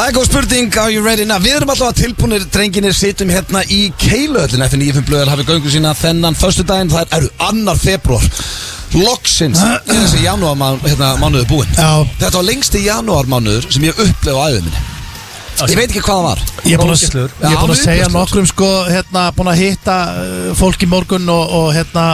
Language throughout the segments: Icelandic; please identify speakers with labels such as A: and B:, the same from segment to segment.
A: er góð spurning, are you ready now? Við erum alltaf tilbúinir, drenginir, sittum hérna í keiluöllin Eftir nýjum blöðar hafið göngu sína þennan föstudaginn Það eru annar februar Loksins er þessi janúarmánuður hérna, mánuður búinn
B: Já.
A: Þetta var lengsti janúarmánuður sem ég upplef á æðum minni Ég veit ekki hvað það var
B: Ég er búin að,
C: Ógeðslegur.
B: ég er búin að
A: Já,
B: segja
A: viðbjóðslegur.
B: nokkrum sko, hérna, búin að hitta uh, fólk í morgun og, og hérna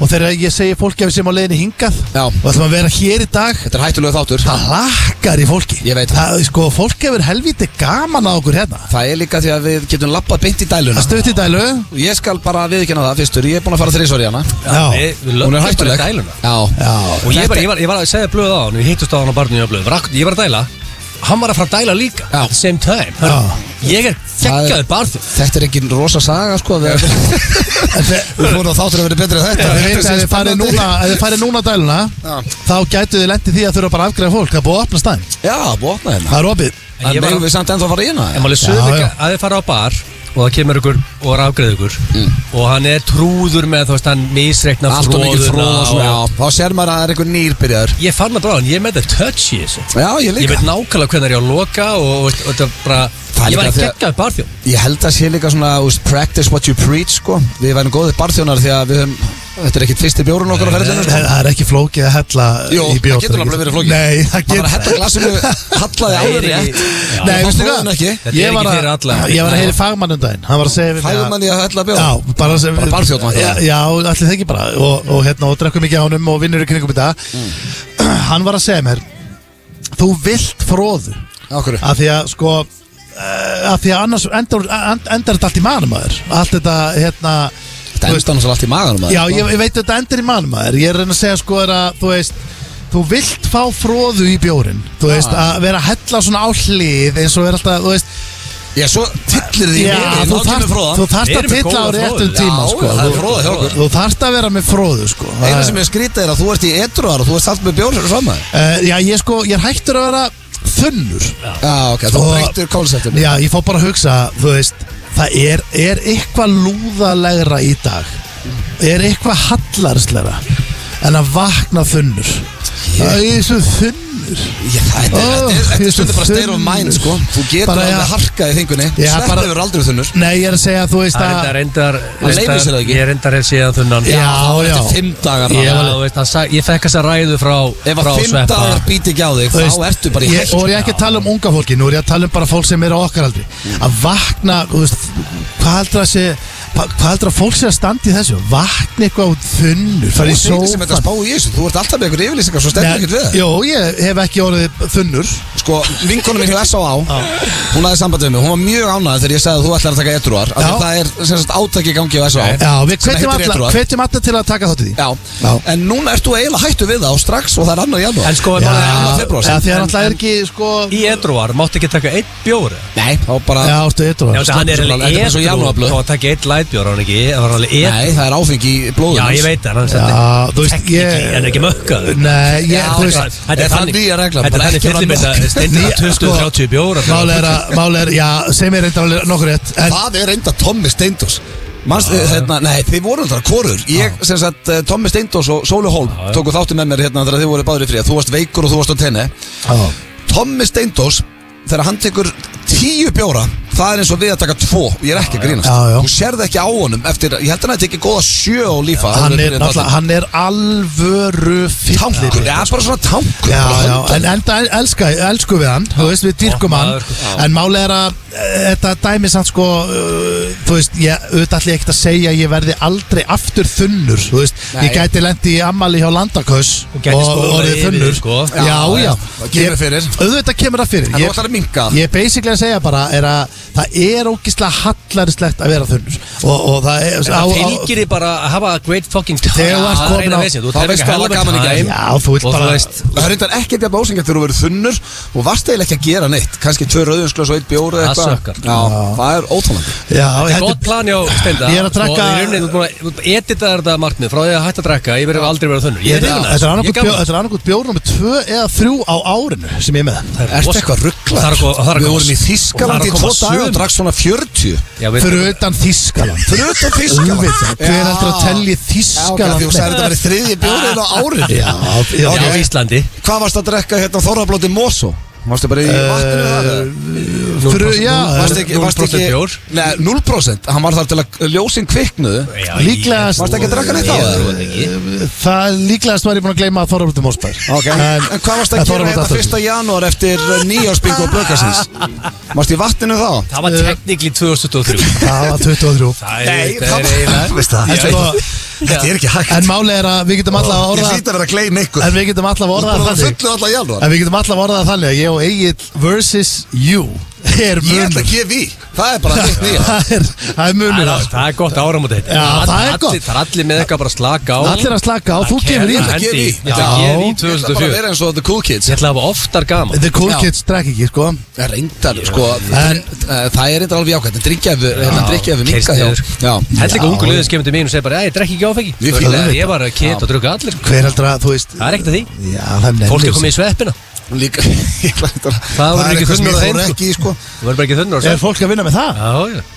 B: og þegar ég segi fólki að við séum á leiðinni hingað
A: Já.
B: og ætlum að vera hér í dag
A: Þetta er hættulegu þáttur
B: það lakkar í fólki
A: Ég veit það.
B: það, sko, fólk hefur helviti gaman á okkur hérna
A: Það er líka því að við getum labbað beint í dæluna
B: það stutt í dælu
A: Og Ég skal bara viðkynna það fyrstur, ég er búin að fara þrísvar í hana
B: já,
C: Við
A: Hún er
C: lögum bara
A: hættuleg
C: í dæluna
A: Já,
B: já,
C: Og ég, bara, ég, var, ég var að segja blöð á hann, við hittust á hann á barninu á blöð Rak- Ég var að dæla, hann var að fara að dæla líka
A: Já.
C: At the same time Hörru, Ég er
A: Það er-
C: geggjaður barþjóð
A: Þetta er engin rosa saga sko Við við fórum á þáttur að vera betri en þetta
B: Þið veit að
A: sé
B: þið farið
A: spennandi.
B: núna, ef þið farið núna á dæluna
A: Já.
B: þá gætu þið lendið því að þurfa bara að afgræða fólk það er búið að opna staðin,
A: Já, búið að opna hérna
B: það er opið
A: En
C: Ég var-
A: megum við samt ennþá að fara í hérna
C: En maður
B: Já,
C: sögum
B: já.
C: ekki að þið fara á bar og það kemur ykkur og er afgreð ykkur og hann er trúður með þú veist hann misreikna
A: Mm. Allt og mikið fróð og svona
C: og-
A: Já, þá sér maður að það er einhver nýrbyrjaður
C: Ég fann það bráðan, ég með það touch í þessu
A: Já, ég
C: Ég
A: líka
C: veit nákvæmlega hvernig er ég á að loka og, og, og þetta bara
A: Það er
C: Ég var
A: líka
C: að
A: þegar-
C: gegga upp barþjóð
A: Ég held að sé líka svona úst, Practice what you preach sko Við værum góðið barþjónar því að við höfum Þetta er ekkit fyrsti bjórun okkar á ferðinu sko
B: Það það er ekki flókið að hella
A: Jú,
B: í bjór
A: það getur alveg verið flókið.
B: Nei,
A: Maður
B: það
A: var að
B: getur
A: hetta glasinu Hallaði áður
C: Nei,
A: rétt
C: já.
B: Nei,
A: Það
B: veistu
A: fannst
B: hvað?
A: þér ekki?
C: Þetta er
B: Ég
C: ekki
B: var að-
C: fyrir alla.
B: Ég var að
C: Nei.
B: heyri fagmann um daginn Hann var að segja við mig að-
A: Fæðum manni að hella bjór
B: Já, bara sem
A: Bara barþjónn var það.
B: Já, já, allir þengi bara Og, og hérna, og drekkum mikið á honum og vinnur í kringum þetta
C: Mm.
B: Hann var að segja mér Þú vilt fróðu
A: Okkur
B: Af því að, sko eh, Af því að annars endar, end- endar þetta allt í manum aður Allt þetta, hérna
A: Þetta
B: þú veist-
A: endan svo allt í maganum maður.
B: Já,
C: sko.
B: ég, ég veit að þetta endur í manum aður Ég er að reyna að segja sko er að þú veist Þú vilt fá fróðu í bjórin Þú veist, að vera að hella svona á hlið eins og er alltaf, þú veist
A: Já, svo tyllir því
B: Já, þú þarft- þú þarft
C: Við
B: að
C: erum með
B: tilla á
C: góða
B: réttum
C: fróðu.
B: tíma
A: Já,
B: sko.
A: það er
B: Þú-
A: fróða hjá okkur.
B: Þú þarft að vera með fróðu sko.
A: Eina sem ég skrýta er að þú ert í etruar og þú ert allt með bjór fram að þér.
B: uh, Já, ég sko, ég er hættur að vera þunnur
A: Já, ok, þú
B: Og-
A: breytir konseptinu
B: Já, ég fá bara að hugsa, þú veist Það er, er eitthvað lúðalegra í dag Er eitthvað hallarslegra En að vakna þunnur Það er eins og þunnur
A: Já, þetta er-
B: Ó,
A: þetta er- þetta
B: ég
A: er stundur
B: er svo
A: bara styr of
B: þunnur.
A: mæn, sko Þú getur
B: Bara,
A: alveg
B: já.
A: harkað í þingunni
B: Já,
A: Sleppar
B: bara-
A: yfir aldrei þunnur
B: Nei, ég er að segja, þú veist
C: Það er
B: að
C: þetta reyndar
A: Hann leyfir sér það ekki.
C: Ég er reyndar er síðan þunnan
B: Já, já.
A: Þetta er fimm dagar
C: Ég,
A: þarna.
C: já, veist, hann sag, ég fekk þessa ræðu frá,
A: Ef
C: frá
A: að fimm
C: sveppa
A: dagar býti ekki á þig
B: Þú
A: Þá ertu bara í sko.
B: ég,
A: hættu
B: Og ég er ekki að tala um unga fólki, nú er ég að tala um bara fólk sem er á okkar aldri Að vakna, þú veist, hvað heldur að sé hva- Hvað heldur að fólk sé að standa í þessu Vakna eitthvað á þunnur,
A: Þú
B: fara í
A: ert eini sem þetta
B: sófan
A: spá í þessu Þú ert alltaf með ykkur yfirlýsingar Svo stendur
B: Nei,
A: ekkert við það
B: Jó, ég hef ekki orðið þunnur
A: Sko, vinkonum minn hjá S.A.A. Hún aðeins sambandi við mig Hún var mjög ánægð þegar ég sagði að þú ætlar að taka etruar af því
B: Já.
A: Það er sem sagt átaki í gangi á S.A.A.
B: Já, við
A: Sem heitir
B: hvetjum alla,
A: Edward.
B: hvetjum alla til að taka þátt í því
A: Já.
B: Já.
A: en núna ert þú eiginlega hættu við þá strax og það er annar janúar
C: En sko,
B: Já,
C: já,
A: er annað
B: já,
A: febrúar,
B: því að
C: en-
B: náttúrulega er
C: en-
B: ekki, sko
C: í edruar mátti ekki taka einn bjóri
A: Nei, þá bara
B: Já, áttu
C: Já,
B: eitthvað
C: þessi, hann er
A: Þetta er
C: alveg
A: bara svo
C: edru
A: janúarblöð.
C: og taka eitt lightbjór hann ekki, það var alveg edru
A: Nei, það er áfengi í blóðum
C: Já,
A: hans.
C: ég veit það, hann
B: Já,
C: setti
B: þú veist, ég
C: Ekki, en ekki mökkaður.
B: Nei, ég,
A: Já,
B: þú
A: ok.
B: veist
C: Þetta
A: Er
C: er
A: það
C: þannig
A: nýja reglan?
C: Þetta er
A: Bara
C: þannig
A: ekki vera
C: fyllir með
A: mökk?
C: þetta Stendur
B: Nýja- sko,
C: 20-30 bjóra
B: Mál er að, mál er, já, sem er reynda nokkur rétt En
A: Það er enda Tommi Steindós Manst, hérna, nei, þið voru alltaf korur Ég, sem sagt, eh, Tommi Steindós og Sóli Hólm tóku þáttu með mér hérna þegar þið voru báður í frí Þú varst veikur og þú varst á tenni
B: Já.
A: Tommi Steindós, þegar hann tekur tíu bjóra Það er eins og við að taka tvo Ég er ekki að grínast
B: Já, já.
A: Þú sérð ekki á honum eftir Ég held að hann tekið góða sjö á lífa
B: hann er, náttúrulega, hann er alvöru fyllir
A: Tankur, já, bara svona tankur
B: Já,
A: bara
B: já,
A: höndar.
B: en enda elska, elsku við hann Þú veist, við dýrkum
C: Ó,
B: hann
C: maður, sko.
B: En máli er að e, þetta dæmi samt sko uh, Þú veist, ég auðvitað allir ekkert að segja að Ég verði aldrei aftur þunnur Þú veist,
A: Nei.
B: ég gæti lendi í ammali hjá Landakos
C: Þú gæti skólað
B: orðið
C: yfir,
B: þunnur
C: sko.
B: Já, já,
A: Já, já, það kemur
B: Ég-
A: fyrir.
B: Auðvitað kemur það fyrir
A: En þú
B: Ég-
A: ætlar að minka það.
B: Ég er basically að segja bara er að Það er ógislega hallarislegt að vera þunnur Og, og það er á-
C: Það
B: á-
C: fylgir þið bara að hafa a great fucking time
B: Þegar þú ert
C: Það er
B: komin
C: eina
B: á-
C: vesið, þú
A: þá
C: tefir
A: veistu
C: ekki
A: alla
C: helvita
A: gaman í gær.
C: time.
B: Já, þú vilt
C: Og
B: bara-
C: þú veist
A: Það er reyndar ekkert jafn ásengjart þegar þú verður þunnur og varst eiginlega ekki að gera neitt kannski tvö rauðinsklaus og eitt bjór eða
C: Það
A: eitthvað
C: sökkar.
A: Já, það er óþálandi
B: Já, þetta
C: Gott plan hjá Steinda
B: Ég er að drekka-
C: Og í rauninni, þú ert búin að- þú editaðir þetta markmið Frá því að hætta að drekka, ég verður aldrei verið þunnur Ég er hrifinn af
B: Þetta
C: þessu.
B: er
C: Ég
B: annarkot
C: gaman.
B: bjór, þetta er annarkot bjór nummið tvö eða þrjú á árinu sem ég er með
C: Það er
A: Ertu
C: rosa-
A: eitthvað rugglaður?
C: Og það er að koma- og það er
A: Við
C: að koma-
A: vorum í Þískaland í
C: og það
A: tvo
C: er að koma
A: daga og
C: sumar.
A: drakk svona 40
C: Já, við-
B: Fyrir utan Þískaland
A: Fyrir utan Þýskaland?
B: Auðvitað, Hver
A: Já.
B: heldur að telji
A: Já, ok,
B: Þískaland
A: því þú sagði þetta verið þriðji bjórið á árið
B: Já, já,
C: Já,
B: ok.
C: á Íslandi
A: Hvað varst að drekka hérna á Þorrablóti Mosó? Varstu bara í vatninu það? eða?
B: Fyrir, já,
A: Varstu ekki, varstu ekki
C: 0% bjór?
A: Nei, 0% Hann var þar til að ljósin kviknuðu
B: Líklega-
A: Varstu ekki að drakka neitt á það?
B: það líklegast var ég búin að gleyma að Þorvaldur Mósbær
A: Ok, en, hvað varstu að gera hérna 1. janúar eftir eh, nýjársbygg og blökkarsins? Varstu í vatninu þá?
C: Það var teknikli 2023
B: Það var 23
C: Það
A: Eh, Nei,
C: það
A: það
C: er
A: var-
C: eiginlega-
A: Veist það,
C: Ég
A: þetta
C: veit-
B: er-
A: Þetta er ekki hægt
B: En máli er að við getum alltaf að
A: Ég
B: orða
A: hlýt að vera að gleyna ykkur
B: En við getum alltaf að
A: Það
B: orða
A: er
B: það
A: bara
B: þannig
A: fullu alla janúar
B: En við getum alltaf að orða það þannig að Ég og Egil versus you
A: Ég
B: Er
A: ætla
B: munur
A: að gefa í Það er bara þitt nýja
B: Það er, það er
C: Það
B: munur
C: er-
B: sko.
C: Það er gott áramót þetta
B: Já,
C: All-
B: það er
C: allir-
B: gott.
C: Það er allir með eitthvað bara að slaka á
B: Allir að slaka á, þú gefur í
A: ætla að
C: Hendi,
A: gefa í.
C: Ég ætla að
B: Já.
C: gefa í
A: Ég ætla bara að
C: 2004
A: vera eins og The Cool Kids
C: Ég ætla að hafa oftar gaman
B: The cool
A: Já.
B: kids drekk ekki sko
A: Það er reyndar, sko
B: En-
A: eh, Það er reyndar alveg jákvæmt Það drikkja Hérna við minka hjá
C: keyrst
A: Já
C: Heldur ekki ungu liðis kemur til mín og segir bara Æ, ég drekki ekki áfengi
A: Við
C: Þú
A: fílum
C: veist,
A: þetta.
C: Ég var að keta og drukka allir sko.
B: Hver heldur að þú veist
C: Það er ekkert að því
B: Já, það er
C: Fólk er
B: nefnir
C: komið í sveppina
A: Líka ég ætla reyndar að-
C: Það voru
A: er
C: ekki
A: eitthvað sem
C: þunnur
A: ég fór
C: á þeim, sko.
A: ekki í, sko
C: Þú verður bara ekki þunnur á
B: Er
C: svepp
B: fólk að vinna með það?
C: Já, já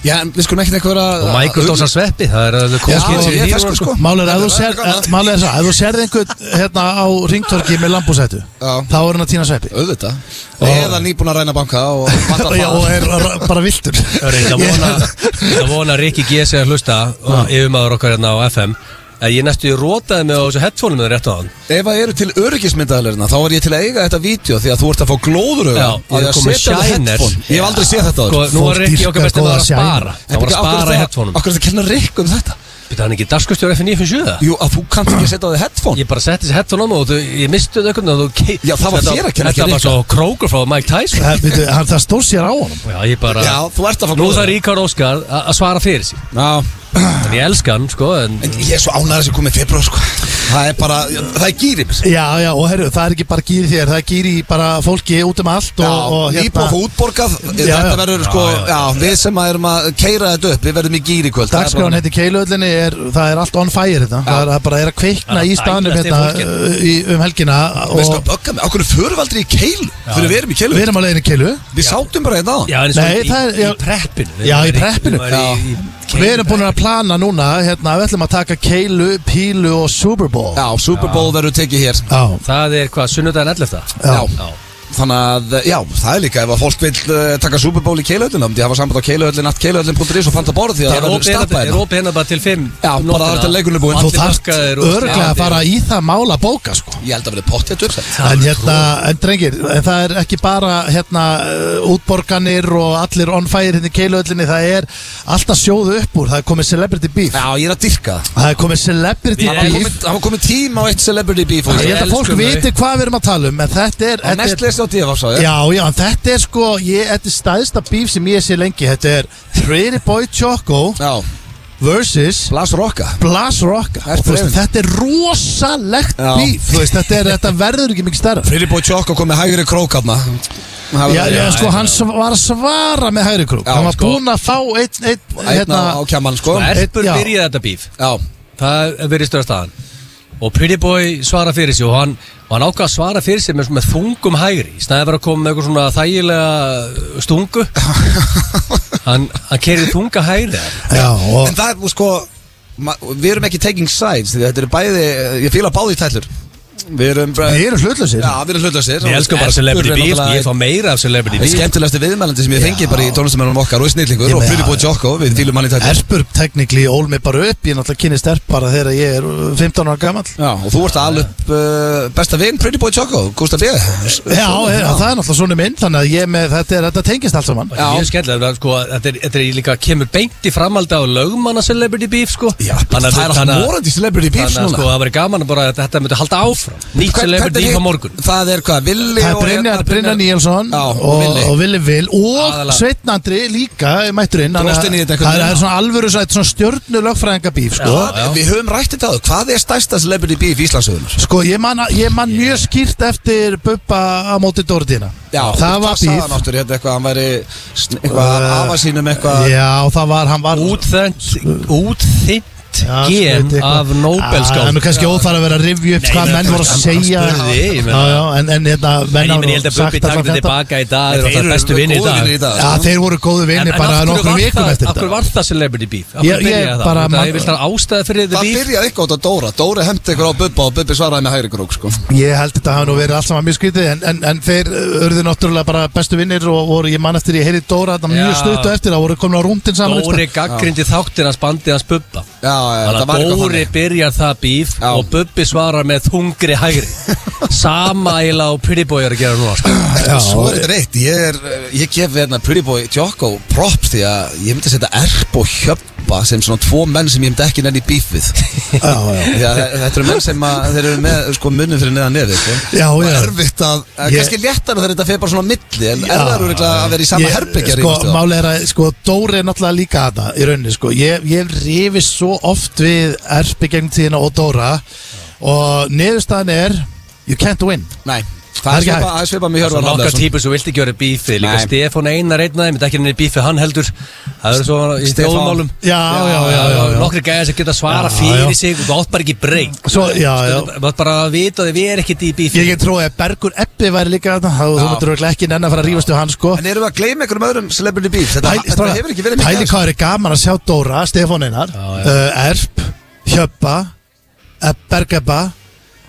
A: Já, en við skulum ekkert eitthvað að-
C: Og Michael
A: að-
C: Dawson sveppi Það er að
A: Já,
C: koma skil
A: ég er feskur, sko
B: Málið er að þú
A: Það
B: sér,
A: gaman.
B: málið er það, ef þú sérð einhvern hérna á ringtorki með lambúsætu
A: Já.
B: þá er hann að týna sveppi
A: Auðvitað Eða nýbúin að ræna banka og
B: og, já, og
A: vantar
B: er r- bara viltur
C: Það er eitthvað
B: Ég-
C: vona Það vona að Rikki G. sé að hlusta og yfirmaður okkar hérna á FM að ég næstu rótaði mig á þessu headphoneum með rétt á hann
A: Ef það eru til öryggismyndaðalirna þá er ég til að eiga þetta vídeo því að þú ert að fá glóður
C: Já,
A: að
C: það er komið
A: setja á það
C: shiners.
A: headphone Ég hef aldrei séð þetta
C: Sko,
A: áður
C: nú
B: Fólk
C: var Rikki okkar
B: dýrkar
C: bestið að
B: góða
C: að
B: shine.
C: spara Það var að spara í headphoneum
A: Akkur er þetta að kenna Rick um þetta?
C: Býta hann ekki darskustjóri F957
A: Jú, að þú kannt ekki að setja á þig headphone
C: Ég bara setti þessi headphone á mig og þau, ég mistu þau og þú ke-
A: Já, það var
C: Þetta-
A: þér að kenna, ekki
C: Þetta var
A: Rikka.
C: svo krókur frá Mike Tyson
B: Það, veitu, hann- það stór sér á honum
C: Já, ég bara
A: Já, þú ert að fá
C: Nú
A: glóður
C: þarf Ríkar Óskar a- að svara fyrir sig
A: Já,
C: En ég elska hann, sko En
A: en ég er svo ánæður sem komið februar sko Það er bara, það er gýrið
B: Já, já, og herru, það er ekki bara gýri þér það er gýri bara fólki út um allt
A: Já,
B: og, og
A: íbúið útborgað
B: Já,
A: Þetta
B: já.
A: verður sko,
C: Já, já,
A: já, við sem að erum að keira þetta upp Við verðum í gýri kvöld það er bara-
B: Dagskrán heiti Keilöðlinni, er, það er allt on fire þetta. Það er það bara er að kvikna
C: Það er
B: í
C: að
B: staðnum
C: dælast í
B: hérna,
C: fólkinu.
B: í, um helgina
A: Veist hvað
B: og
A: böggar mig, okkur fyrir við aldrei í keilu Fyrir við erum í keilu,
B: við erum á leiðinni í Keilu
A: við sátum bara hérna á
C: Já, en svo
B: Nei,
C: í,
B: það er-
C: í,
B: já.
C: í preppinu Við
B: Já, í
C: erum
B: preppinu.
C: við erum í- í-
B: Við erum búin að plana núna, hérna, við ætlum að taka Keilu, Pílu og Super Bowl
A: Já, Super Bowl verður tekið hér
B: Já,
C: Það er hvað, sunnudaginn 11.
A: Já.
C: Já
A: Þannig að, eh, já, það er líka ef að fólk vil uh, taka Super Bowl í keiluhöllina um því að hafa samband á keiluhöllin, allt keiluhöllin.is og fanta borð því að það
C: Það er
A: verður
C: opið hérna-
A: stappa
C: er
A: hérna
C: opið hérna bara til 5
A: Já, bara þar til leikurinn er búinn.
B: Þú þarft örglega að fara í það mála bóka sko.
A: Ég held að verði pottjætt uppsett
B: En hérna, en drengir, en það er ekki bara hérna uh, útborganir og allir on fire hérna í keiluöllinni, það er alltaf sjóðu upp úr, það er komið celebrity beef,
A: Já, ég er að dyrka það
B: það er komið celebrity
C: Við
A: Það var
B: beef,
A: komið- það var komið tíma á eitt celebrity beef og
B: ég held að
C: Elskum
B: fólk
C: þau.
B: viti hvað við erum að tala um, en þetta er, þetta er
A: Nestlist á divaf, sá ég
B: Já, já, en þetta er sko, ég, þetta er staðista beef sem ég sé lengi, þetta er Pretty Boy Choco
A: Já,
B: versus
A: Blas Rocka
B: Blas Rocka
A: Ertu
B: og þú veist,
A: hrifinn?
B: þetta er rosalegt
A: Já.
B: beef, þú veist, þetta, er, þetta verður ekki mikið stærra
A: Pretty Boy Choco kom með hægri krókarna
B: Já, já, sko, hann sv- var að svara með hægri krúk
A: Já,
B: Hann var
A: sko.
B: búinn að fá einn, einn,
A: Hérna
B: hérna
A: á kjaman, sko
C: Erpur
B: Já.
C: byrjaði þetta bíf
A: Já,
C: Það verið stöða staðan Og Pretty Boy svara fyrir sig Og hann, og hann ákvað að svara fyrir sig með, með þungum hægri Snæði var að koma með eitthvað svona þægilega uh, stungu Hann, hann kerið þunga hægri
B: Já,
A: En
B: og
A: það er, sko, ma- við erum ekki taking sides því Þetta eru bæði, ég fíla báði tællur Við erum bara
B: þeir eru hlutlausir
A: uh, Já, við erum hlutlausir
C: Ég elsku bara
A: Erpur
C: celebrity
A: er
C: beef
A: náttúrulega
C: Ég fá meira af celebrity
A: Það er
C: beef
A: skemmtilegasti viðmælandi sem ég hef fengið bara í tónlistamennunum okkar og snillingur
B: Ég
A: og
B: meina-
A: fyrir búið Jokko, við fýlum hann í tætt
B: Erpur teknikli ól mig bara upp Ég náttúrulega kynni sterk bara þegar ég er uh, 15 ára gamall
A: Já, og þú ert að ala upp uh, besta vinn Pretty Boy Choco, Gustaf B
B: Já, já, það er náttúrulega svona minn Þannig að ég með, þetta, er, þetta tengist allt saman
C: Það er mjög skemmtilega, það er sko, þetta er, þetta er líka kemur beint í framhaldi á lögmanna celebrity beef sko
A: Já, það er alltaf morandi celebrity beefs
C: Þannig að sko
A: núna
C: það væri gaman að bara að þetta myndi halda áfram Nýtt
A: Hvern- hvernig
C: celebrity beef á
A: hitt-
C: morgun
A: Það er hvað, Villi
C: hérna
A: hérna,
B: Það er Brynjar, Brynjar Níelsson
A: Já, og
B: og,
A: Villi.
B: og Villi Vil og
C: Aðalega.
B: Sveinn Andri líka er mættur inn þannig að-
A: Brostinn í þetta einhvern
B: Það er það
A: veginn.
B: er svona alvöru þetta er svona stjörnu lögfræðinga bíf sko.
A: Hvað- Við höfum rætt þetta á þau, hvað er stærsta celebrity beef í Íslandsöðunar?
B: Sko, ég man, ég man mjög skýrt eftir Bubba á móti Dórdina það var
A: Það
B: bíf
A: sagði náttúrulega hérna eitthvað, hann væri sn- eitthvað að
B: Uh,
A: hafa sínum eitthvað
B: Já, það var, hann var
C: Útþengt, útþynnt eitt
B: Já,
C: gen
B: skrítið eitthvað.
C: af
B: Ah, Það er
C: Nobelskál
B: nú kannski óþar að vera að rifja upp
C: Nei,
B: hvað
C: menn,
B: menn voru að
C: hann- hann
B: segja
C: spurði, ég meina.
B: Já, já, en, en hérna, menn
C: En ég
B: hafa
C: meni, ég held að
B: sagt
C: Bubbi
B: allan
C: takti
B: þetta.
C: tilbaka í dag Þeir eru alltaf bestu
A: góðir
C: vinni í dag
A: vinir í dag
B: Já, þeir voru góðu vinni bara
C: af hverju
B: nokkrum
C: var
B: vikum
C: það-
B: eftir
C: af hverju
B: þetta
C: var það celebrity beef? Af
B: Ég-
C: hverju byrjaði
B: ég
C: það?
B: bara-
C: Út af því Ég vil það ástæða fyrir the
A: Það
C: beef
A: byrjaði eitthvað á Dóra Dóra hefndi ykkur á Bubba og Bubbi svaraði með hægri grók sko.
B: Ég held þetta hafa nú verið allt saman mjög skrítið en, en, en þeir uh, urðu náttúrulega bara bestu vinnir og voru, ég man eftir, ég heyri Dóra þetta mjög
C: Já.
B: stutt og eftir, það voru komin á rúndin saman
C: Dóri gaggrindi þáttir hans bandið hans Bubba
A: Já, já, það
C: Þannig
A: var
C: að
A: eitthvað
C: Dóri
A: þannig.
C: byrjar það bíf
A: Já.
C: og Bubbi svarar með þungri hægri Sama eiginlega og Pretty Boy er að gera núna sko.
A: Svo er þetta reitt Ég, er, ég gef hérna Pretty Boy Jocko props því að ég myndi setja erp og hjöppa sem svona tvo menn sem ég myndi ekki nenni í bíf við
B: Já, já, já
A: Því að þe- Þetta eru menn sem að, þeir eru með sko, munnum fyrir neðan nefið sko.
B: Já,
A: Og
B: já.
A: erfitt að, að
B: Ég-
A: kannski léttara þegar þetta fer bara svona á milli en er það eru að vera í sama
B: Ég-
A: herbyggjar
B: Sko, máli er að, sko, Dóri er náttúrulega líka þetta í rauninni, sko Ég, ég hef rifist svo oft við erfi gegn tíðina og Dóra og niðurstaðan er you can't win
A: Nei, það
B: Það er
A: er
B: ekki
A: svipað-
B: hægt.
A: það er svipað með
C: Svo
A: Hjörvar
C: nokkar
A: Hafleðarsson
C: típur sem vilt ekki vera bífið Líka
A: Nei.
C: Stefán Einar einn að þeim, þetta er ekki henni bífið hann heldur Það eru svo í
A: Stefán.
C: þjóðmálum
B: Já, já, já, já, já,
C: Nokkri gæðar sem geta svara
B: Já,
C: fyrir
B: já.
C: sig og það átt bara ekki breyk
B: Svo, já, já
C: Það er bara að vita að við erum ekkert í bífið
B: Ég get trúið að Bergur Ebbi væri líka þetta þá þú
A: Já.
B: myndir örugglega ekki nenn að fara að rífast við hann, sko
A: En erum við að gleyma einhverjum öðrum celebrity beef? Þetta,
B: Pæli,
A: þetta hefur ekki verið mikið
B: Pæli
A: af
B: hvað er gaman að sjá Dóra, Stefán Einar
C: Já, já.
B: uh, Erp, Hjöppa Bergebba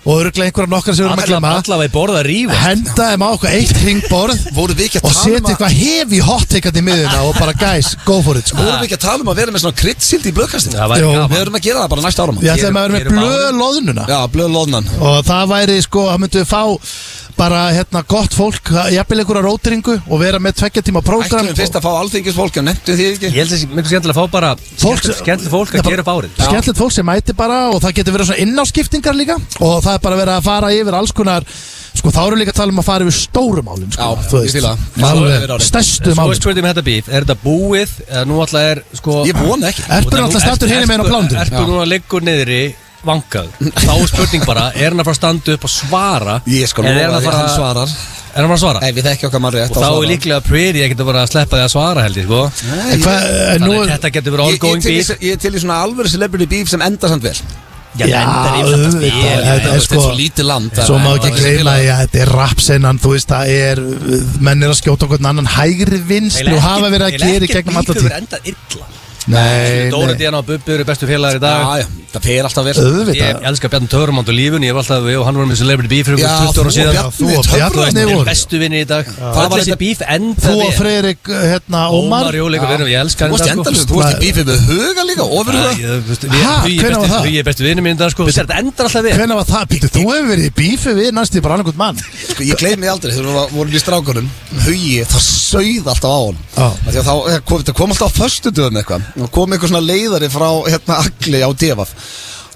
B: og örglega einhverja nokkar sem við erum að
C: Alla-
B: glemma
C: Allavega í borða að rífa
B: henda þeim á okkur eitt ringborð
A: þessu. Vorum við ekki að
B: og
A: tala
B: setja
A: um að
B: eitthvað hefi hottikat í miðuna og bara guys, go for it sko.
A: Vorum við ekki að tala um að vera með svona krydsild í blöðkastin?
C: Það væri
B: Jó.
A: Við
C: gaman
A: erum að gera það bara næsta árum
B: við ætlum að
C: Gerum-
B: vera með
C: gerum
B: blöð
C: báðum.
B: loðnuna
A: Já, blöðlóðnan
B: og það væri sko, það myndum við fá bara hérna gott fólk, jafnvel einhverja rótringu og vera með tvekja tíma prógram
A: Ætlum fyrst að fá alþingisfólk En nefndu því
C: Ég
A: ekki
C: held að það sé miklu skemmtilega að fá bara
B: Fólk-
C: skemmtilegt skemmtilegt fólk að gera upp árið
B: skemmtilegt fólk sem mæti bara og það getur verið svona innáskiptingar líka og það er bara verið að fara yfir alls konar sko þá eru líka að tala um að fara yfir stóru málin sko,
A: Já,
B: þú
A: ég fíla það.
B: Alveg
A: Fara yfir árið.
B: stærstu
C: Svo er
B: málin
C: spurning með þetta bíf, er þetta búið eða nú alltaf er sko
A: Ég vona ekki
B: Erpur er alltaf stendur hinum einu á plándur
C: Erpur núna liggur niðri vangaður Þá er spurning bara, er hann að fara að standa upp og svara
A: Ég skal
C: Eða er
A: lofa því að
C: hann að fara
A: hann svarar
C: Er hann að fara að svara?
A: Ef við þekki okkar mann rétt
C: og þá er líklega Pretty ekkert að vera að sleppa því að svara held ég sko
A: Nei,
B: En
A: ég-
B: hvað, en nú
C: Þannig að
B: er-
C: þetta getur verið
A: Ég, ég,
C: ongoing
A: til,
C: bíf
A: í- ég er til í svona alvöru celebrity beef sem enda samt vel
C: Já,
B: Já,
C: endar yfir
B: auðvitað,
C: þetta spil,
B: þetta
C: já,
B: er
C: já.
B: sko-
A: Þetta er svo lítið land
B: Svo má
A: það-
B: ekki
A: það-
B: gleyma því að þetta er rapsennan, þú veist, það er, menn er að skjóta okkur annan hægri vinstri og hafa verið að gera í gegnum alltaf
C: Ekkert bíf
B: tíð.
C: er endað illa
B: Nei, nei,
C: Dóra Díana og Bubbi eru bestu félagar í dag
A: Já, já, það fer alltaf vel
B: auðvitað.
C: Ég elska Bjarni Törumand og lífun, ég hef alltaf við og hann var með celebrity beef fyrir
A: Já,
C: ykkur 20
A: þú
C: ára síðan
A: og
B: Þú og
A: Bjarni
B: Bjarni
C: Við erum
B: voru.
C: bestu vinni í dag Það
A: var
C: var þessi
A: þetta-
C: bíf enda
B: Þú og
C: við
B: Freyrik, hérna, Ómar.
C: Ómar Jóleik og vinur, ég elska
A: Þú
C: hann
A: varst
C: í dag,
A: endalist,
C: sko.
A: þú varst í bífið með huga líka Ofur
C: Já,
A: huga
C: ég- þú veist,
B: Ha,
C: við-
B: hvenær var það?
C: Við er bestu vinni mín í dag sko Þetta endar alltaf við
B: Hvenær var það? Býttu, þú hefur verið í bífi við næstu bara annarkot mann.
A: Sko, ég gleymi því aldrei þegar við vorum í strákunum Hugi, það sauð alltaf á hann
B: Já.
A: Af því að þá eh, kom, það kom alltaf á föstudöfum eitthvað og kom einhver svona leiðari frá hérna Agli á Devaf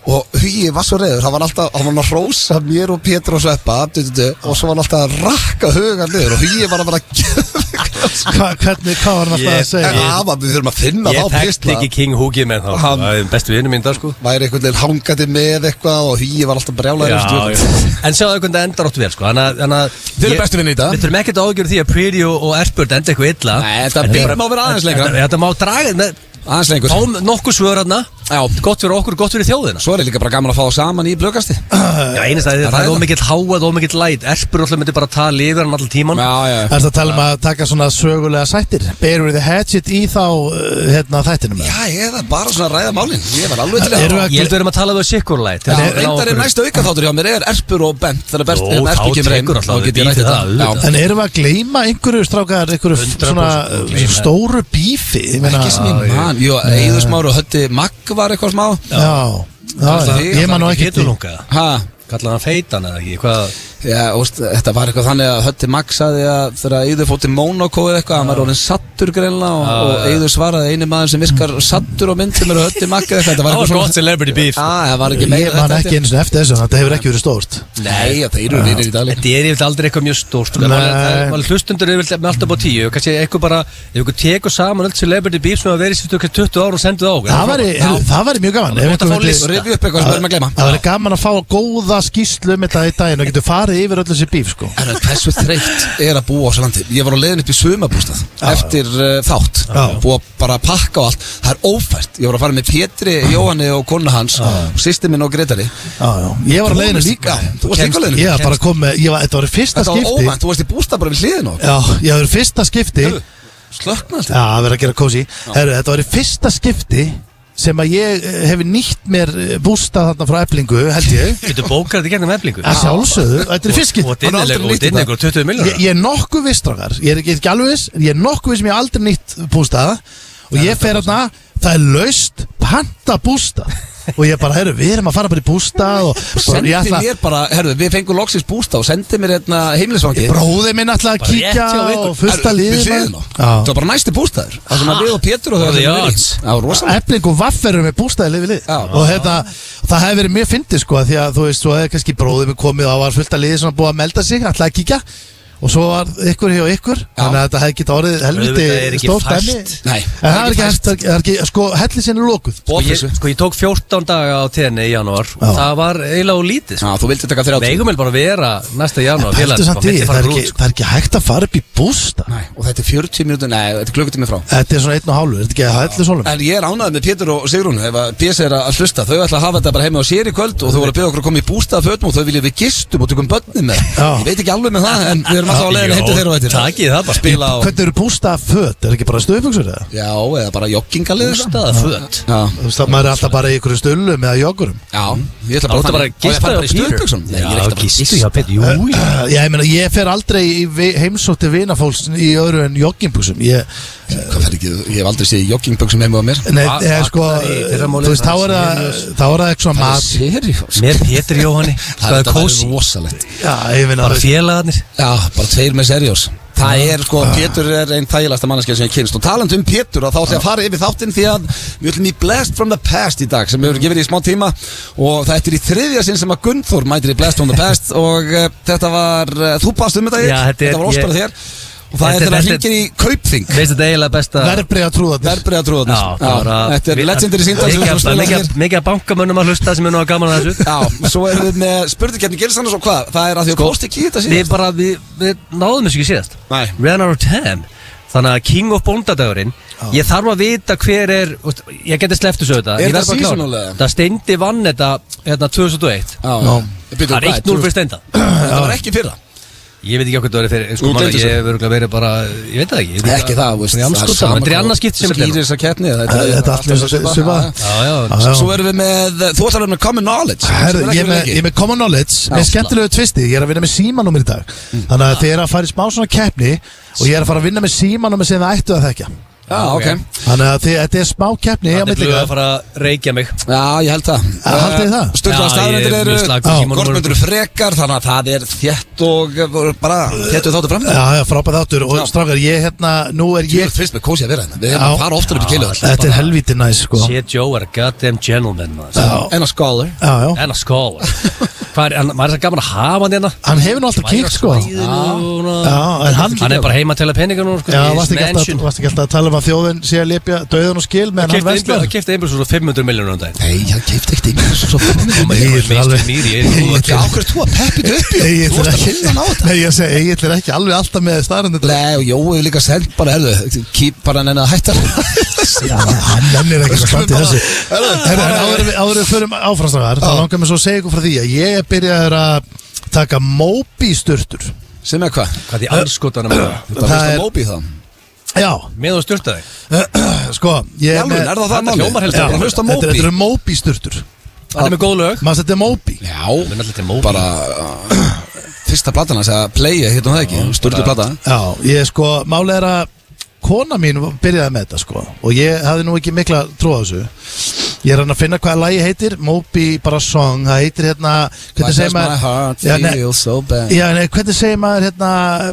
A: og Hugi var svo reyður, hann var alltaf hann var að rósa mér og Pétur og Sveppa du, du, du, og svo var hann alltaf að rakka hugan niður og Hugi var að bara
B: Hva, hvernig, hvað var hann alltaf að
C: Ég-
A: en
B: segja?
A: afa, við þurfum að finna
C: Ég
A: þá
C: tekst
A: pistla
C: ekki King Hugið með þá sko.
A: Hann-
C: Það er bestu vinni mín í dag sko
A: væri einhvern veginn hangandi með eitthvað og Hugi var alltaf brjálæður
C: Já, já. En sjáðu hvernig það endar ótt vel sko Þannig að- þannig að
A: Þeir eru
C: ég-
A: bestu vinir í dag.
C: Við þurfum ekkert að ágjöra því að Pretty og og Erpurt enda eitthvað illa
A: Nei, þetta
C: En
A: beef
C: bara-
A: má vera aðeins lengra.
C: Þetta- Þetta má draga með-
A: aðeins lengur
C: Fáum nokkuð svör aðna
A: Já.
C: Gott fyrir okkur, gott fyrir þjóðina
A: svo er líka bara gaman að fá það saman í blökasti
C: Já, einast
A: Það
C: að það
A: er
C: er
A: það.
C: ómikill háað, ómikill læt Erpur alltaf myndi bara að tala yfir hann allan tíman
A: já,
B: Er þetta að tala um að taka svona sögulega sættir? Bear with the hatchet í þá, uh, hérna, þættinum? eða?
A: Já, eða bara svona að ræða málinn Ég var alveg til að
B: Erum við að-
C: Ég held að við erum að tala við sikkur læt
A: Já, reyndar er næsta aukaþáttur hjá mér er Erpur og Bent Þannig að Bert-
C: Jó,
A: ef
C: þá
A: Erpur kemur heim
C: tekur alltaf
A: Þá get ég
C: við
A: rætt
C: bítið
A: þetta
C: það, auðvitað.
A: Já.
B: En erum við að gleyma einhverju strákar, einhverju
C: 100%
B: svona
C: að
B: uh,
C: gleyma.
B: stóru bífi? Ég meina-
A: Ekki sem ég man Jú, Eðusmár og Hötti Magg var eitthvað smá
B: Já, já,
A: Það er það-
B: já ég man nú ekki til
C: Hittulunga
A: Ha,
C: Kallaði hann feitan eða ekki Hvað
A: já, óst, þetta var eitthvað þannig að Hötti Magg sagði að þegar Eður fótt í Monaco eða eitthvað Hann var orðin sattur greinlega og,
C: Já,
A: og
C: já.
A: Eður svaraði einu maður sem virkar sattur á myndum er Hötti Magg eða eitthvað Þetta var
C: Það var
A: eitthvað
C: gott celebrity beef sko.
A: Já, það var ekki meira
B: Ég man
A: þetta,
B: ekki eins og eftir þessu, þetta hefur ekki verið stórt
A: Nei, það eru vinir í dag líka
C: Þetta er yfirleitt aldrei eitthvað mjög stórt sko.
B: Nei.
C: Það- það er- maður Hlustundur er yfirleitt með alltaf á tíu Kanski eitthvað bara Ef ykkur tekur saman öll celebrity beef sem hafa verið sýttu ykkur 20 ár og sendu það á okkur
B: Það væri, heyrðu, það væri mjög gaman
C: Það
B: ef
C: er gott
B: einhver
C: að fá
B: myndi-
C: lista.
A: Rifju upp eitthvað sem við erum að gleyma
B: Það væri gaman að fá góða það skýslu um þetta í daginn og getur farið yfir öll þessi bíf sko
A: En hversu þreytt er að búa á þessu landi Ég var á leiðin upp í sumabústað Eftir uh, þátt
B: Já.
A: Búa bara að pakka og allt Það er ófært Ég var að fara með Pétri, Jóhanni og konu hans Og sýsti minn og Gretari
B: Já, já. Ég var á leiðinu líka
A: Já, Þú varst líka á leiðinu
B: Ég var bara að koma með, ég var, þetta var í fyrsta
A: Þetta var
B: skipti
A: óvænt, þú varst í bústað bara við hliðin á okkur.
B: Já, ég var í fyrsta skipti
A: Heyrðu, Slökna allt
B: Já, það verður að gera kósi Herru, þetta var í fyrsta skipti sem að ég eh, hef nýtt mér eh, bústað þarna frá eflingu, held ég
C: Getur bókar þetta gegnum eflingu
B: að sjálfsögðu, þetta er fiskit
C: Og dinnilegur, og dinnilegur 20
B: ég,
C: miljonar
B: ég er nokkuð viss strákar ég er ekki, ekki alveg viss, en ég er nokkuð viss sem ég hef aldrei nýtt bústaða og ég fer hérna, það er laust panta bústað og ég bara, herru, við erum að fara bara í bústað og bara,
A: Sendi
B: ég ætla,
A: mér bara, herðu, við fengum loksins bústað og sendi mér hérna heimilisvangi
B: bróði minn ætla að
C: Bara rétt
B: kíkja
C: hjá ykkur.
B: og fullta liði
C: hérna.
A: Það var bara næsti bústaður Það sem að við og Pétur og
C: Bara
A: þau
C: the
A: verið í.
C: odds.
A: Það var rosalega
B: efning og vafferum með bústæði lifið lið
A: Já.
B: og þetta, það hefði verið mjög fyndið sko því að þú veist, svo hefði kannski bróðið með komið og það var fullt að liðið sem var búið að melda sig alltaf að kíkja og svo var ykkur hjá ykkur þannig að þetta hefði getið orðið
C: Auðvitað er
B: helviti
C: ekki
B: stórt
C: fært.
B: dæmi
A: Nei,
B: en það er ekki hægt, það er ekki, sko hellisinn er lókuð
A: Og
C: ég,
A: þessu
C: Sko ég tók 14 daga á tenni í janúar
B: Já.
C: Og það var eiginlega og lítið
A: Já,
C: sko.
A: þú vildi taka þér
C: Við eigum vel bara að vera næsta
B: Pæltu
C: janúar félagarnir, sko,
B: samt í,
C: milli
B: það
C: fara
B: er ekki-
C: bara út, sko.
B: það er ekki hægt að fara upp í bústa
A: Nei, og þetta er 40 mínútur, nei, þetta er klukkutími frá
B: þetta er svona einn og hálfur, þetta er ekki að hellu sólum
A: En ég er ánægð með Pétur og Sigrún Ef að BS er að hlusta, þau ætla að hafa þetta bara heima á sér í kvöld Og þau voru að byrja okkur að koma í bústað fötum Og þau vilja við gistum og tökum börnum með
B: Já.
A: Ég veit ekki alveg með það, en við erum alltaf á leiðin
C: Jó,
A: að heita þeirra og þetta
C: takið það bara.
A: Spila á,
B: hvernig eru bústa föt, er ekki bara stöðfugsur eða?
A: já, eða bara joggingalið
C: Bústaða föt
A: Já,
B: Þú veist að maður er alltaf bara í ykkur stöllum eða joggurum
A: já, ég ætla
C: Það
A: bara
C: áttu bara
A: þannig. Á, ég fæ bara í
C: að gista hjá Peter
A: stuðbuxum? Nei, ég er
C: Já,
A: ekkert að fara í
C: gistu hjá Peter, jú jú.
B: Eh, Já, ég meina, ég fer aldrei í vi- heimsótti vinafólks í öðru en joggingbúsum Ég,
A: Hvað fer ekki, ég hef aldrei séð joggingböksum heima á mér
B: nei,
C: Va-
B: ég,
C: vaknar
B: sko,
C: í fyrramálið,
B: þú veist, þá er það þá er það eitthvað mat
A: Seriós
C: Með Pétur Jóhanni Það er
A: Þetta var
C: kósi
A: rosalegt
B: Já, ég meina,
C: Bara félagarnir
A: Já, bara tveir með seriós Það er sko,
C: Ah.
A: Pétur er einn þægilegasta manneskja sem ég kynst og taland um Pétur að þá ætlum ég að fara yfir þáttinn því að við ætlum í Blast from the Past í dag sem við hefur gefið í smá tíma og þetta er í þriðja sinn sem að Gunnþór mætir í Blast from the Past og uh, þetta var, uh, þú baðst um þetta
C: Já,
A: Egill.
C: þetta er-
A: þetta var óspara
C: ég-
A: þér og það
C: Þetta-
A: er þegar hann
C: þetta-
A: hringir í Kaupþing
C: Veist þetta eiginlega besta
B: verbrið að trúða þér
A: verbreyða trúðarnar
C: Já, bara
A: Þetta er
C: við-
A: legendary síndar
C: mikið af- mikið- Mikið af bankamönnum að hlusta sem er nú að gaman að þessu
A: Já, svo erum við með spurningkjarni Gilsannes og hvað, það er að því að
C: Sko,
A: kosti ekki í þetta
C: Við
A: síðan
C: bara, við, við náðum þessu ekki síðast
A: Nei.
C: Ran out of time Þannig að King of Bóndadagurinn Ég þarf að vita hver er veist, Ég geti sleppt þessu auðvitað
A: Er
C: ég
A: þetta
C: verð bara að klára.
A: seasonal eða?
C: Það steindi vann þetta hérna 2001
A: Já, Bíddu,
C: Það er
A: hvað
C: 1-0 fyrir steinda
A: Þetta var ekki í fyrra
C: Ég veit ekki okkur það verið fyrir
A: Þú
C: sko, manna,
A: gleymdir
C: Ég
A: þessu.
C: hef örugglega verið bara Ég veit það ekki Ég veit
A: Ekki það, þú veist,
C: Ég
A: það er
C: anskotan,
A: sama
C: Þetta er í
A: hvað
C: annað skipt sem
A: Skýrir þess að keppni eða
B: Eh, Þetta er allt
A: allt
B: með þessu svipa
A: Já,
C: Já, já,
A: já. Svo erum við með, eh, þú ætlar að vera með common knowledge
B: Herðu,
A: sem er
B: ég
A: ekki
B: er með,
A: lengi.
B: ég er með common knowledge
A: Já.
B: með skemmtilegu tvisti, ég er að vinna með símanúmer í dag þannig að þið er að fara í smá svona keppni og ég er að fara að vinna með símanúmer sem það ættu að þekja
A: Já, ok
B: þannig að þið, þetta er smá keppni
C: Þetta er blöð að
B: að
C: fara að reykja mig
A: Já, ég held það
B: Ja, haldið þið það?
A: Sturla
C: Já,
A: staðrendir
C: ég er
A: eru
C: mjög slakur í símanum.
A: Gortmöndur frekar, þannig að það er þétt og eh, bara Þétt við þáttu fram
B: Já, já, frábæð áttur og
A: Já.
B: strákar, ég hérna, nú er
A: Ég er
B: ég
A: fyrst með kósi að vera hérna Við erum að
B: Já.
A: fara oftar upp í
C: Já,
A: keiluðall
B: Þetta er helviti næs, sko Já,
C: Shit Joe er a goddamn gentleman maður.
B: já,
A: En að scholar
B: já
C: En að skóla Hvað er, hann- maður er svo gaman að hafa hann hérna
B: Hann hefur nú alltaf kíkt sko
C: Svæðinu og svona.
B: Já, en hann-
C: er bara heima að tella peningar núna sko,
B: Já,
C: í his
B: varst ekki, alltaf,
C: mansion.
B: varst ekki alltaf að tala um að þjóðin sé að lepja döðun og skil meðan hann
C: Keypti einbjörn-
B: verslar
C: hann kefti einbjörn svo 500 miljónur um daginn
A: Nei, ég keipti ekkert einhvern svo fyrir
C: Maður
B: Ég
C: er
B: er
C: meist
B: alveg-
C: mýri ég
B: Ég
C: er
B: er
C: góð að
A: Já, okkur er þú að peppi þetta upp í Þú
B: Egill er
A: varst að
B: ekki-
A: finna ná þetta
B: Nei, ég segi, Egil er ekki alveg alltaf með starrandi
A: Nei, og Jói hefur líka sendt bara, herðu, keep bara neina að hætta
B: Já, hann hann er ekki sklant í þessu
A: Herðu,
B: Herra, en áður en við- áður við förum áframstrakar Þá langar mér svo að segja ykkur frá því að ég er byrjaður að taka móbísturtur
A: Sem er hvað?
C: Hvað því anskotanum
A: Þú ert að
B: Það
A: hlusta
B: er-
A: á Moby þá
B: Já,
C: Með og styrta þig
B: sko
A: Í
B: ég
A: alvöru, er það það
C: Þetta
A: málið?
C: hljómar helst
A: Já,
C: bara
A: bara
C: að
A: hlusta á
B: Þetta
A: Moby
B: eru móbísturtur
C: Þetta er með góð lög
B: Maður þetta er móbí
C: Minn alltaf til
A: Já,
C: Moby.
A: bara uh, Fyrsta platan hans að playa, hittum það ekki Sturlu plata
B: Já, ég sko, máli er að kona mín byrjaði með þetta sko og ég hafði nú ekki mikla trú á þessu ég er hann að finna hvaða lagi heitir Moby bara song, það heitir hérna hvernig segir
A: my heart
B: maður já, nei,
A: feel so bad
B: já, nei, hvernig segir maður hérna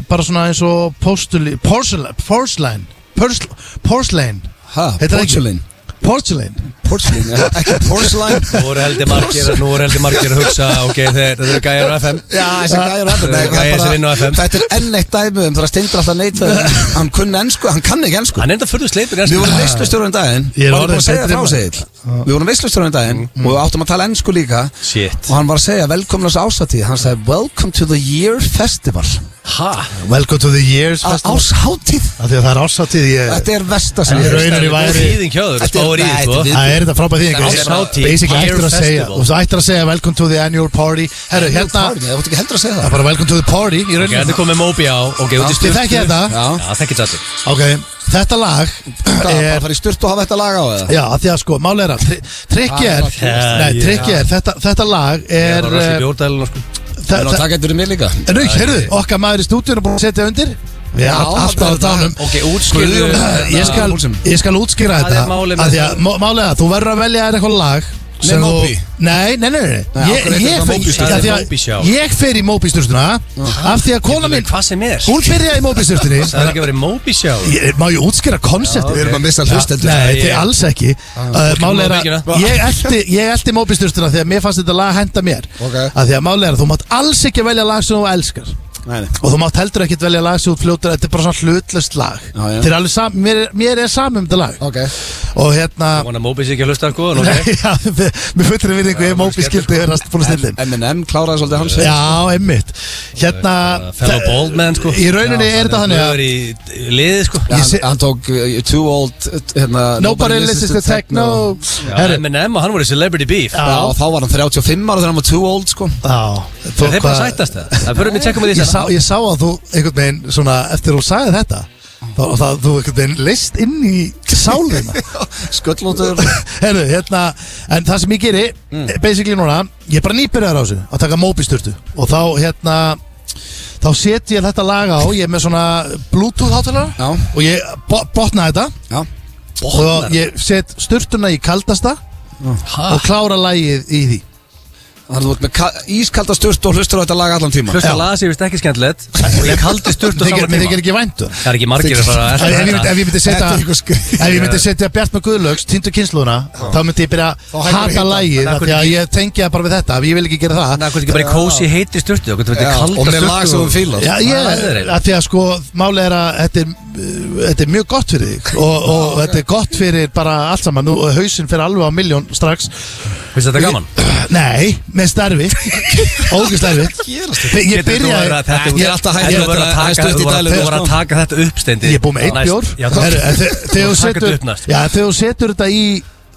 B: bara svona eins og postuli, porcelain porcelain, porcelain, porcelain
A: Ha,
B: Heitir það ekki?
A: Porcelain
B: Porcelain
A: Porcelain, ja, ekki porcelain
C: Nú er heldur margir, nú er heldur margir að hugsa Ok, þeir þeir eru gæjar á FM
A: Já, þessi gæjar á FM, nei, það
C: Gæjar
A: er
C: sem vinna á
A: bara-
C: FM.
A: Þetta er enn eitt dæmi um það að steindur alltaf neita Hann kunni ennsku, hann kann ekki ennsku
C: Hann er enda fyrir sleipur
A: Við vorum veistlustjórun daginn
B: Ég
A: Var ég
B: er
A: búin
B: orðinn
A: að segja
B: betri
A: frá
B: maður. Mm.
A: segil Við vorum veistlustjórun daginn Og við áttum að tala ennsku líka
C: Shit
A: Og hann var að segja velkomnars ásatíð Hann sagði Welcome to the year festival
C: Ha?
B: Welcome to the years
A: Að
B: festival.
A: Áshátíð
B: Af Því að það er ásáttíð ég,
A: Þetta er vesta
B: Eh. En í rauninni
C: Það er
B: væri-
C: þýðing hjá þér,
A: Þetta er-
C: spáir í
A: Nei,
C: því,
A: þetta
C: sko
A: er-
B: Það er þetta frábæð þýðing
C: Það er áshátíð.
B: Basically ættir að
C: Year
B: segja Þú
C: festival.
B: veist, ættir að segja Welcome to the annual party Herru, hérna Eh.
A: Það vart ekki heldur að segja
B: Það er
A: það
B: bara welcome to the party Í
C: Ok, þetta
B: rauninni
C: er komið Moby á Ok, út í
B: Þið
C: stjórn
B: þekkja þetta
A: Já,
C: Já, þekkja þetta allir
B: Ok, þetta lag
A: það er bara
B: er
A: að fara í sturt og hafa þetta lag á eða
B: Já, af því að sko, máli er að tri- Trikki er,
A: Það
C: er að
B: nei,
C: gerast.
B: trikki er Þetta, þetta lag
C: Ég
B: er eh,
C: var
A: eh,
C: rassi bjórdælun sko.
B: þa-
A: En
B: þa-
A: það getur mér líka
B: Rauk, heyrðu, okkar maður í stúdíun er búin að setja undir Við
A: Já,
B: erum
A: það
B: alltaf
A: er
B: á tánum
C: Ok, útskýrðu
B: Ég skal, ég skal útskýra
C: Það er
B: þetta
C: málið með
B: af því að mó- Málið er að þú verður að velja þér eitthvað lag sem þú-
A: Moby.
B: Nei, nei, nei, nei,
A: Nei, af
B: Ég,
A: hverju heitir
B: ég,
A: þetta Moby
B: fer- af því
C: Show? Það er Moby Show.
B: að ég fer í Moby styrstuna Af því að kona mín
C: Hvað sem er
B: Hún byrjaði í Moby styrstunni
C: Það er ekki að vera í Moby sjá
B: Má ég útskýra konseptið?
A: Við erum að missa hlustendur
B: Nei,
C: Já,
B: þetta
C: ég-
B: er alls ekki uh, Málið er
C: má
B: að ég elti, ég elti móbistyrstuna Þegar mér fannst þetta lag henda mér
A: Ok.
B: að Því að málið er að þú mátt alls ekki velja lag sem þú elskar
A: Nei, nei.
B: Og þú mátt heldur ekkit velja lag sem þú fljótur Þetta er bara svona hlutlust lag
A: Já, já.
B: Þeir eru alveg sam, mér, er- mér er sami um þetta lag
A: Ok
B: Og hérna
C: Vona Moby sé ekki að hlusta sko en ok.
B: Já, með með fullri virðingu Ég móbi skildi vera búin að stilla inn.
A: M&M kláraði svolítið hans
B: Já, einmitt Hérna
C: Fellow bald man sko
B: Í rauninni er þetta þannig að
C: Það er í liði sko
A: Hann,
B: Ég sé-
A: hann tók uh, Too Old uh, hérna,
B: Nobody listens to techno
C: Já,
B: Herru,
C: M&M og hann voru í Celebrity Beef
A: Já, og þá var hann 35 ára þegar hann var Too Old sko
B: Já, þú-
C: Er þeir bara að
B: hvað-
C: sættast það? Það fyrir mig að tjekka með
B: ég
C: því
B: sá, ég sá að þú einhvern veginn svona eftir þú sagði þetta þá það þú einhvern veginn list inn í sálina
A: Sköllóttur
B: Heru, hérna, en það sem ég geri
C: Mm.
B: basically núna, ég er bara nýbyrjar á þessu að taka móbisturtu og þá hérna þá set ég þetta lag á ég er með svona bluetooth hátalara
A: Já.
B: og ég bo botna þetta
A: Já
B: og ég set sturtuna í kaldasta
C: Ha?
B: og klára lagið í því
A: Þannig að þú ert með ka- ískalda sturt og hlustur á þetta lag allan tíma
C: Hlusta
B: Já.
C: að laga sér vist ekki skemmtilegt og ég kaldi sturt á sama
B: Þykir-
C: tíma
B: þykir ekki væntu
C: Það er ekki margir að fara
B: Ef ef
C: að
B: ég myndi, ef
C: þetta
B: ég myndi setja
A: Þetta er eitthvað skrýt.
B: Ef ég myndi setja Bjart með Guðlaugs Týndu kynsluðuna Þá myndi ég byrja að
A: hættir að
B: hata
A: hitta.
B: lagið
C: En af
B: af
C: hverju
B: Því að
C: ekki-
B: ég tengi það bara við þetta af því Ég vil ekki gera
C: Þannig
B: það
C: að hvernig ekki bara í kósi heiti sturtu Hvernig þetta
A: Já,
C: er
A: og
C: kalda
A: með lag sem
C: sturtu
A: þú fílar.
B: Já, ég,
C: Það er eiginlega.
B: að því að sko Máli er að þetta er, uh, þetta er mjög gott fyrir þig Og, og þetta er gott fyrir bara allt saman Nú hausin fyrir alveg á miljón strax
C: Finnst þetta gaman?
B: Nei, með starfi Ógust starfi
A: Gerast
B: Ég, ég
C: Getur þú verið
B: byrjaði
C: að þetta-
A: Þetta er alltaf hægt
C: Þú
A: að-
C: verður að
A: það er
C: taka-
A: stutt í
C: þú verður-
A: dælur,
C: þú verður að
A: sko.
C: taka þetta upp steindi
B: Ég er búið með eitt
C: Næst-
B: bjór
C: Já, þú-
B: Herru, en þe- Þegar þú
C: Taka þetta upp
B: setur
C: næst.
B: Já, þegar þú setur þetta í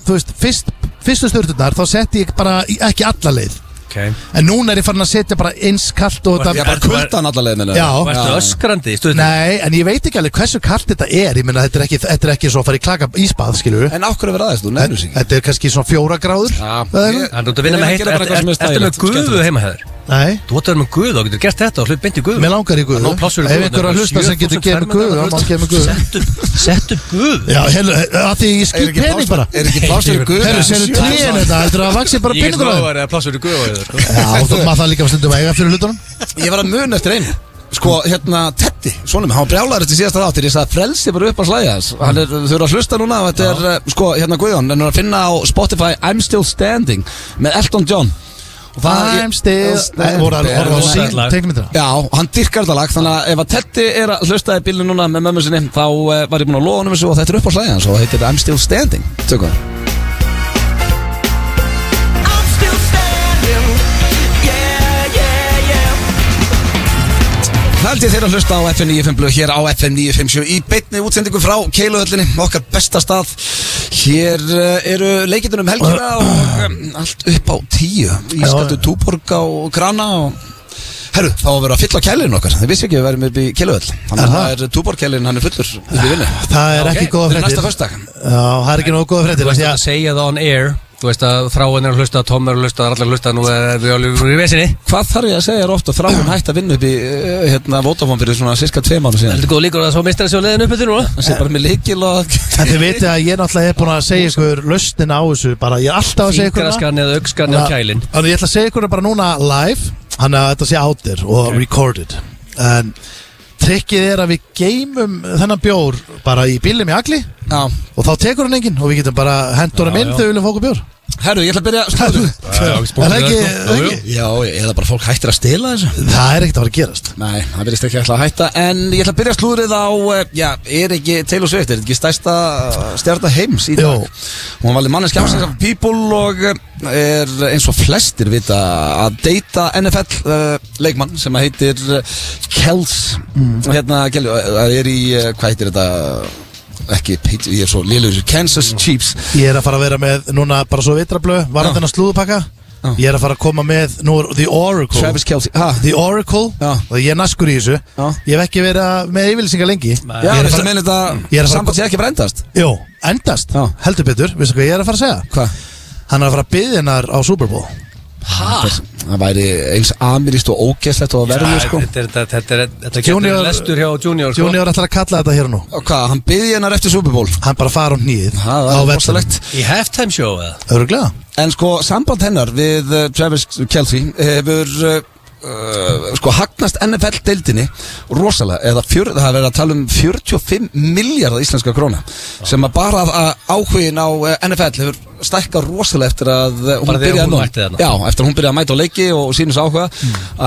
B: Þú veist, fyrst, fyrstu stjórnurnar Þá setti ég bara í- ekki alla leið
C: Ok.
B: En núna er ég farin að setja bara eins kalt og
A: Ég
B: þetta
C: Já.
A: bara kuldan alla leiðinu
B: Já.
C: Varstu öskrandi í sturtu?
B: Nei, en ég veit ekki alveg hversu kalt þetta er Ég meina, þetta er ekki, þetta er ekki svo að fara í klaka ísbað, skilur
A: En af hverju verða þess, þú nefnir sig
B: Þetta er kannski svona fjóra gráður
A: Já.
B: eða eitthvað.
C: Þannig að þú ert að vinna
A: Ég
C: með
A: gera bara eitthvað sem er
C: heitt Ertu með
A: stæðilegt,
C: guðu
A: skemmtilegt.
C: heima hefur?
B: Nei,
C: Þú ætti að vera með guðu og getur gert þetta og hlut beint í guðu
B: mér langar í guðu
C: Nó plássur í
B: Ef
C: guðu
B: einhver að hlusta sem getur gefið mig guðu Það má gefa mig guðu
C: guðu Settu guðu
B: Já, hellu, að því ég skýr pening bara
A: Er ekki pláss fyrir guð
B: Herru, sérðu tríin þetta Þetta er að vaksi bara
C: Ég get
B: peningur á þeim
C: lofa þér sko. að plássur í guðu
B: Já, þú maður það líka að stundum að eiga fyrir hlutunum
A: Ég var að muna eftir einu Sko, hérna, Teddy, svona mig, hann brjálar eftir síðasta þáttir Ég sagði að frelsi bara upp á slæði hans Hann er, þau eru að hlusta núna og Þetta er, eh, sko, hérna Guðjón En hann er að finna á Spotify I'm Still Standing Með Elton John Og ég-
B: I'm still Nei, voru að
C: Standing.
B: horfa á sín
C: Lag.
B: teikmyndina
A: Já, hann dyrkar þetta lag Þannig að ef að Teddy er að hlusta í bílinu núna með mömmu sinni Þá uh, var ég búin að lofa hann um þessu og þetta er upp á slæði hans Og það heitir I'm Still Standing Tökum það
D: I'm still standing. Yeah, yeah, yeah.
A: Það held ég þeirra að hlusta á FM 95 blöð hér á FM 957 í beinni útsendingu frá Keiluhöllinni, okkar besta stað. Hér uh, eru leikitunum helgina og um, allt upp á tíu. Ískaldu
B: Já, já.
A: túborg á Grana og... Herru, þá að vera að fylla kælinu okkar. Þið vissi ekki að við verðum upp í Keiluhöll. Þannig að
B: Aha.
A: það er túborgkælin, hann er fullur upp í vinnu.
B: Það er ekki
A: Ok,
B: góða
A: til
B: fréttir
A: Næsta föstudag.
B: Já, það er ekki nógu góða
C: Þú
B: fréttir af
C: veist
B: því
C: að
B: að-
C: segja það on air Þú veist að þráin er að hlusta, Tom er að hlusta, það er allir að hlusta Nú er við alveg í vesinni
A: Hvað þarf ég að segja er ofta þráin hægt að vinna upp í uh, hérna, Votafón fyrir svona cirka tvei mánu síðan?
C: Heldur góð líkur að það svo mistar þessu leiðin uppið til núna
A: Það sé bara með leikil og...
B: En þið vitið að ég náttúrulega er búin að segja ykkur löstin á þessu bara, ég er alltaf að segja ykkur hana.
C: Fingraskan eða aukskan eða kælin
B: Þannig að ég ætla að segja ykkur hana bara núna live Þannig að þetta sé out there og recorded En trikkið er að við geymum þennan bjór bara í bílum í agli
A: Já.
B: og þá tekur hann enginn og við getum bara hendur hann
C: Já,
B: inn
C: já.
B: þegar við viljum fá okkur bjór
A: Herru, ég ætla að byrja
B: Það
E: Já, já, ekki spónið
B: er ekki,
E: þetta,
B: það
E: jú,
B: er
E: jú.
B: ekki
A: Já, eða bara fólk hættir að stila þessu
B: Það er ekkert að fara að gerast
A: Nei, það byrjast ekki ætla að hætta En ég ætla að byrja slúðrið á eh, Já, er ekki Taylor Swift Er ekki stærsta stjarta heims í dag
B: Jó.
A: Hún valið manneski ásins af People Og eh, er eins og flestir vita Að deyta NFL uh, Leikmann sem að heitir eh, Kels Hérna, Kels, það er í, eh, hvað heitir þetta Ekki, Pate- ég er svo lélur Kansas Chiefs
B: Ég er að fara að vera með núna bara svo vitrablöð Varðan þennan slúðupakka
A: Já.
B: Ég er að fara að koma með Nú er The Oracle
A: Travis Kelce ha,
B: The Oracle
A: Já.
B: Og ég er naskur í þessu
A: Já.
B: Ég hef ekki verið að- með yfirlýsingar
A: Já,
B: lengi Ég er
A: ég
B: að
A: ætla að
B: fara
A: meina
B: Ég er
A: þetta
B: að fara-
A: Samband sé ekki brendast
B: Jó, endast
A: Já.
B: Heldur betur Vistu hvað ég er að fara að segja
A: Hvað?
B: Hann er að fara að byggja hennar á Super Bowl
A: Það væri eins amirist og ógeðslegt og verður sko
C: Þetta er- þetta- þetta er- þetta
B: Junior-
C: getur lestur hjá Junior sko.
B: Junior ætlar að kalla þetta hér og nú
A: Og hvað, hann byði hennar eftir Super Bowl
B: Hann bara fara um nýðið
A: Ha, það
B: Á
A: er
B: vettalegt
A: rosalegt.
C: Í halftime show eða?
B: Öruglega
A: En sko, samband hennar við uh, Travis Kelce hefur uh, uh, sko hagnast NFL-deildinni rosalega, eða fjör, það er verið að tala um 45 miljardar íslenska króna sem að bara að, að áhugin á eh, NFL hefur stækkað rosalega eftir að eh, hún
C: Bara þegar
A: byrjaði
C: hún
A: nú-
C: mætti þarna.
A: Já, eftir að hún byrjaði að mæta á leiki og sínus áhuga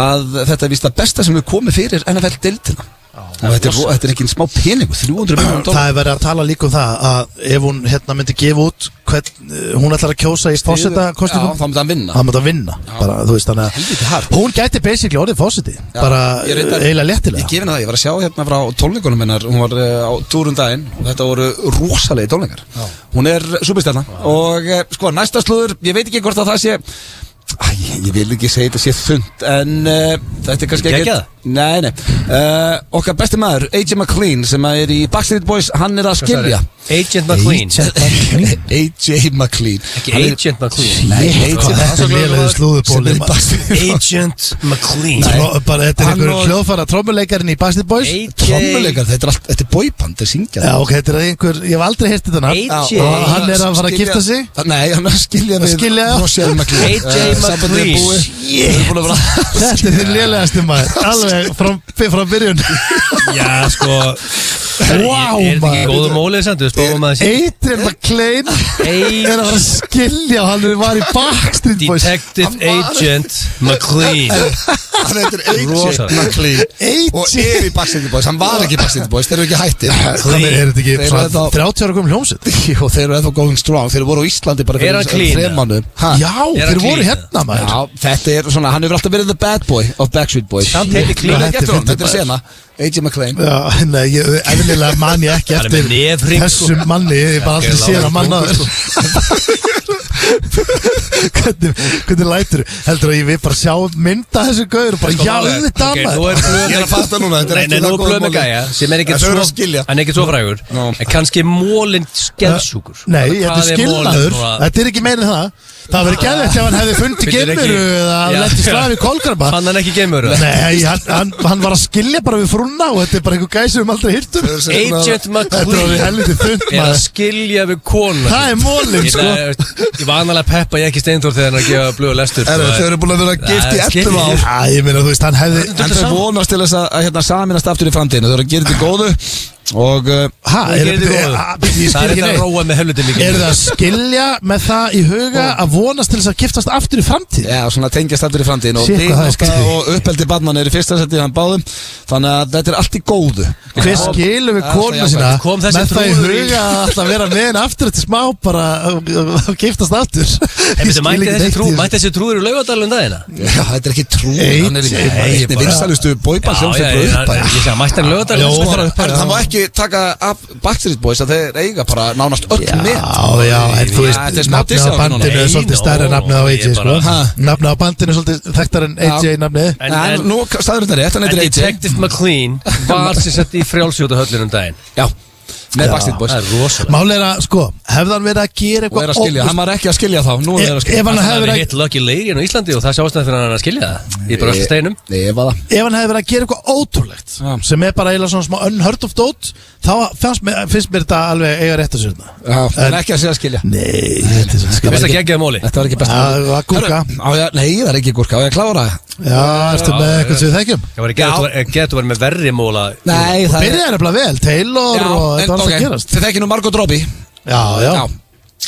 A: að þetta er víst það besta sem hefur komið fyrir NFL-deildina og þetta er, ro- þetta er ekki smá peningu 300 miljonar dólar
B: Það er verið að tala líka um það Að ef hún hérna myndi gefa út hvern, eh, Hún ætlar að kjósa í fósetta
A: Já, þá myndi hann vinna
B: hann mútti að vinna bara, þú veist, þannig
A: Helviti
B: að
A: hart.
B: hún gæti basically orðið fósiti
A: Já,
B: bara
A: ég reyndar-
B: eiginlega
A: Ég
B: léttilega
A: gefi henni það, ég var að sjá hérna frá tónleikunum hennar Hún var uh, á túrum daginn og þetta voru rosalegi tónleikar Hún er superstjarna Og uh, sko, næsta slúður, ég veit ekki hvort að það sé Æ, ég vil ekki segja þetta sé þund En uh, þetta er kannski
C: Geggjað?
A: Nei, nei uh, Okkar besti maður, AJ McLean sem að er í Backstreet Boys Hann er að skilja
C: Agent McQueen
A: AJ McLean
C: Ekki
A: Hann er-
C: Agent McQueen.
A: Nei,
B: Nei,
A: AJ
B: hvað þetta er
A: McLean
B: lélega
A: sem
B: slúðubóli
A: er í Backstreet Boys
C: Agent McLean
B: bara þetta er
A: Hann
B: einhver
A: og-
B: hljóðfara trommuleikarinn í Backstreet Boys
C: AJ
A: Trommuleikar, þetta er allt, þetta er boyband, þetta er syngjað
B: já ok, þetta er einhver, ég hef aldrei hirtið þetta nafn.
C: AJ.
B: Já, og hann er að fara
A: Skilja-
B: að gifta sig
A: Nei, hann er að skilja við
B: skilja.
A: Rochelle McLean
C: AJ
A: Eh, sambandið er
C: McLean.
A: búið. Við erum búin að vera-
B: þetta er þinn lélegasti maður alveg frá, frá byrjun
C: Já, sko
B: Vá,
C: Er þetta ekki
B: maður.
C: góðum ólið samt? Við spáum að það
B: Eitrin McLean er að fara að skilja og hann var í Backstreet Boys
C: Detective Agent McLean
A: Hann heitir AJ
C: Rosa.
A: McLean og
B: AJ
A: er í Backstreet Boys hann var ekki í Backstreet Boys, þeir eru ekki hættir
B: Þannig er þetta
A: Þeir
B: ekki
A: eru
B: svona
A: þetta á-
B: 30 ára komum hljómsett
A: Jú, þeir eru ennþá going strong þeir voru á Íslandi bara
C: Er hann clean, eða?
A: þremannu
B: Já,
C: Er
B: þeir
C: hann
B: voru
C: clean?
B: hérna maður
A: Já, þetta er svona, hann hefur alltaf verið the bad boy of Backstreet Boys
C: Samt heitir clean.
A: Þetta er
B: Þetta er
A: þetta er sena, AJ McLean
B: Já, nei, ég, eðlilega man ég ekki
C: Hann er
B: eftir
C: með nefhring, sko.
B: þessum manni, ég bara aldrei
C: Gerðu
B: séð að
C: lágan
B: manna þér
C: sko.
B: hvernig, hvernig lætur heldur að ég við bara sjá mynda þessu gauður og bara já, þetta
C: Ok,
B: okay,
C: nú Sko, er blöð
A: Ég er að fatta núna, þetta er
C: Nei,
A: ekki
C: nei, nú
A: það
C: er blöð með
A: málið.
C: gæja sem er
A: En
C: ekkert
A: þau eru
C: svo
A: að skilja.
C: hann er ekkert svo frægur
A: Nó.
C: en kannski mólinn skellsjúkur
B: Nei, þetta er skilnaður, þetta er ekki meira en það Það verið gæðið ef hann hefði fundið
C: Finnur ekki-
B: geimuru eða
C: Já.
B: letti slafi kolkarma
C: Fann hann ekki geimur
B: Nei, hann, hann, hann var að skilja bara við frúna og þetta er bara einhver gæð sem við aldrei hirtum
C: Agent
B: Þetta var við
C: McLean
B: helviti þund
C: er að
B: maður
C: skilja við konu
B: Það er mólinn
C: Ég
B: sko
C: ætla- Ég var annarlega peppa ég ekki steindur þegar hann að gefa blöð lestur sko,
A: Herru, Þau eru búin að vera gift í
C: Nei,
A: 11
C: skilja.
A: ár
B: Já, ég meina, þú veist, hann hefði
A: En þau vonast til þess að, að hérna, saminast aftur í framtíðinu Þau eru að gera þetta í góðu Og uh,
B: Hæ,
C: Það
B: er Ah,
C: er
B: þetta
C: þetta að
B: neitt
C: róa með helviti mikið
B: Er það að skilja með það í huga að vonast til þess að giftast aftur í framtíð?
A: Já, svona tengjast aftur í framtíðinu Og
B: Shit, hvað það er
A: vinátta
B: skrítið.
A: og uppeldi barnan er í fyrsta seti hann báðum Þannig að þetta er allt í góðu
B: Hver skilur við
A: Já,
B: konu
A: það er
B: sína
A: jákvætt.
C: Kom þessi
B: með það í
C: trúður í-
B: huga að alltaf vera með henni aftur eftir smá bara að- að að giftast aftur?
C: En
B: Ég
C: betur,
B: skil
C: mætti
B: ekki
C: þessi
B: neitt
C: trú,
B: í þessu.
C: mætti þessi trúður í laugadalum dagina?
A: Já, þetta er ekki trú
B: Nei,
A: Hann er í
B: nei,
A: einni
B: bara-
A: vinsalustu
C: Já,
A: bóibann sem
C: já,
A: fyrir
C: ég,
A: upp
C: ég, ég sagði, mætti hann
B: Já,
C: laugadalum
B: og bara-
A: Herru, það má ekki taka af Backstreet Boys að þeir eiga bara nánast öll mitt
B: Já, já, en þú
A: Já, þetta er
B: veist,
A: smá
B: nafnið
A: dissi á
B: á bandinu
C: núna.
B: er svolítið
C: Nei,
B: stærri en
C: nó,
B: nafnið á
C: ég
B: AJ, sko.
C: bara-
A: Ha.
B: Nafnið á bandinu er svolítið þekktar en AJ nafnið.
A: En,
C: En-
A: en
C: en-
A: nú staðurinn er rétt, hann
C: En
A: heitir AJ
C: Detective McLean var sem sett í frjálsjóta höllunum daginn
A: Já, með Backstreet Boys
C: Það er rosalega
B: Mál er að, sko, hefði hann verið að gera
A: Og er að skilja,
B: eitthvað
A: hann var ekki að skilja þá Nú er það að
B: óvist-
A: skilja
B: E- Ef hann
C: Það
B: hefði verið
C: hefði
B: að
C: hitt Lucky Lady hérna á Íslandi og það sjást það fyrir hann að skilja það Í brösta steinum
A: Ég var það
B: ef hann hefði verið að gera eitthvað ótrúlegt
A: Já.
B: sem er bara eiginlega svona smá unheard of dót þá fannst, mér- finnst mér þetta alveg eiga rétt að sérna
A: Já, en ekki að segja að skilja
B: Nei, þetta er svo
C: Það
B: skil
C: finnst að gegja móli
A: Þetta var ekki best
B: Það var gúrka
A: Herru, á ég- Nei, það er ekki gúrka, á ég að klára
B: Já, ertu með eitthvað sem við þekkjum
C: Það var ekki getur verið með verri móla
A: Nei, það er
B: Byrjaði nefnilega vel, Taylor og þetta var alltaf að gerast
A: Þið þekkir nú Margot Robbie
B: Já, já,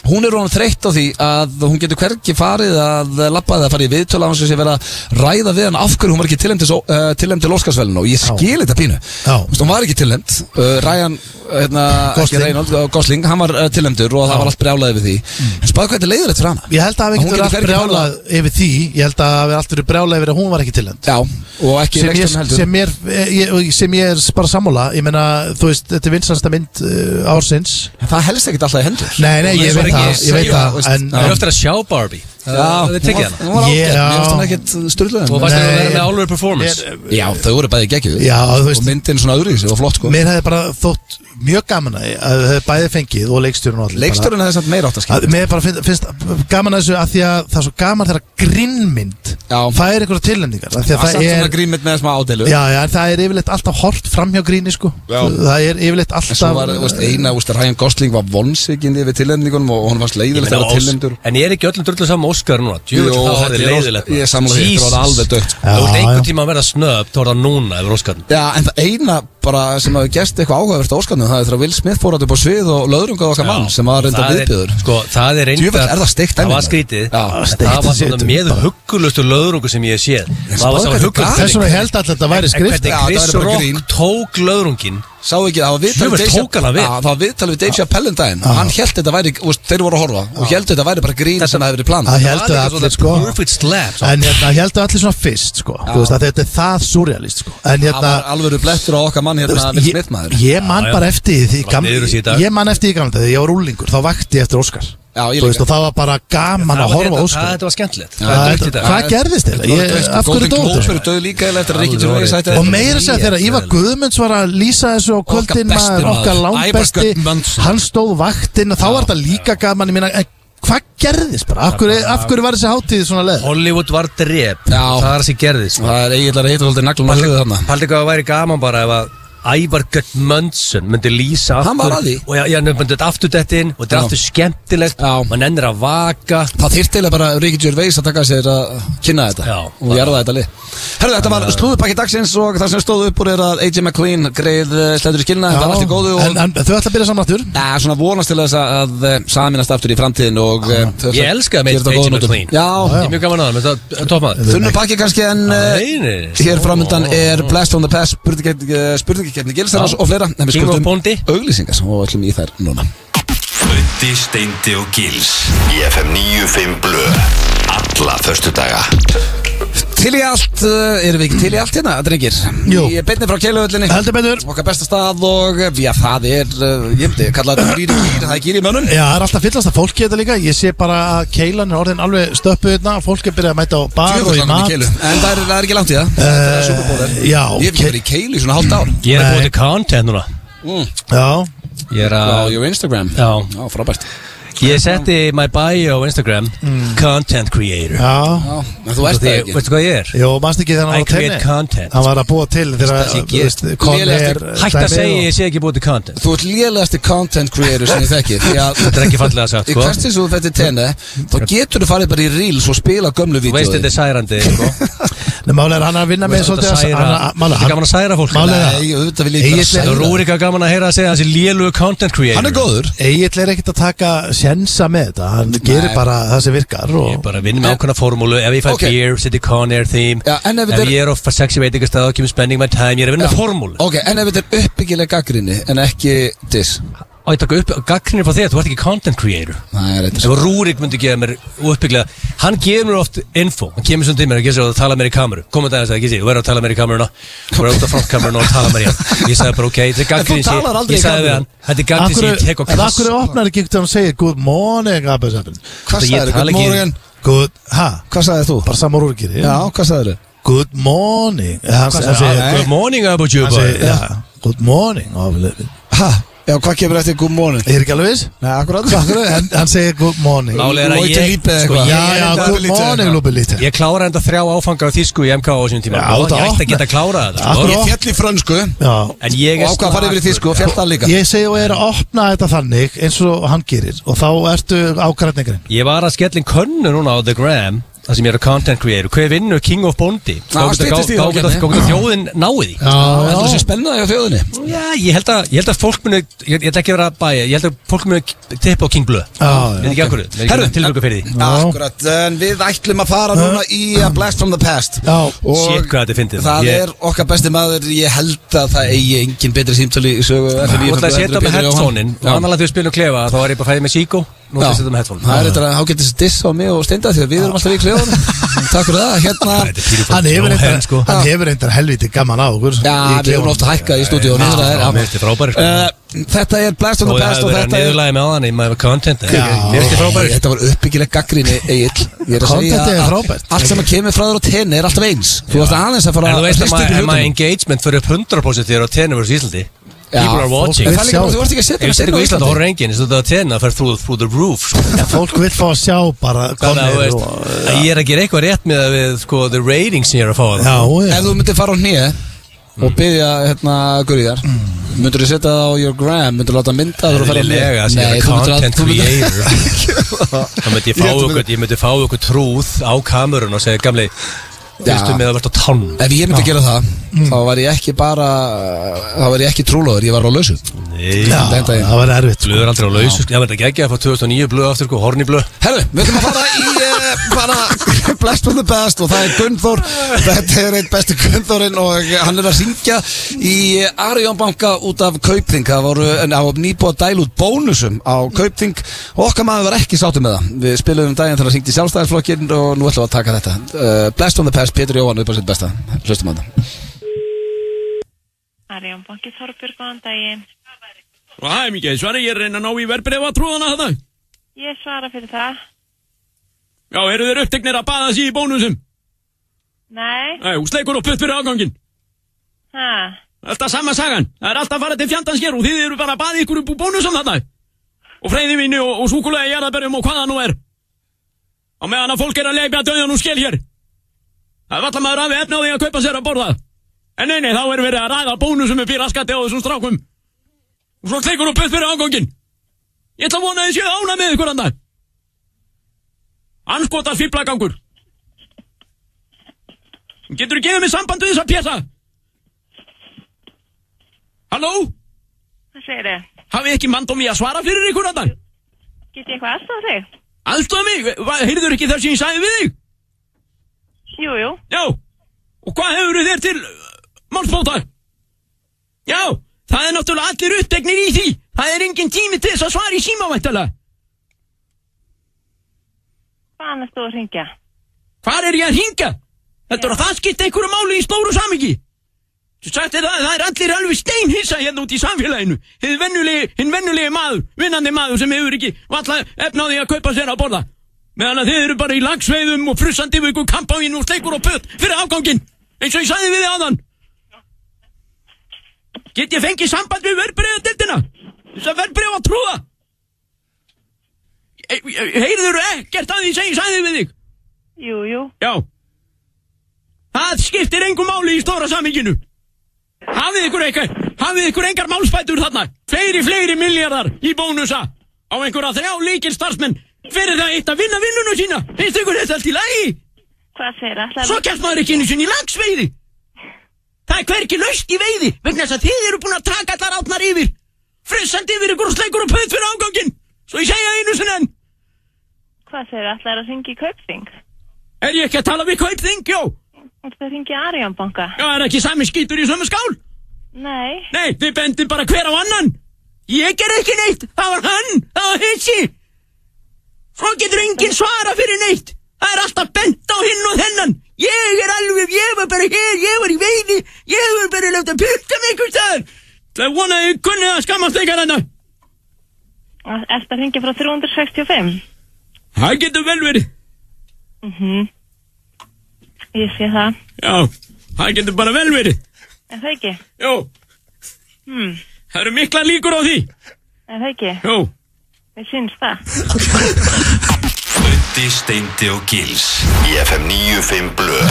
A: Hún er rónum þreytt á því að hún getur hvergi farið að labba eða farið í viðtöla án sem sé verið að ræða við hann af hverju hún var ekki tilhemd til, uh, tilhemd til Óskarsvelun og ég skil þetta pínu
B: Já.
A: Þú veist, hún var ekki tilhemd uh, Ryan hérna, ekki
B: Gosling.
A: Reynolds, uh, Gosling, hann var uh, tilhemdur og það var allt brjálaðið við því en spáðu hvað þetta leiður þetta fyrir hana
B: ég held að hafi
A: Hún
B: ekki
A: getur
B: verið allt
A: hvergi farið
B: brjálað yfir því Ég held að hafi allt verið brjálað yfir að hún var ekki tilhend
A: Já, og ekki
B: sem
A: rekstum
B: ég,
A: heldur
B: sem, ég, ég, sem ég er bara sammála Ég meina, þú veist, þetta er vinsansta mynd uh, ársins
A: Það helst ekkit alltaf í hendur
B: Nei, nei,
C: Hún er
B: ég
C: svo
B: veit
C: ekki-
B: það, ég veit
C: Já,
B: það
A: veist,
B: En,
C: Það er
B: en
C: ofta að sjá Barbie Það er tekið hana
A: Hún var ágætt,
B: Ég-
A: mér finnst hún
B: já.
A: ekkit sturgluð
C: Og fannst það að
B: Nei.
C: vera með álur performance
B: Mér-
A: Já, þau voru bæði geggjuð
B: Já, þú
A: Og
B: veist-
A: myndin svona öðru í sig og flott sko
B: mér hefði bara þótt mjög gaman að að þau hefði bæði fengið og leikstjórun og allir bara-
A: Leikstörun hefði samt meira átt að
B: að,
A: skilja
B: Mér bara finnst, finnst gaman að þessu að því að það er svo gaman þegar grinnmynd
A: Já.
B: fær einhverja tilhendingar að því að
A: Það er
B: það
A: samt
B: er
A: svona grímit með smá ádeilu
B: Já, já, en það er yfirleitt alltaf hort framhjá gríni sko
A: Já.
B: Það er yfirleitt
A: En svo
B: alltaf
A: var, þú veist, eina, þú veist, Ryan Gosling var vonsvikindi yfir tilendingunum og hún fannst
C: Ég
A: leiðilegt
C: meina,
A: að vera
C: Ós-
A: tilendur
C: En ég er ekki öllum drullum saman Óskar núna Djúvill þá er það leiðilegt
A: Ég samla því, þetta var alveg sko. dögt
B: Já,
C: Þú ert
B: já.
C: einhvern tíma að verða snöpp Þá er það núna yfir Óskarn
A: Já, en það eina bara sem hafi gæst eitthvað áhugavert á Óskarnu það er þegar Will Smith fór að upp á svið og löðrungað okkar mann sem var reynda
C: Það er-
A: viðbjöður
C: Sko, það er reynda
A: Djöfull, er það steikt dæmi,
C: Það var
A: maður?
C: skrítið
A: Já,
C: En
B: steikt
C: Það var
B: situr.
C: svona með huggulustu löðrungu sem ég hef séð Það var
A: spáðu
C: svona
A: hvernig
C: huggulust
A: gaman.
B: Þess vegna held alltaf að þetta væri skrift
A: Já,
C: Hvernig
A: það
C: Chris
A: væri bara grín.
C: Rock tók löðrungin
A: Sá ekki, það var viðtal
C: Djöfull,
A: Dave
C: tók hann það við.
A: Já, Það var viðtal við Dave Chappelle en daginn Hann held þetta væri, þú veist, þeir voru að horfa og held þetta væri bara grín
C: Þetta-
A: sem það hefði verið plan
B: Það heldur
C: var líka
B: allir
C: svona
B: sko
C: Perfect slap svo.
B: En hérna, heldur allir svona fyrst sko Þú veist að þetta er það surrealist sko En
A: Það
B: hérna
A: var alvöru blettur á okkar mann
B: þú
A: hérna
B: veist,
A: Will
B: ég,
A: Smith maður
B: ég man
C: Já, já.
B: bara eftir því
C: Bara niður þessi í dag.
B: gamla, Ég man eftir því gamla Þegar ég var úlingur, þá vakti ég eftir Óskar
A: Já, ég
B: Þú veist,
A: líka.
B: og það var bara gaman að
C: Það var
B: horfa á
C: hérna- það-
B: Óskar
C: Þetta var skemmtilegt
A: Já,
C: Það er dögt í dag.
B: Hvað gerðist þetta?
A: Þetta var
B: Ég-
A: dautt, sko.
B: af hverju
A: Golden
B: dó þetta?
A: Globe eru döð líka eða eftir að Ricky
C: Alveg
A: Gervais
C: orðið.
A: ætti
B: Og meira að segja þegar Ívar Guðmunds var að lýsa þessu á
A: Okkar
B: kvöldin
A: besti
B: maður,
A: maður.
B: okkar langbesti,
A: Ævar Guðmundsson.
B: hann stóð vaktinn og þá var þetta líka gaman, ég meina, en hvað gerðist bara? Af hverju, af hverju var þessi hátíð svona leið?
C: Hollywood var drep
A: Já.
C: Það er það sem gerðist
A: Það er eiginlega að heita svolítið naglum á hliðu þarna
C: Paldi hvað það væri gaman bara ef að Ævar Guttmundsson myndi lýsa
A: Hann
C: aftur-
A: var að því.
C: Og já, já, hann myndi þetta aftur þetta inn Og þetta
A: Já.
C: er aftur skemmtilegt
A: Já.
C: Man ennir að vaka
A: Það þyrfti eiginlega bara Ricky Gervais að taka sér að kynna þetta
C: Já.
A: og jarða þetta lið Herðu, þetta var slúðupakki dagsins og það sem stóð upp úr er að AJ McLean greið slendur eh, í skilna, þetta var allt í góðu og
B: en, en þau ætla að byrja saman aftur
A: Já, svona vonast til þess að, að eh, saminast aftur í framtíðin og eh, til þess
C: Ég
A: að
C: elska
A: gera
C: það
A: þetta
C: með
A: á
C: AJ
A: góðum nótum.
C: McLean. Ég
A: Já,
C: er mjög gaman að það, menn það topmaður
A: þunnu pakki kannski en eh,
C: Nei, nei, nei.
A: hér framöndan er Blast on the Pass spurningakefni Gilsarans
C: Já.
A: og fleira en við
C: Bingo
A: skuldum
C: bóndi.
A: auglýsingar og ætlum í þær núna
E: Röndi, Steindi og Gils
F: FM 95 Blö Alla förstu daga
A: Til í allt, eh, erum við ekki til í allt hérna, drengir?
B: Jú.
A: Ég beinni frá keiluvöllinni
B: Heldur betur
A: Okkar besta stað og, eh, já, það er, eh, ég myndi, kalla þetta gýri gýr, það er gýri í mönnum
B: Já, það er alltaf fyllast að fólki þetta líka Ég sé bara að keilan er orðin alveg stöppu hérna Fólk er byrjað að mæta á bar og í
A: Djöfullanum í
B: mat Eh,
A: keilu, en það er, það er ekki langt í það Það er superból er
B: já,
A: Ég hef ekki
B: ke-
A: verið í keilu í svona hálft ár
C: Ég er að búið
B: Nei.
C: til content núna
B: Já,
C: Ég er
A: Á
C: að
A: your Instagram
C: Já.
A: Já, frábært
C: Ég setti my bio á Instagram Content creator
B: já
A: Já, en þú ert það
C: Því-
A: ekki
C: Veistu hvað ég er?
B: Jó, manst ekki þegar hann var
C: I
B: á tenni
C: create content.
B: Hann var að búa til þegar
C: Ég get-
B: þú veist, Con
A: Lélegasti-
B: Air,
C: Hætt að
B: dæmið
C: segja
B: og-
C: ég sé ekki búið til content
A: Þú ert lélegasti content creator sem ég þekki Því að
C: Þetta er ekki fallega sagt
A: Í
C: sko
A: hvert sem þú þetta tenni Þá getur þú farið bara í reels og spila gömlu
C: Þú
A: vídeo
C: veist þetta er særandi sko
B: Nei, málega er hann er að vinna með
C: Þú veist,
B: svolítið
C: þetta
B: að-
C: særa-
B: hann er að- málega,
C: Þetta er gaman að særa fólk
B: Málega það.
A: Nei, auðvitað vil ég ekki
B: Egill
A: vera
B: er-
A: sæður.
C: Rúrik er gaman að heyra að segja þessi lélugu content creator
A: Hann er góður
B: Egil er ekkert að taka sjensa með þetta Hann gerir bara það sem virkar
C: Ég er
B: og...
C: bara að vinna með ákveðna formúlu Ef ég fæ
A: Ok.
C: beer, setja Con Air theme
A: Já, en ef
C: Ef
A: þetta er-
C: ég er of sexy veit eitthvað stað og kemur spending my time Ég er að vinna með formúlu
A: Ok, en ef þetta er uppbyggileg gaggrinni en ekki diss
C: Og ég taka upp gaggrinir frá þér Þú ert ekki content creator
A: Það er eitthvað
C: Ef Rúrik myndi gefa mér uppbygglega Hann gefur mér oft info Hann kemur svona til mér og gefur sér að tala mér í kameru Komum þetta aðeins að gísi, þú verður að tala mér í kameruna Þú verður út af frontkameruna og tala mér í hann Ég sagði bara ok, þetta er
A: En
C: gaggrinn
A: þú talar aldrei
C: Ég
A: í
C: sagði við
A: kameru.
C: hann, þetta er gaggrinn sem ég tek og
B: En af
C: kass
B: hverju opnar ekki ekkert að hann segir Good morning, Abbasappin
A: Hvað
C: Ég
A: sagðið?
C: tala
A: Good
C: ekki-
A: morning
B: Good, ha,
A: Hvað sagðið þú?
B: bara samar úr gerir
A: Já, hvað sagðið þú?
B: Good morning Hann hann segir
C: "Ah, Good morning Abu
B: hann
C: Juba
B: segir, já, Good morning Abbasappin
A: Ha? Já, hvað kemur eftir good morning?
B: Er ekki alveg viss?
A: Nei, akkurat
B: Akkur, hann, hann segir good morning
C: Málið er að
A: Leute
C: ég-
A: Liebe eða
C: sko,
A: eitthvað.
C: ég
B: Já,
C: er
B: já,
C: enda-
B: good morning, Lúpi Lítið
C: Ég klára enda þrjá áfanga á þýsku í MK á þessum tíma
B: Já,
C: Og
B: þetta
C: Ég ætti að
B: opnar-
C: geta að klára þetta
B: Akkur-
C: sko.
A: Ég fjall í frönsku
B: Já,
C: En ég
A: Og
C: er sko-
A: ákvað að fara yfir í þísku og fjall það líka
B: Ég segi og er að opna þetta þannig eins og hann gerir og þá ertu ákvæðningarinn
C: Ég var að skellin könnu núna á The Gram það sem ég er að content creator Hver vinnur King of Bondi? Hvað
A: styttist í það, Bjarni.
C: getur þjóðin náði?
B: Já,
A: Það er
B: já.
A: þessi spennaði á þjóðinni
C: Já, ég held að, ég held að fólk muni Ég ég ætla ekki að vera að bæja, ég held að fólk muni tippa á King Blue
B: Já,
C: Ég veit ekki okkur, það er
A: Herru,
C: ekki tilvöku fyrir því
A: Akkurat, en við ætlum að fara núna í a Blast from the Past
B: Já.
A: Og
C: Shit, hvað þetta er fyndið.
A: Það
C: Ég-
A: er okkar besti maður, ég held að það eigi engin betri símtölu í sögu FM
C: Þú ætla að
A: 900
C: setja með
A: Pétur Jóhann.
C: headphone-in
A: Já.
C: og annar að þau spilum um klefa þá er ég bara að fæði með síkó nú ætla ég
A: Já.
C: að setja með headphone
A: Það er eitthvað að þá getur þessi diss á mig og steinda því að við erum alltaf í klefunum Takk fyrir það, hérna
B: Hann hefur
C: henn sko
B: eitthvað Hann hefur eitthvað helviti gaman á okkur
A: Já, við erum ofta að hækka í stúdíónu
C: Já,
A: það er-
C: já,
A: já.
C: mér finnst þið frábærir, sko.
A: Eh, Þetta er Blast from
C: og
A: the
C: það
A: Past
C: hefur
A: og
C: verið að
A: þetta er
C: niðurlægi með aðan í maður content
B: Já.
C: mér finnst þið frábæri
A: Þetta var uppbyggileg gaggrinni Egil Ég er að segja
B: Contentið er
A: að
B: frábært.
A: Allt sem að kemur frá þér og tenni er alltaf eins Þú varst aðeins að fara
C: en þú
A: að
C: veist að
A: hrista upp í
C: maður- maður
A: hlutunum
C: engagement fyrir upp 100% þegar á tenni versus Íslandi
A: Já,
C: people are
A: fólk
C: watching
A: En
B: vill
A: það er líka
B: sjá
A: bara, þú varst ekki að
C: ef
A: setja
C: ég
A: á
C: setja á Íslandi
A: Íslandi.
C: horfður enginn eins og þetta á tenni það fer through through the roof sko.
B: Já, Fólk vil fá að sjá bara
C: þannig að þú
B: komið
C: veist
B: og-
C: að ég er að gera eitthvað rétt með að við sko the ratings sem ég er að fá
B: Já, já.
A: Ef þú myndir fara á hnýja
C: Mm.
A: og byggja hérna gurðjar myndur þú setja það á your gram myndur þú láta mynda þegar þú ferð á hné?
C: Eðlilega, sem ég
A: Nei,
C: er
A: þú myndir
C: content
A: aldrei- þú myndir-
C: creator þá myndi ég fá okkur ég myndi fá okkur trúð á kamerun og segja gamli fyrstu með að verða tánn
A: Ef ég myndi gera það
C: Mm.
A: þá var ég ekki bara þá var ég ekki trúlóður ég var á lausu
C: nei,
B: Já,
A: Þetta er-
B: það var erfitt
C: blöður aldrei á lausu sko. ég verði ekki að fá 2009 blöð aftur sko, horni blöð
A: Herru, við ætlum að fara í eh, bara Blast from the Best og það er Gunnþór Þetta er einn besti Gunnþórin og hann er að syngja í Arjón banka út af Kaupþing Það voru en það var nýbúið að dæla út bónusum á Kaupþing og okkar maður var ekki sáttum með það Við spiluðum um daginn þegar hann syngdi sjálfstæðisflokkinn og nú ætlum við að taka þetta uh, Blast from the Best, Pétur Jóhann upp á sitt besta Hlustum að það
G: Arjón Banki Þorbjörg, góðan daginn.
H: Það er mikið, svara ég er að reyna að ná í verbreyfa trúðana þetta.
G: Ég svara fyrir það.
H: Já, eru þeir uppteknir að baða sér í bónusum?
G: Nei,
H: Æ, sleikur og putt fyrir afgangin.
G: ha,
H: Alltaf sama sagan. Það er alltaf að fara til fjandans hér og þið eru bara að baða ykkur upp úr bónusum þetta. Og freyði mínu og, og súkulega jarðabörjum og hvað það nú er. Á meðan að fólk er að leipja döðan og skil hér. Það er alltaf maður afi efni á því að kaupa sér að borða. En nei, nei, þá er verið að ræða bónusum upp í raskati á þessum strákum. Og svo sleikur og putt fyrir afgangin. Ég ætla að vona að þið séu ána með ykkur andan. Anskota fýblagangur Getur þú gefið mér samband við þessa pjessa? Halló?
G: hvað segir þið?
H: Hafið ekki mandum í að svara fyrir ykkur andan?
G: Get ég eitthvað aðstofa þig?
H: Aðstofa mig, heyrður ekki þess að ég sagði við þig?
G: Jú, jú,
H: Já, og hvað hefur þér til uh, málsbóta? Já, það er náttúrulega allir uppdegnir í því Það er engin tími til þess að svara í símavæntalega
G: hvað annars þú að ringja?
H: Hvar er ég að hringa? Þetta er að það skipta einhverju máli í stóru samingi. Þú sagt er að það er allir alveg steinhissa hérna út í samfélaginu. Hinn vennulegi, hinn vennulegi maður, vinnandi maður sem hefur ekki valla efna á því að kaupa sér að borða. Meðan að þið eru bara í lagsveiðum og frussandi við ykkur kampáin og sleikur og pött fyrir afgangin. Eins og ég sagði við þið áðan. Get ég fengið samband við verbreyða dildina? Þess að verbreyða að trúða. Heyrður ekkert að því sem ég sagði við þig.
G: Jú, jú,
H: Já Það skiptir engum máli í stóra saminginu Hafið ykkur eitthvað Hafið ykkur engar málspætur þarna Fleiri, fleiri miljardar í bónusa Á einhverja þrjá líkil starfsmenn Fyrir það eitt að vinna vinnuna sína Finnst ykkur þetta allt í lagi?
G: hvað segir þið?
H: Svo kemst maður ekki einu sinni í lagsveiði Það er hverki laust í veiði Vegna þess að þið eru búin að taka allar átnar yfir Frissandi yfir ykkur og sleikur og pöð fyrir ágangin Svo ég segja einu sinni enn
G: Hvað segir þið? Það er að ringja í Kaupþing.
H: Er ég ekki að tala við kaupþing, jó?
G: Þú ert að ringja í Arjón Banka?
H: Já, er ekki sami skítur í sömu skál?
G: Nei,
H: Nei, þið bendir bara hver á annan Ég ger ekki neitt, það var hann, það var hinsi Svo getur enginn svara fyrir neitt Það er alltaf bent á hinn og þennan Ég er alveg, ég var bara hér, ég var í veiði Ég var bara lögt að pyrta mig einhvers staðar Það er vona að ég kunni að skammast hérna. leikar þetta
G: ert að ringja frá 365?
H: Það getur vel verið
G: Ég sé það,
H: Já, það getur bara vel verið
G: er það ekki?
H: Jó,
G: Hmm,
H: það eru mikla líkur á því
G: er það ekki?
H: Jó
G: Mér syns það.
E: Röndi, Steindi og Gils
F: Í FM 95 Blö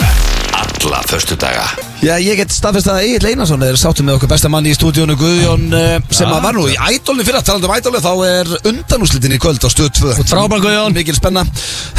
F: alla föstudaga
A: Já, ég get staðfest að Egil Einarsson er sáttum með okkur besta manni í stúdíónu Guðjón eh, sem að var nú í ædolni fyrir að talandi um ædolni þá er undanúslitin í kvöld á stöð 2
C: frábær Guðjón.
A: Mikil spenna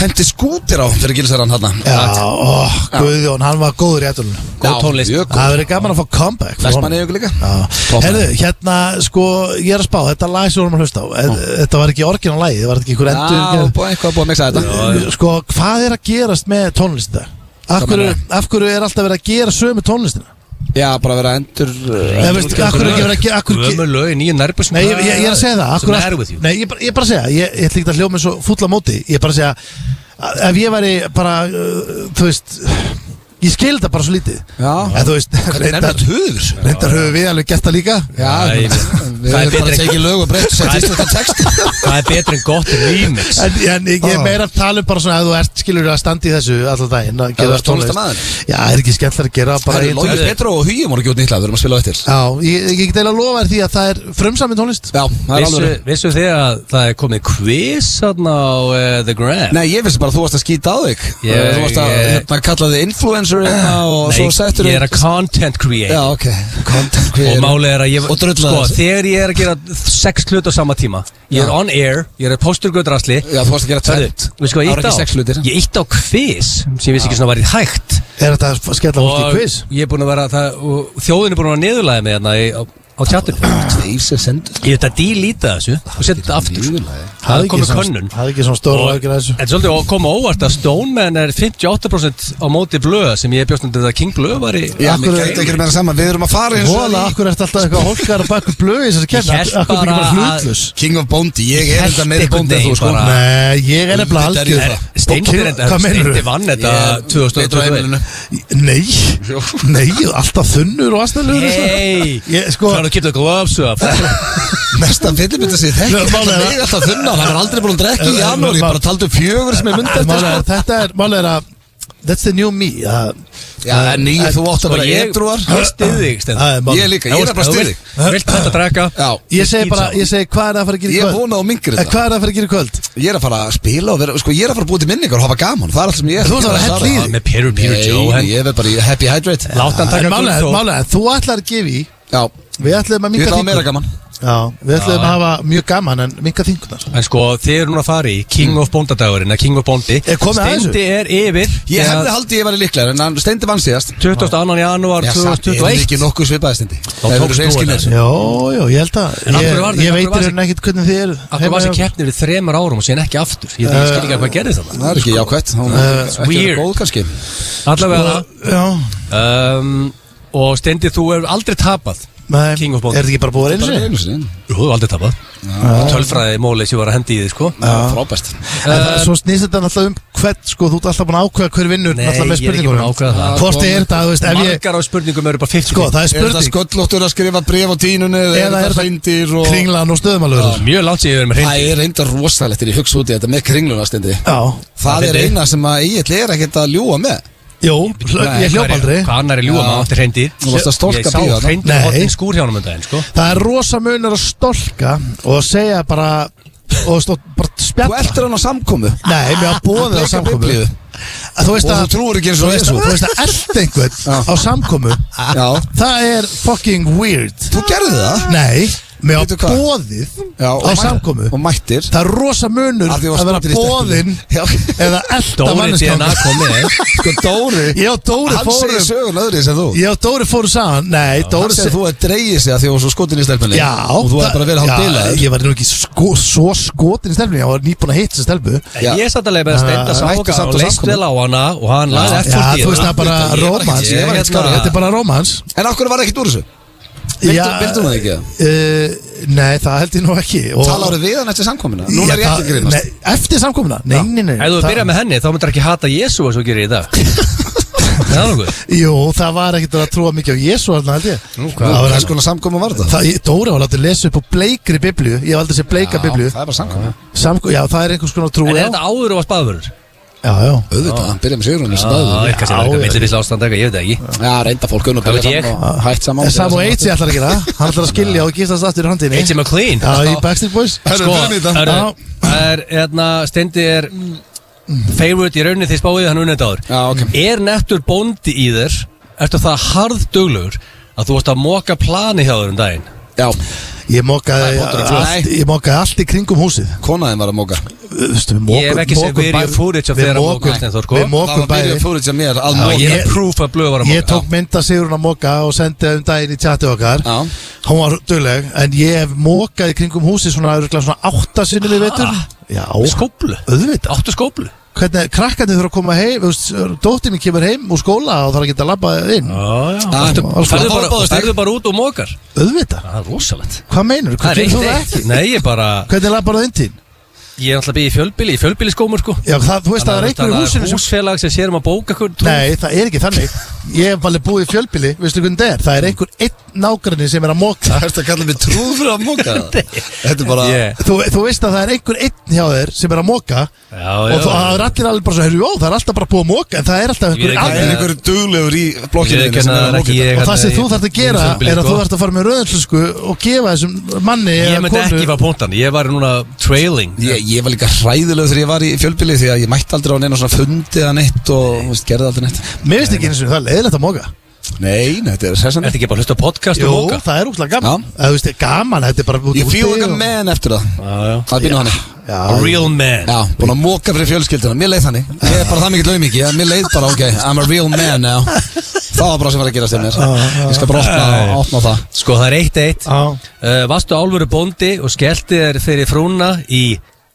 A: Hendi skútir á fyrir gilsæran hann
B: Já, ó, Guðjón, hann var góður í ætlunum
C: Góð tónlist.
B: Það verður gaman að fá comeback frá honum.
A: Vestmanni ykkur líka
B: Já.
A: Topp.
B: Herðu, hérna, sko, ég er að spá Þetta lag sem við vorum að hlusta á eh, Þetta var ekki orginal lagi, það var ekki einhver
A: Já,
B: endur
A: búið eitthvað að búið að mixa þetta
B: Sko, hvað er að gerast með tónlistina? Af hverju, af hverju er alltaf verið að gera sömu tónlistina?
A: Já, bara vera endur
B: Ég veist, af hverju ekki verið að gera af hverju
C: Gömur
B: ge-
C: lög í nýju nærbúsum
B: Nei, ég, ég, ég er að segja það af hverju
C: Svona
B: allt-
C: er with you
B: Nei, ég, bara- ég er bara að segja, ég, ég ætla ekki að hljóma eins og fulla móti Ég er bara að segja, að- ef ég væri bara, uh, þú veist Ég skil þetta bara svo lítið
A: Já.
B: En þú veist, reyndar,
A: Nefnast hugur
B: reyndar höfum við alveg gert það líka
A: Já,
C: Já, ég veit.
A: við erum
C: Það er
A: bara
C: betri-
A: að tekið lög og breytt og sett íslenska text
C: Það er betur en gott remix
B: En, en ég
A: Ah.
B: er meira að tala um bara svona að þú ert skilur að standa í þessu alltaf daginn að gera
A: þú ert
B: tónlist.
A: tónlistarmaður.
B: Já, er ekki skemmt að gera bara
A: Það er
B: í-
A: Lógi Petro og Hugi voru ekki út nýtt lag, við erum að spila á eftir
B: Já, ég, ég get eiginlega að lofa þér því að það er frumsamin tónlist
A: Já, það er
C: Vissu,
A: alveg
C: vissu þið að það er komið quiz þarna á uh, The Gram
A: Nei, ég finnst bara að þú varst að skýta á þig
C: Ég-
A: Þú varst að
C: ég-
A: hérna, kalla þig influencer hérna og svo settur
C: ég er að content create
A: Já, ok Content
C: Og
A: creator.
C: málið er að ég
A: Og drulla
C: sko,
A: þessu.
C: Þegar ég er að gera sex hlut á sama tíma Ég er
A: Já.
C: on air, ég er postur gautrasli
A: Já, þú varst að gera tvent
C: Við sko, ég
A: Það voru ekki sex
C: ítt
A: hlutir
C: á Ég ítt á quiz sem ég vissi ekki svona var í hægt
B: Er þetta að skella fólki í quiz?
C: ég er búin að vera það, og þjóðin er búin að vera niðurlæði með hérna í, á, á tjattunum
A: Tveir sem sendur
C: Ég ætla að dílíta þessu og setja þetta aftur sko.
A: niðurlæði.
C: Það
B: Hafði
C: er
B: ekki
C: komið
B: svona-
C: könnun
B: hafði ekki svona stóra
C: Og-
B: áhyggjur af þessu.
C: En svolítið og kom á óvart að Stoneman er 58% á móti blöð sem ég bjóst undir að King Blöð var í
A: Já,
B: Akkur
A: mér
B: er-
A: gæti ekki meira saman Við erum að fara eins og
B: Vola,
A: í-
B: akkur ert alltaf eitthvað hólkar og bakur blöð í þessari kemna
C: hélt
B: Akkur er ekki bara
C: bara að-
B: hlutlaus
A: King of Bondi Ég er
C: Hélt
A: þetta meiri
C: einhvern
A: Bondi en þú
C: veginn
A: sko
C: bara-
B: Nei, ég er nefnilega
A: Auðvitað er ég
B: algjör
A: það.
C: Steindir enda,
B: Hvað meinarðu?
C: Steindir vann þetta
A: Ég- Letur á
C: 2021
A: heimilinu.
B: Nei, nei, alltaf þunnur og aðstæðlegur
C: Hei,
B: Ég, sko-
C: það er að geta gloves up
A: Mesta fyllibita sér þekki
B: Nei, málið
A: Þetta
B: er-
A: er alltaf þunnar Hann er aldrei búin að drekka í
B: Nei,
A: janúar Ég
B: mál-
A: bara taldi um fjögur sem er myndi eftir
B: Málega,
A: sko.
B: þetta er, málega er að That's the new me að-
A: Já, en ný, þú átt að
C: Sko,
A: vera
C: ég
A: edruar
C: ég styð
B: Það er
C: þig Stendur.
B: málið.
A: Ég líka, ég er bara styrði
C: Vilt þetta að draka
A: Já,
B: Ég segi bara,
C: skýt
B: ég segi hvað er það að fara að gera í
A: ég
B: kvöld
A: vona á mingri
B: Eh,
A: þetta
B: Hvað er það að fara að gera í kvöld?
A: Ég er að fara að spila og vera Sko, ég er að fara að búið til minningar og hafa gaman Það er allt sem ég er
B: Þú ert að vera að hella í
A: Sara.
B: þig.
C: Með Peter, Peter,
A: Nei,
C: Joe
A: Ég er bara í happy hydrate
C: Láta hann
B: En
C: taka
B: Málega,
C: gulltó
B: málega, þú ætlar að gefa í
A: Já,
B: Við ætlum
A: ég
B: að minka
A: vil hafa meira gaman
B: Já, við ætlum að hafa mjög gaman en minka þingunar
C: En sko, þið eru núna að fara í King of Bóndadagurinn King of Bóndi
B: Er komið að þessu?
C: Steindi er yfir
A: Ég hefði haldið ég verið líklegur En hann steindi vann síðast
C: 22. janúar
A: Já, samt, ég er
C: 2021
A: ekki nokkuð svipaði steindi Það
C: tókst
A: hefur
C: þú
A: reynskinnir
B: Jó, jó, ég held að
C: En af
B: Ég,
C: hverju var þetta-
B: ég
C: af hverju
B: veit
C: var
B: hérna ekkert hvernig þið eru
C: Akkur var þessi keppni við þremur árum og síðan ekki aftur Ég, ég skil ekki að hvað gerði það
A: Það er ekki jákvætt Hún er ekki verið
C: weird.
A: góð kannski
C: Allavega
B: Já,
C: það um, Og Steindi, þú hefur aldrei tapað
B: nei,
C: King of Bond.
B: er þetta ekki bara búið eins
A: Bara
B: og
A: einu sinni
C: Þú hefur aldrei tapað Tölfræði mólið sem ég var að hendi í þið, sko
A: Frábæst
B: Svo snýst þetta náttúrulega um hvert, sko, þú ert alltaf búin að ákveða hver vinnur
C: Nei,
B: náttúrulega með
C: ég er ekki búin
B: spurningunum.
C: að ákveða það.
B: Hvort er þetta, þú veist, ef ég
C: Margar á spurningum eru bara 50
B: Sko, það er
A: Er þetta
B: spurning
A: sköllóttur að skrifa bref á tínunni
B: Eða er þetta
A: hreindir og
B: Kringlan og stöðumalögur
C: Mjög langt sér ég verið með
A: Það
C: hreindi
A: er reyndar rosalegt er ég hugsa út í þetta með kringluna steindi
B: Já,
A: Það er
C: fyndi.
A: eina sem að Egil er ekkert að ljúa með
B: Jú, hlö- ég hljóp aldrei
C: Hvað annar er ljúa maður átti hreindi
A: Þú varst að stólka
C: Ég sá
A: bíða þarna.
C: hreindi
B: Nei.
C: hotnin skúr hjá hann um daginn, sko
B: Það er rosa munur að stolka og segja bara og stó, bara
A: Þú
B: spjalla
A: eldur hann á samkomu
B: Nei, mér að bóða það
A: Bleika
B: samkomu
A: biblíu.
B: Að Þú
A: Og
B: veist að
A: þú trúir ekki eins
B: Þú
A: og
B: veist
A: Jesú
B: að, þú veist að eld einhvern á samkomu
A: Já,
B: Það er fucking weird
A: þú gerði það
B: Nei, mér
A: Veitu
B: að
A: hvað?
B: bóðið
A: Já,
B: á
A: og mæ-
B: samkomu
A: Og mættir
B: Það er rosa munur
A: Af því þú varst
B: að vera
A: skotin í
B: bóðinn
A: stelpunni. Já.
B: eða elda
C: Dóri DNA
B: manneskjöngar
C: komið
A: Sko Dóri
B: Ég og Dóri
A: Hann segir
B: fórum
A: sögun öðri sem þú
B: Ég og Dóri fórum saman Nei,
A: Hann
B: Dóri
A: segir þú að dreigið sig að því þú var svo skotin í stelpunni
B: Já
A: Og þú hefði bara verið hálf bilaður
B: Ég var nú ekki sko, svo skotin í stelpunni Ég var nýbúin að hitta þessi stelpu
C: En
A: Já.
C: ég satt alveg með að steinda
B: Ah,
A: mættu
C: sáka
A: samt á
C: og leist
A: samkomu.
C: vel á hana og hann lagði
B: Já,
C: effort í
B: þú veist það
C: hana
B: er bara
A: hérna. Ég var ekki-
B: romans
A: ég var ekki hérna. skárri.
B: Þetta er bara romans
A: En okkur var ekkert úr þessu
B: Já,
A: Vildur það ekki það?
B: uh, Nei, það held ég nú ekki og,
A: Talar við hann eftir samkomuna? Núna er ég
B: Já,
A: ekki að
B: það-
A: grínast
B: nei, Eftir samkomuna? Nei, nei, nei
C: Ef þú
B: það-
C: byrjar með henni þá myndir ekki hata Jésu eins og þú gerir í dag Það er nokkuð
B: Jú, það var ekkert að trúa mikið á Jésu hérna held ég
C: Nú, hvað?
B: Það var
A: Hvers
B: hann
A: konar samkomu var það?
B: Það, ég- Dóri var látið að lesa upp á bleikri biblíu Ég hef aldrei séð bleika biblíu
A: Það er bara samkomu
B: Samko, Já, það er einhvers konar trú
C: En er
B: já.
C: þetta áður og var spaður?
B: Já, já
A: Auðvitað, hann byrjaði með Sigrun eins og
C: Já,
A: dagur
C: Ah, ég kannski er eitthvað millibill ástand eitthvað, ég veit það ekki
A: Já, reynda fólk unn og
C: Hvað
A: byrja
C: veit
A: saman og hætt saman
B: En Sam og Eitzi ætlar að gera það. Hann ætlar að skilja og gistast aftur í handinni
C: H.M. McLean
B: Já, í Backstreet Boys
A: Herru,
C: Sko,
A: förum í þetta.
C: herru, það er, hérna, Steindi er favorite í rauninni því spáðið hann unnið áður
A: Já, ok.
C: er nettur bóndi í þér ertu það harðduglugur að þú varst að moka plani hjá þér um daginn
A: Já,
B: Ég
A: Það
B: mokaði
A: er pottur og klár.
B: allt, ég mokaði allt í kringum húsið
A: konaðin var að móka
B: Vistu, við
C: Ég hef ekki séð video footage af
B: Við
C: þér að moka,
B: mokum,
C: Kristján Þór, sko.
A: Það
B: við
A: var byrjuð
B: mokum bæði
A: fórið sem mér að
C: Já,
A: móka
C: ég
B: ég-
C: er proof að blöð var að moka
B: Ég tók mynd að Sigrun að moka og sendi um daginn í chati okkar
A: Já.
B: Hún var dugleg En ég hef mokað í kringum húsið svona, örugglega svona átta sinnum í vetur Já,
C: skóplu
B: auðvitað
C: áttu skóplu
B: Hvernig krakkandi þurfa að koma heim Dóttir mín kemur heim úr skóla og þarf að geta labbað inn
A: Já,
C: Ertu-
A: það var
C: ferðu
A: báðar
C: bara-
A: stig.
C: ferðu bara út og mokar
B: Auðvitað,
C: það er rosalegt
B: hvað meinur,
C: það
B: hvað
C: er
B: gerir þú
C: eitt
B: það
C: eitt
B: ekki?
C: nei ég bara
B: Hvernig labbar það inn til?
C: ég er alltaf að byggja í fjölbili í fjölbili skómur sko
B: Já, það, þú veist að það er einhver í húsinu sem
C: húsfélag sem sér um að bóka hvern
B: Nei, það er ekki þannig Ég hef alveg búið í fjölbili, veistu hvernig það er Það er einhver einn nágranni sem er að móka
A: Það ertu að kalla mig trúð fyrir að móka það Þetta er bara
C: Yeah.
B: þú, þú veist að það er einhver einn hjá þér sem er að móka
C: Já,
B: Og
C: já,
B: þú- það
C: já.
B: er allir alveg bara svo, herru, ó, það er alltaf bara búið að móka En það er alltaf einhver
C: Ég er
A: Það
B: annar
A: er einhverju duglegur í blokkinu
C: Ég
A: þinni sem
C: kenna
A: er að
C: það
A: móka
C: ekki
A: þetta.
C: ég
B: Og það sem
C: hérna,
B: þú þarft að
C: í-
B: gera
C: í fjölbýli,
B: er að
C: sko.
B: þú þarft að fara með rauðinslusku og gefa þessum manni
C: Ég
B: eða
C: myndi
B: konu-
C: ekki fá punktan, ég var núna trailing
A: Ég, ég var líka hræðilegur þegar ég var í fjölbili því að ég mætti aldrei á neina svona fundi eða neitt og þú veist, gerði aldrei neitt
B: Mér finnst ekki eins og það er leiðilegt að móka
A: Nei, nei, þetta er sessan
C: Ertu ekki bara að hlusta á podcast um
B: Jú,
C: og móka?
B: það er úkslega gaman
A: Já.
B: Eða, Þú veist, gaman, þetta er bara út
A: Ég
B: úti
A: fíu eitthvað
B: og-
A: menn eftir það Það er býnum hannig
C: A
B: Já,
C: real man
A: Já, búin að móka fyrir fjölskylduna, mér leið þannig Ég er bara það mikill auðmiki, mér leið bara ok I'm a real man now Það var bara sem var að gera sem
C: Ah,
A: mér Ég skal bara opna, opna það
C: Sko það er eitt eitt
B: Já.
C: uh, Vastu álveru bóndi og skellti þér fyrir frúna í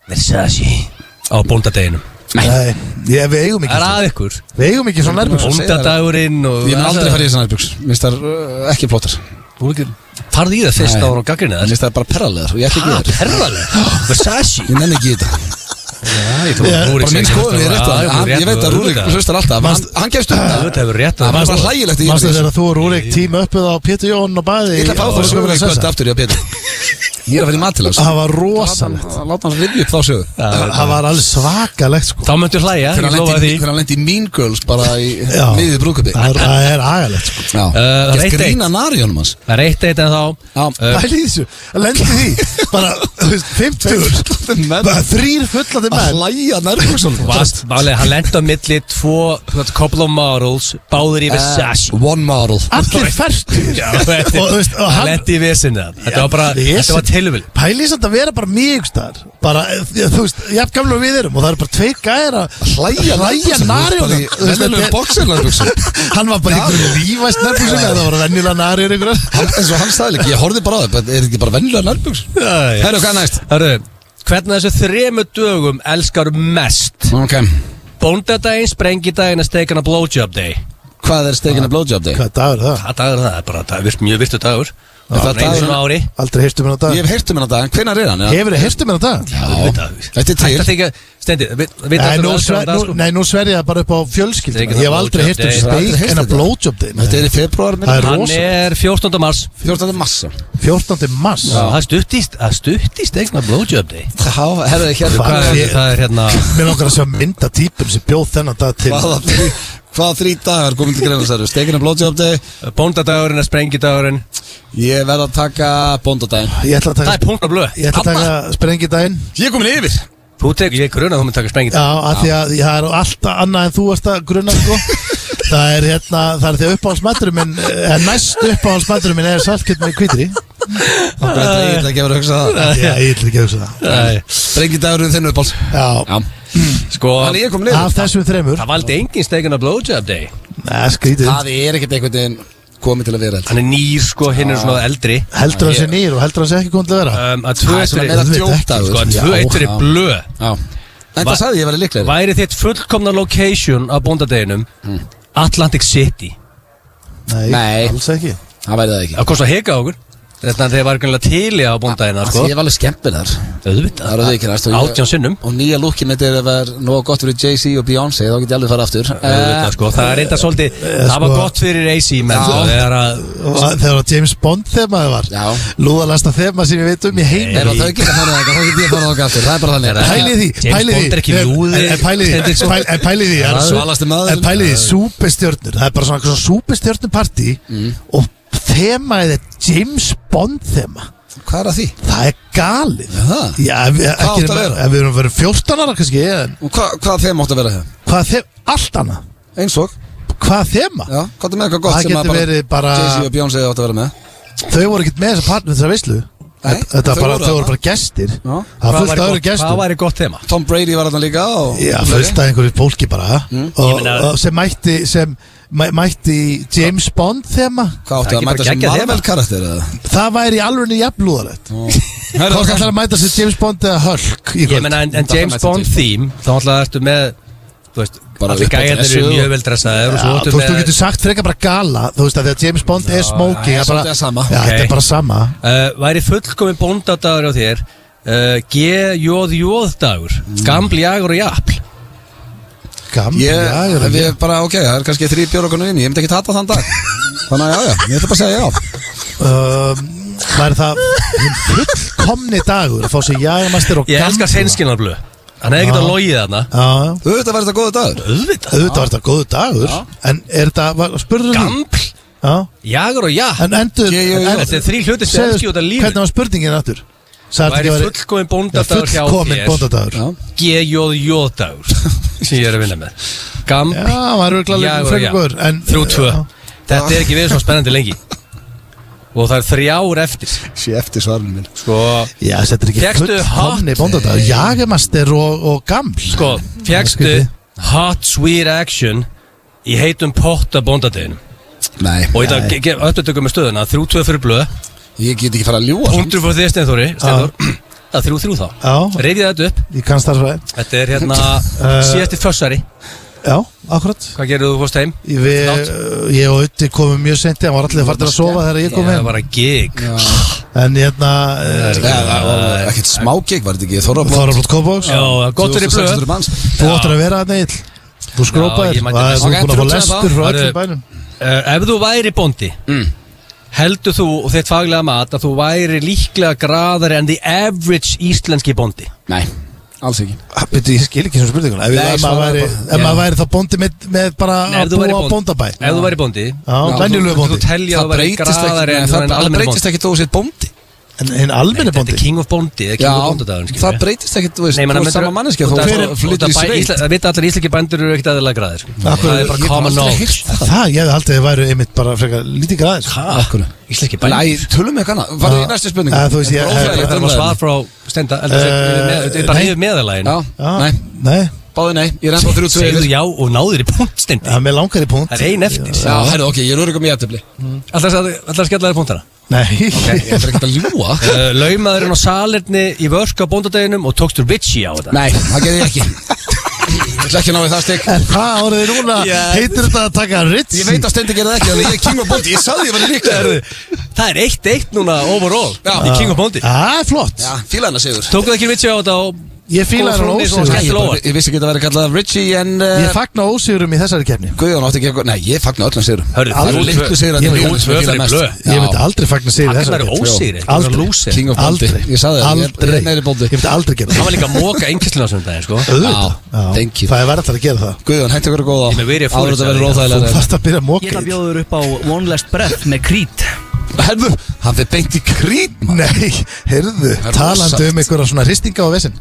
C: Versace á bóndadeginum
B: nei, ég, við eigum
C: Það
B: ekki
C: er
B: svona-
C: að ykkur
B: Við eigum ekki svona nærbúks
C: Bóndadagurinn og
A: Ég mun aldrei fara í þessan nærbyggs Mér finnst það uh, ekki plótar
C: Þú ekki farði í það fyrst
A: Nei.
C: ára og gaggrinni
A: Mér
C: það
A: finnst það bara perralegar og ég ætti
C: Ah,
A: ekki þér
C: perraleg Versace
A: Ég nenni ekki í þetta Bara minn skoðun er rétt á það. Hann- Ég veit að Rúrik hlustar alltaf Hann, hann gefst um
C: Þú veit
A: það
C: hefur rétt á
A: Það var
C: þér.
A: bara hlægilegt í
B: Mástu
A: þessu.
B: þegar þú og Rúrik tíma uppið á Pétur Jón og bæði
A: Ég ætla að fá það sögulega kvöld aftur í að Pétur Ég er að fara í matilags
B: Það var rosalegt
A: Láta hann rifja upp þá sögu
B: Það var alveg svakalegt sko
C: Þá möntu hlæja,
A: Þegar
C: ég
A: hann
C: lofa
A: lendi
C: því
A: í- þegar hann lendi í Mean Girls bara í
B: Já.
A: miðið brúkupi
B: Það er- það er agalegt sko
A: Já,
C: það er
A: gert
C: eitt
A: grína narjónum hans
C: Það er eitt eitt en þá
A: Já,
B: Það er líðisju, lendi því Bara, þú veist, 50
A: menn.
B: Bara Þrýr fullandi
A: að
B: menn
A: hlæja nærbúksunum
C: Vast, málega, hann lendi á milli Tvo, þú veist, couple of models Báðir í
A: Ah.
C: Versace
A: One model
B: Allir færtir
C: Já, þetta-
B: Og, þú veist, og
C: hann
B: hann-
C: lendi í vesinni það Þetta var bara, þetta var tilvil
B: Pælið samt að vera bara mjög staðar Bara, eh, þú veist, jafn gamlega við erum Og það eru bara tveir gæðir að
A: Hlæja
B: hlæja narjónum Þú veist,
A: Vennilega
B: þetta er-
A: boxer nærbúksun
B: Hann var bara ykkur lífæst nærbúksum Eða það voru venjulega narjón ykkur
A: eins og hann sagði líka, ég horfði bara á það bara, Er þetta ekki bara vennilega nærbúksun? Herru, hvað er næst?
C: Hörru, hvernig þessu þremu dögum elskar mest?
A: Ok,
C: Bóndadaginn, sprengidaginn, að steikana blowjob day
A: hvað er steikina blowjob day?
B: Hvað dagur er það?
C: Það dagur það, það er bara það er virt, mjög virtu dagur Það
A: það
C: er einu
A: dagur-
C: svona á ári
B: Aldrei heyrstu mér á dag
A: Ég hef heyrt um hennar dag, hvenær er hann? eða?
B: Hefur þið heyrstu mér á dag?
A: Já, þetta er
C: Þetta
A: til
C: þykja, stendi, við við
B: Nei,
C: þetta
B: nú,
C: elskar
B: sver,
C: það
B: nú,
C: sko
B: nei, nú sver ég það bara upp á
C: Þetta er ekki
B: fjölskyldu Ég hef aldrei heyrt um
C: það blowjob day.
A: Ég hef aldrei
B: steik
A: heyrt
B: en að
A: þetta.
B: blowjob day
A: Þetta
B: nei.
A: er í februar
B: Það er
C: Hann
B: rosa
C: er 14. mars
A: 14. massa
B: 14. mars
C: Það stuttist, það stuttist eitthvað blowjob day
A: Já, herðu, hérna
B: Hvað
A: hvað
C: Það
A: er-
C: er, það er hérna
B: Mér langar að sjá mynda típum sem bjóð þennan dag til
A: Hvaða þrý- hvaða þrý dagar komum til greina sér Steikina blowjob day
C: Bóndadagurinn, að sprengidagurinn
A: Ég verð að taka bóndadaginn
B: Ég ætla að
C: Það er
B: taka,
C: punkt og blöð
B: ég ætla að taka sprengi daginn
A: Ég er komin yfir
C: Þú tekur, ég gruna að þú mun taka
B: Já,
C: sprengidag
B: af því að það er alltaf annað en þú varst að grunna sko Það er hérna, það er því að uppáhaldsmætturinn minn eh, Næst uppáhaldsmætturinn minn er saltkjöld með kvítri
A: Ég ætla ekki að vera að hugsa það
B: Já, ég ætla ekki að hugsa það
C: Æ,
A: Sprengidagurinn þinn uppáls
B: Já,
A: Já
C: Sko,
A: Þannig ég er komin yfir
B: af þessum þremur
C: það valdi engin steikana blowjob day
B: Nei, skrítið
A: Það er ekkert einhvern veginn komið til að vera held
C: Hann er nýr sko, hinn er svona eldri
B: Heldur hann sér nýr og heldur hann sér ekki komið til að vera
C: um, að tvö
A: Það er svona
C: eittir
A: meira
C: sko,
A: djókdagur.
C: að tvö
A: Já,
C: eittir
A: já.
C: er blöð
A: Já En það
C: Va-
A: sagði ég verið líklegri
C: væri þitt fullkomna location á bóndadeginum
A: Hmm.
C: Atlantic City
B: Nei,
A: Nei.
B: alls ekki
A: Það væri það ekki
C: það kostar heka á okkur þannig að þeir var ekki tíli á bóndagina
A: Það
C: sko.
A: ég var alveg skemmtilegar Það er
C: auðvitað
A: að ekki næst
C: átján sinnum
A: Og nýja lúkin þetta er að vera nóg gott fyrir Jay-Z og Beyoncé Þá get ég alveg fara aftur Eh,
C: auðvitað, sko. það er reynda svolítið það var
B: sko-
C: gott fyrir AC menn sko.
A: Já.
C: þegar að
B: Og að- Þegar að James Bond þemaði var
A: Já.
B: Lúðalasta þema sem ég veit um í heimi
A: Ef að þau geta farið þangað, þá get ég farið þangað aftur Það er bara þannig
B: Pæli því,
C: James
B: pæli því
C: Bond er ekki
B: En-
C: lúði.
B: en- en Pæli því,
C: Stendur sko.
B: pæli- en pæli því það er sú-
A: svalasti maðurinn.
B: En pæli því, súpestjörnur Það er bara
A: Mm.
B: svona, svona súpestjörnupartí Og þemaðið er James Bond þema
A: Hvað er að því?
B: Það er galið
A: Það?
B: Já, ef,
A: Hvað
B: ef, ekki
A: átti að
B: nema-
A: vera?
B: ef við erum verið 14 ára kannski en
A: Og hva, hvað þeim átt að vera þeim?
B: Hvað þeim, allt annað
A: Eins og?
B: Hvað þema?
A: Já, hvað er með eitthvað gott
B: Það
A: sem
B: getur verið bara-
A: Jay-Z og Beyonce átt að vera með
B: Þau voru ekkert með þessa partnum þessar veislu
A: Nei,
B: Þetta
A: þau
B: bara,
A: voru
B: þau voru
A: þarna.
B: bara gestir
A: Já.
B: Það var fullt af öðru
C: Hvað
B: gestum
C: væri gott þema?
A: Tom Brady var þarna líka og
B: Já, fullt af einhverju fólki bara og,
C: Mm. Ég meina-
B: og sem mætti sem mæ, mætti í James Bond þema
A: Hvað
C: Það
A: áttu
C: er
A: að
C: ekki
A: mæta
C: bara
A: sem
C: geggjað þema.
A: Marvel karakter eða?
B: Það væri í alveg jafnlúðalegt
A: Herra,
B: Hvort ætlar að mæta sem James Bond eða Hulk í
C: Ég
B: kvöld?
C: meina, en, en
A: Þetta
C: James
A: mætti
C: Bond
A: til.
C: theme Þá alltaf ertu með Þú veist,
A: Bara
C: allir
A: upp á
C: gæjarnir
A: dressu
C: eru
A: og-
C: mjög vel dressaðir og
B: Já,
C: svo
B: þú
C: ertu
B: veist, þú
C: með
B: getur sagt frekar bara gala Þú veist að því að James Bond er smoking
A: það er
B: það bara-
A: svolítið það sama.
B: Já, þetta
C: Ok.
B: er bara sama
C: uh, Væri fullkomin bóndadagur á þér uh, G-jóð-jóð-dagur
B: Mm.
C: Gamli jagur og jafl
B: Gamla,
A: Ég,
B: já, ég er
A: við
B: ekki
A: bara, ok, það er kannski þrý bjóra konur inn Ég myndi ekki tata þann dag Þannig að já, já, ég ætla bara að segja já
B: Það er Um, það hinn fullkomni dagur að fá sér jagamastir og
C: Ég
B: gamla.
C: elskar seinskinnarblu Hann hefði
B: Já.
C: getað logið þarna
B: Já, já.
A: Þú veit að verða þetta góðu dagur
C: Auðvitað
B: auðvitað var þetta góðu dagur En er þetta, var- spurðu því
C: Gaml,
B: Já.
C: jagur og jafl
B: En endur
A: Ég- ég- ég-
B: en-
C: Þetta er þrý hluti sem
B: segðu-
C: elski út af lífi
B: Hvernig var spurningin aftur? Sagði
C: Væri
B: þetta ekki
C: fullkomin
B: væri- Já,
C: bóndadagur hjá
B: Fullkomin
C: þér
B: bóndadagur
A: Já.
C: G-jóð-jóð-dagur Sem ég er að vinna með Gaml,
B: Já, það var
C: Já,
B: örgulega
C: já.
B: frekar góður en-
C: Þrjú tvö
B: Já.
C: Þetta er ekki verið svo spennandi lengi Og það er þrjár eftir
A: Sé eftir svarinu mín
C: Sko,
B: Já, þetta er ekki
C: Fékkstu
B: fullkomni bóndadagur Jagamastir og, og gaml
C: sko Fjækstu
B: skrítið.
C: hot sweet action Í heitum potta bóndadeginum
A: Nei,
C: Og í dag ge- ge- öllu tökum við stöðuna Þrjú tvö fyrir blöð
A: ég get ekki fara að ljúa
C: Punktur fyrir þér Steinþóri Steinþór Það er þrjú þrjú þá
B: Já.
C: Reyfið þetta upp
B: Ég kannst það svo að
C: Þetta er hérna
B: Eh,
C: síðasti fössari
B: Já, akkurat
C: Hvað gerir þú fórst heim?
B: Ég, við,
C: Látt.
B: ég og Utti komum mjög senti Það var allir fartir að sofa þegar ég kom
C: Það
B: heim
C: var að gig
B: En hérna eh,
A: Já, það var ekkert smákik, var þetta ekki Þorrablóð
B: Þorrablót Kópáks
C: Já, gott fyrir blöð
A: 2600 manns
B: Þú áttir að vera að neill Þú
C: Já,
B: skrópaðir
C: ég mætti
B: Það er þú
C: með-
A: Ok,
B: búin að fá
A: þrjú tvö
B: lestur
A: þá.
B: frá
C: Herru.
B: öllum bænum
C: Uh, ef þú væri bóndi heldur þú og þitt faglega mat að þú væri líklega graðari en the average íslenski bóndi
A: Nei, alls ekki
B: Býttu, ég skil ekki sem spurninguna Ef
A: Nei,
B: ef maður
A: svaraðu
B: væri,
A: bara.
B: ef maður væri þá bóndi með, með bara
C: ef
B: að
C: þú væri
B: búa á
C: bóndi-
B: bóndabæ
C: ef þú væri bóndi
B: Já,
A: Ah, Já,
B: venjulegu
C: þú
B: bóndi
C: telja að þú væri graðari en, en
A: það
C: almenni
A: breytist
C: bóndi
A: ekki þú sér bóndi
B: En hinn almenni
C: þetta er
B: bóndi
C: king of bóndi eða king of bóndadagurinn skilur
A: það
C: við.
A: breytist ekki, þú veist,
C: Nei, ég meina,
A: þú er
C: myndirðu-
A: sama manneskja
C: út
A: Þú
C: af- út af-
A: ert- flytur í
C: út af-
A: sveit
C: Ísla- vita allir íslenski bændur eru ekkert aðeinslega graðir sko. það er
A: Ég
C: bara
A: hef
C: common
A: aldrei
C: knowledge
A: heyrt það.
B: Það, ég hefði haldið að þið væru einmitt bara frekar lítið græðis
A: Af hverju?
C: íslenski
A: Nei,
C: bændur
A: tölum við ekki annað Farðu í næstu spurningu
B: Að þú veist, ég-
A: Þetta er
B: ég-
C: Þetta er
A: óþægilegt
C: bara svar
A: umræðan.
C: frá stenda heldur þú-
B: Eh,
C: með- þetta er bara
B: nei.
C: yfir meðalægin
A: Já, nei,
B: Nei,
A: báði nei Ég er ennþá þrjú tvö
C: segðu
A: yfir.
C: já og náður í punkt stendi
B: það er með langar í punkt
C: það er ein eftir
A: Já, herru, ok, ég er örugum í aðtöfli
C: alltaf að skella þér punktana
B: Nei,
A: Ég er ekki að ljúa
C: uh, laumaðurinn á salerni í vörk á bóndadeginum og tókstur bitchi á þetta
A: Nei, það gerði ég ekki Ég ætla ekki að ná í það stygg
B: En hvað árið þið núna? Heitir þetta að taka ritsi?
A: Ég veit að Steindi gerði það ekki Þannig ég er king of bóndi Ég sagði ég var líklega
C: Herðu, það er eitt eitt núna overall
A: Já.
C: í King of Bondi
B: Það er flott
A: Já, fíla hana sigur
C: tókuð ekki bitchi á þetta og
B: Ég fíla
C: Og
B: hann
C: Frúni svona
A: Nei,
B: ósigur Ég
A: ég, bara, ég vissi ekki að vera kallað Richie en uh,
B: fagna ósigurum í þessari kefni
A: Guðjón átti ekki eitthvað Nei, ég fagna öllum sigurum
C: Hörru,
A: Það eru
C: þrjú tvö.
A: litlu sigur
C: Ég veit, þrjú tvö fyrir blöð.
B: Ég myndi aldrei fagna sigur í
C: hann er
B: þessari keppni.
C: ósýri
B: Aldrei.
C: lúsir
A: King of bóndi
B: Aldrei
A: Ég sagði það ég-
B: Aldrei
A: Ég er meiri bóndi
B: Ég myndi aldrei gera
C: hann
B: það
C: var líka að móka engislina á söndaginn sko
B: Auðvitað.
A: Já,
B: Já.
A: thank you.
B: Það er verið alltaf að gera það
A: Guðjón, hætti okkur að góða á
C: Ég með verið að fór-
A: Áður þetta verður
B: Þú
C: sagði ég.
A: óþægilega
B: fast að byrja að
I: Ég ætla
B: móka
I: að
B: í
I: bjóða þér upp á One Last Breath með Creed
A: Herðu, hann fyrir beint í krít
B: Nei, heyrðu
A: er
B: Talandi
A: rosalegt.
B: um einhverja svona hristinga og vesinn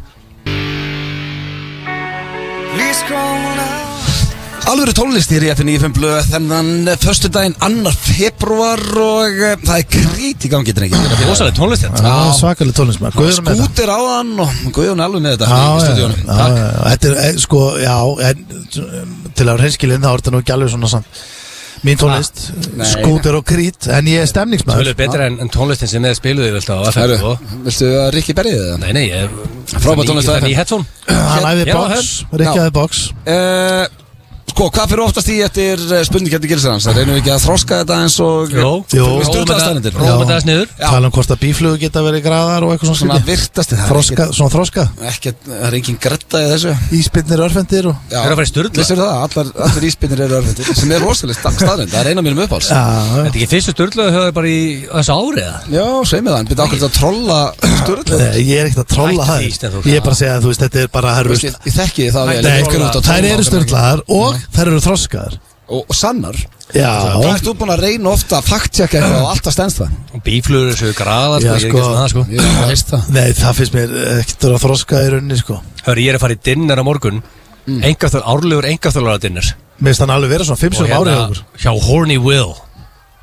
A: Alvöru tónlist hér í FN95 blöð þennan förstu daginn annar februar og uh, það er krít í gangi drengi
C: rosalega tónlist þetta
B: Já, svakalega tónlismar Guður með það
A: Skútir á hann og Guðjón er alveg með þetta
B: Já,
A: í
B: já, já,
A: stúdíónu.
B: já, já, þetta er eh, sko, já, en, til að reynskilin þá er þetta nú ekki alveg svona samt Mín tónlist, skútur og krít, en ég er stemningsmaður
C: tölur betra en, en tónlistin sem þeir spiluðu við alltaf á FM
A: Herru,
C: sko.
A: viltu að Rikki berið það?
C: nei nei ég
A: Frábær tónlist á
C: það
A: FM.
C: er í headphone
B: Hann æði
C: Já,
B: box,
A: Já.
B: Rikki æði box
A: Eh, Sko, hvað fyrir oftast í eftir spurningkjæfti gilsarans? Það reynum við ekki að þroska þetta eins og
B: Jú.
C: Róma
A: Við stjórnlega
C: dag-
A: staðnendir
C: róma dags niður
A: Já.
B: tala um hvort að bíflugur geta verið graðar og eitthvað
A: Svona
B: svona skrítið.
A: virtast í það
B: þroska, svona þroska,
A: Ekki, það er engin gretta í þessu
B: íspinnir örfendir og
A: Já.
C: Það er að fara í Sturlu.
A: Vissirðu það, allar, allar íspinnir eru örfendir Sem er rosalega sta- staðreynd, það er eina mínum uppáls Já,
B: já,
C: þetta er ekki fyrstu störtlaðu höfðu bara í þessu áriða
A: segir mig það, en byrja okkur til að trolla Sturlu
B: Nei, ég er ekkert að trolla það
C: Hættu því, Steinþór.
B: ég er bara að segja að þú veist, þetta er bara það
A: Þú
B: eru-
A: veist, Ég ég þekki það vel, ég
B: Nei,
A: er einhver út að
B: þær
A: trolla
B: eru
A: okkur.
B: störtlaðar og þær eru þroskaðar
A: Og og sannar Hvað
B: Já
A: ert þú búin að reyna ofta að fakttjekka eitthvað og alltaf stendst það?
C: Bíflugur þessu graðar,
B: Já,
C: sko, ég er ekki
B: sko.
C: svona það, sko
A: Ég hef ekki veist það
B: Nei, það finnst mér ekkert að þroska í rauninni sko
C: Hörru, ég er að fara í dinner á morgun mm. Engafþjál, árlegur engafþjálara dinner hérna
B: Mér finnst hann alveg vera svona 5 sem árið okkur
C: hjá Horny Will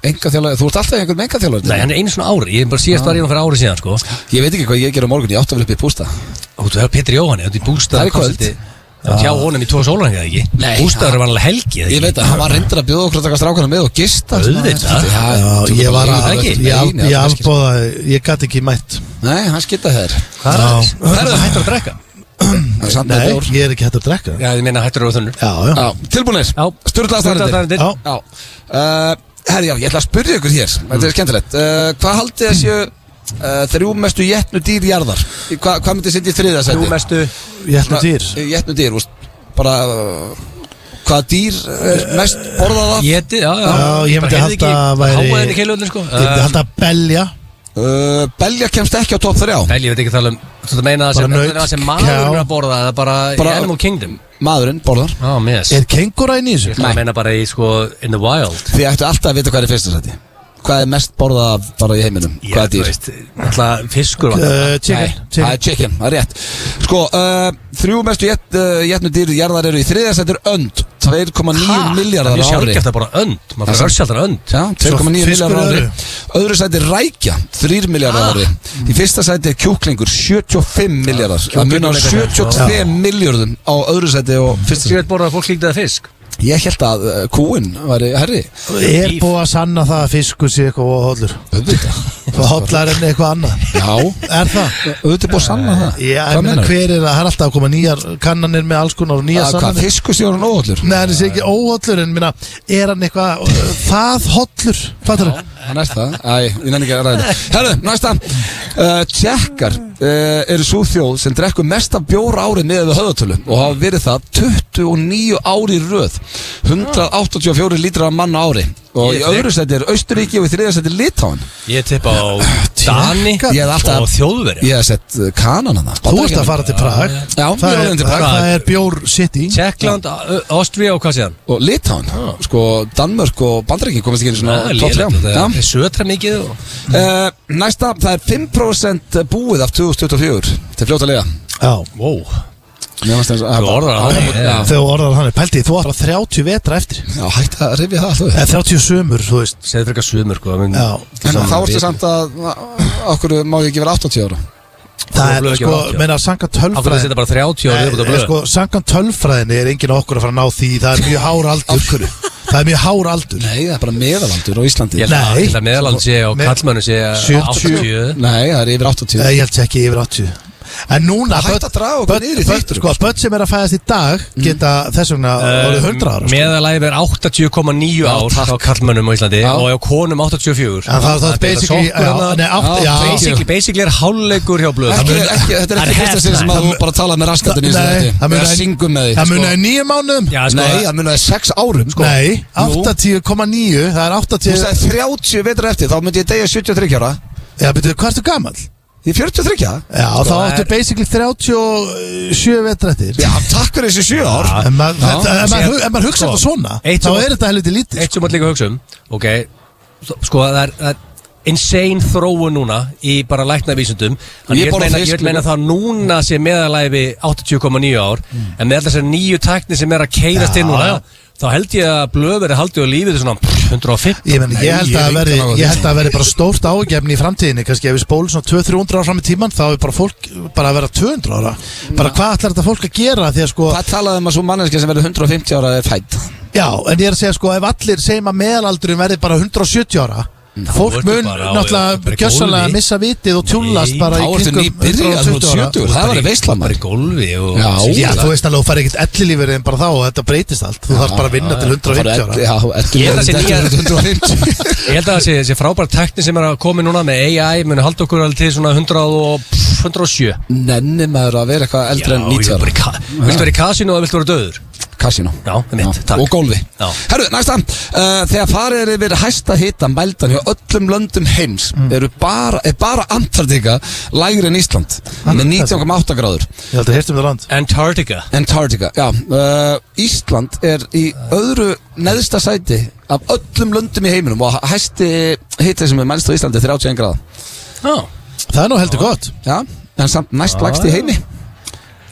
A: Engaþjálari, þú ert alltaf einhvern með engaþjálari
C: Nei, hann er einu svona ári, ég er bara síðast var ég nú fyrir ári síðan, sko
A: Ég veit ekki hvað ég ger á morgun, ég átti að vera upp í pústa
C: Þú veit, það er Petri Jóhanni, þetta er
A: Það
C: bústað
A: er í kvöld.
C: Hjá honum í tvo sólarhengi, eða ekki?
A: Nei,
C: Bústaður var alveg helgi, eða
A: Ég
C: ekki?
A: veit að hann var reyndur að bjóða okkur að taka strákana með og gista
C: Auðvitað.
A: Já,
B: Já, ég var að,
C: ekki? sko.
B: ég, al- ég albóðaði, ég gæti ekki mætt
A: Nei, hann skita þær
C: Hvað er
B: Já.
C: það? Það er það hættur að drekka
A: Hann er samt með
B: Nei,
A: bjór.
B: ég er ekki hægt að drekka
C: Já, ég meina hættur að vera þunnur
B: Já, já
A: Já, Tilbúinir, sturðlaðast aðrindir
C: staðarindir
B: Já.
A: Já, uh, herri já, ég ætla að spyrja ykkur hér Þetta er skemmtilegt uh, Hvað haldið þessu uh, þrjú mestu jætnu dýr jarðar? Í Hva, hvað myndið sindið þriða
C: Þú
A: sæti?
C: mestu
B: Ég ætla dýr
A: Jætnu dýr, úst, bara uh, Hvað dýr er mest borðað af?
C: Jeti, já, já
B: Já, ég myndi halda að væri-
C: Háaðin í keilöldin, sko
B: Ég myndi halda að belja
A: Uh, belja kemst ekki á top 3
C: Nei, ég veit ekki að tala um Þú þetta meina
B: Bara
C: það sem,
B: naut,
C: þetta er það sem
B: kjá.
C: maður er að borða eða bara í
A: Bara-
C: Animal Kingdom
A: Maðurinn borðar
C: Já, mis
B: Er kengúra inn í þessu?
C: Það meina bara í, sko, in the wild
A: Þið ættu alltaf að vita hvað er í fyrsta sæti Hvað er mest borðað af bara í heiminum? Hvað er dýr?
C: Alltaf fiskur var
B: Uh, chicken,
A: Nei, það er
B: chicken.
A: chicken, það er rétt Sko, uh, þrjú mestu jætnu uh, jætnu dýr jarðar eru í þriðja sættur önd 2,9
C: Það er
A: miljardar
C: mjög
A: á ári
C: sjálfgeft að bara önd Maður
A: Það
C: fyrir örsjaldar önd
A: Já, 2,9
B: fiskur
A: miljardar á ári
B: eru?
A: Öðru sæti er rækja, 3 miljardar á ári Í fyrsta sæti er kjúklingur, 75 miljardar Það munar um
C: kjúklingur er
A: 72 miljardum á öðru sæti og
C: Ég
A: fyrsta
C: veit borða að fólk líktaði fisk
A: sæti Ég held að uh, kúin væri herri
B: Er búið að sanna það að fiskur sé eitthvað hóllur
A: Auðvitað
B: Hóllar en eitthvað annað
A: Já,
B: Er það?
A: auðvitað er búið að sanna það
B: Já, en
A: meinarðu?
B: hver er það? Það er alltaf að koma nýjar kannanir með alls konar og nýjar
A: Að Hvað,
B: sannanir
A: fiskustjórun óhaldlur?
B: Nei, hann er sér ekki óhollur en minna, er hann eitthvað uh, það hollur? Fattur það?
A: Það næst það, æ, ég nenni ekki að ræða þetta. Herru, næsta uh, Tjekkar uh, eru svo þjóð sem drekku mest af bjóra árið með við höðatölu og hafa verið það 29 ári í röð 184 lítrar af mann á ári og í
C: Ég
A: öðru seti er Austuríki og í þriðja seti Litáin
C: Ég tippa á
B: Ah,
C: Dani
A: Ég hefði alltaf-
C: og Þjóðveri
A: Ég hef sett uh, Kanana það
B: Þú ert að fara til
A: Já,
B: Prag
A: ég
B: það
A: er
B: er,
A: orðinn til
B: það,
A: Prag.
B: það er Bjór City
C: Tjekkland, Ástria og hvað séðan?
A: Og Litáin, sko Danmörk og Bandaríkin komast ekki einu svona
C: Ah,
A: top þrjá. Já.
C: Það er sötra mikið og
A: Eh, Næsta, það er 5% búið af 2024 til fljóta liða
B: Já,
C: Wow
A: Mér fannst eins og-
C: Þú orðar að hafa
A: Já.
B: þegar þú orðar hann er pæltið, þú átt að 30 vetra eftir
A: Já, hætt að rifja það alltaf upp.
B: eða 30 sömur, þú veist
C: Segðu fyrir eitthvað sömur sko menn-
B: Já,
A: En þá ertu
C: við-
A: samt að Okkur má ég ekki vera 80 ára
B: það
C: blöð
B: er
C: ekki
B: sko,
C: rátt, já.
B: menna sanga
C: Af hverju að
B: tölfræðin
C: setja bara 30 ára viðbútt á
B: Nei,
C: blöð?
B: sko, sangan tölfræðinni er enginn okkur að fara að ná því það er mjög hár aldur það er mjög hár aldur
A: Nei, það er bara meðalandur á Íslandi
C: Ég held að-
B: nei.
C: ég held að meðaland sé og
B: Me-
C: kallmönnu sé
B: 70.
C: 80
A: Nei, það er yfir 80
B: Nei, ég held sé ekki yfir 80 En núna
A: Það hætti
B: börn-
A: að draga okkur
B: börn-
A: niður í
B: börn-
A: þýttur,
B: Sko,
A: sko. Mm. Eh,
B: börn sem er að fæðast í dag geta þess vegna orðið 100 ára sko.
C: Meðalæf er 80,9 ár á kallmönnum á Íslandi
A: Já.
C: og á konum 84
B: En það- það er
C: betra
B: basically-
C: sokkur hérna.
B: já,
C: þarna.
B: nei, átt-
A: já.
C: Basically- Basically er hálfleikur hjá blöð
A: Ekki, ekki, þetta er ekki fyrsta sinn sem að þú bara tala með raskatinn í þessu
B: Nei,
A: þetta
B: það
A: Það
B: munaði-
A: er að syngum með því
B: Það munaði nýju mánuðum
C: Já, sko,
A: Nei, það munaði 6 árum sko.
B: Nei,
A: Jú.
B: 80,9 Það er
A: Þú
B: 80
A: sagði 30 vetur eftir, þá myndi ég degja 73 ára
B: Já, betur, hvað ertu gamall?
A: Ég er 43 ára
B: Já, þá
C: það
B: áttu
C: er-
B: basically 37 vetrættir
A: Já, takk fyrir þessi 7 ár
B: En maður- þetta- en
C: Síðan-
B: maður hu- en maður hugsa
C: sko,
B: þetta svona
C: eitt
B: Þá
C: sem-
B: er þetta helviti lítið
C: Eitt sem maður líka að hugsa um Ok, sko það er, það er insane þróun núna í bara læknavísundum
A: Ég
C: Þannig ég, vil
A: borða
C: meina-
A: fisk
C: ég vil meina
A: líka.
C: það núna sé meðalæfi 80,9 ár En með þessar nýju tækni sem er að keirast inn núna Þá held ég að blöður er haldið á lífið svona 150
B: Ég, meni, ég,
A: Nei,
B: held
A: ég
B: að
A: veit
B: veri,
A: það alveg.
B: ég held að veri bara stórt ágefni í framtíðinni kannski ef við spólum svona 200-300 ára fram í tíman þá er bara fólk bara að vera 200 ára bara hvað ætlar þetta fólk að gera því að sko
A: Það talaði um að svo manneski sem verður 150 ára er fætt
B: já, en ég er að segja sko ef allir segjum að meðalaldurum verði bara 170 ára fólk
C: ertu
B: mun
C: bara á- já, bara
B: náttúrulega
C: í
B: gjössalega
C: gólfi.
B: missa vitið og tjúllast
C: Nei,
B: bara
A: Þá
B: í
A: ertu
B: kringum
A: nýbyrjað
B: 120 ára
A: 70 Það var í
C: Bara í
A: veislamari
C: gólfi og
A: Já.
B: Já,
C: Svíða.
B: þú veist alveg, þú farið ekkert ellilífur en bara þá og þetta breytist allt þú þarf bara að vinna til 150 ára
A: Já, eftir
C: Ég held að sé
A: þetta er
C: nýja-
A: 150
C: Ég held að það sé, sé frábæra tækni sem er að koma núna með AI muni halda okkur alveg til svona 100 og 107
A: Nenni maður að vera eitthvað eldra en
C: Já, ég
A: 90
C: er bara
A: ára
C: í ka- Viltu vera í kasinu og viltu vera döður?
A: Casino
C: Já, einmitt, takk.
A: Og gólfi
C: Já.
A: Herru, næsta uh, Þegar farið er yfir hæsta hita mældan hjá öllum löndum heims eru bara, er bara Antartika lægri en Ísland með 19,8 gráður
B: Ég held að hértum það land
C: Antarctica
A: Antartika, já uh, Ísland er í öðru neðsta sæti af öllum löndum í heiminum og hæsti hiti sem er mælst á Íslandi er 31 gráða
C: Já
B: Það er nú heldur gott
A: Já, en samt næst lagst í heimi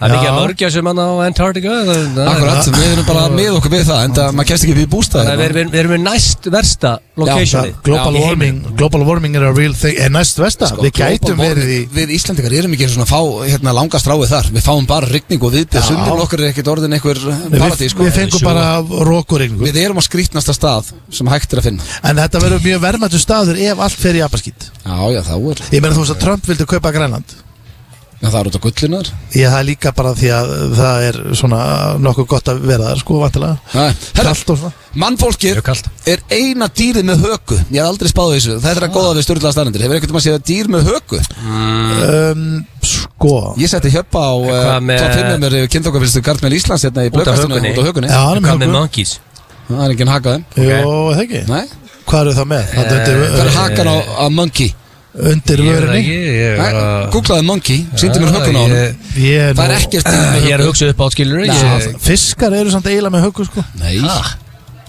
C: Það er mikið
B: Já.
C: að mörgja sem hann á Antarctica það- það-
A: Akkurat, við erum bara með okkur við það en það maður kemst ekki upp í bústæði
C: Þannig að við erum- við erum við næst versta
B: Það-
C: locationi
B: Global
C: Já, í heiminum.
B: warming, global warming er a real thing En næst vesta, við gætum verið í
A: Sko, Við Íslandingar erum ekki svona að fá hérna, langa stráið þar Við fáum bara rigning og viðbjöð Sundin okkar er ekkert orðin einhver
B: Við,
A: paradís sko.
B: við fengum bara rókuregningu
A: Við erum á skrítnasta stað sem hægt er að finna
B: En þetta verður mjög verðmættu staður ef allt fer í apaskýtt
A: Já, já, þá er
B: Ég meina þú veist að Trump vildi kaupa Grænland
A: já, Það er út á gullunar
B: Ég það er líka bara því að það er svona nokkuð gott að vera þar sko vantilega
A: Herra,
B: Kallt og svona
A: mannfólkið
C: Mjög kalt.
A: er eina dýrið með höku Ég hef aldrei spáð þessu Það er að góða við styrlaða staðnendur Hefur einhvern veginn að séð dýr með höku Mm.
B: um, Sko
A: Ég setti hjöpa á uh,
C: Hvað með-
A: Top 5 mér kynþókafyrstu Gardmel Íslands hérna í
C: Út af
A: blökkastunum
C: hökunni.
A: Út á hökunni
B: Já, hann er
C: Hvað
B: með
C: með
B: okkur
C: monkeys?
A: Það er enginn hakað þeim
B: Jó, það ekki
A: Nei Eh,
B: Hvað eru það með? Það
A: Það er
B: undir,
A: hakan á, á monkey
B: undir
C: Ég veit það
B: vörunni
C: ekki, ég
A: Nei,
C: er að-
A: Googlaði monkey, síndi mér
C: Já,
A: hökun á
C: ég-
A: hann
B: Ég er
A: Það er
B: nú-
A: ekkert dýr með
C: Ég er að
A: höku
C: hugsa upp átt skilur
A: Já.
B: Fiskar eru samt eiginlega með hökur sko
A: Nei,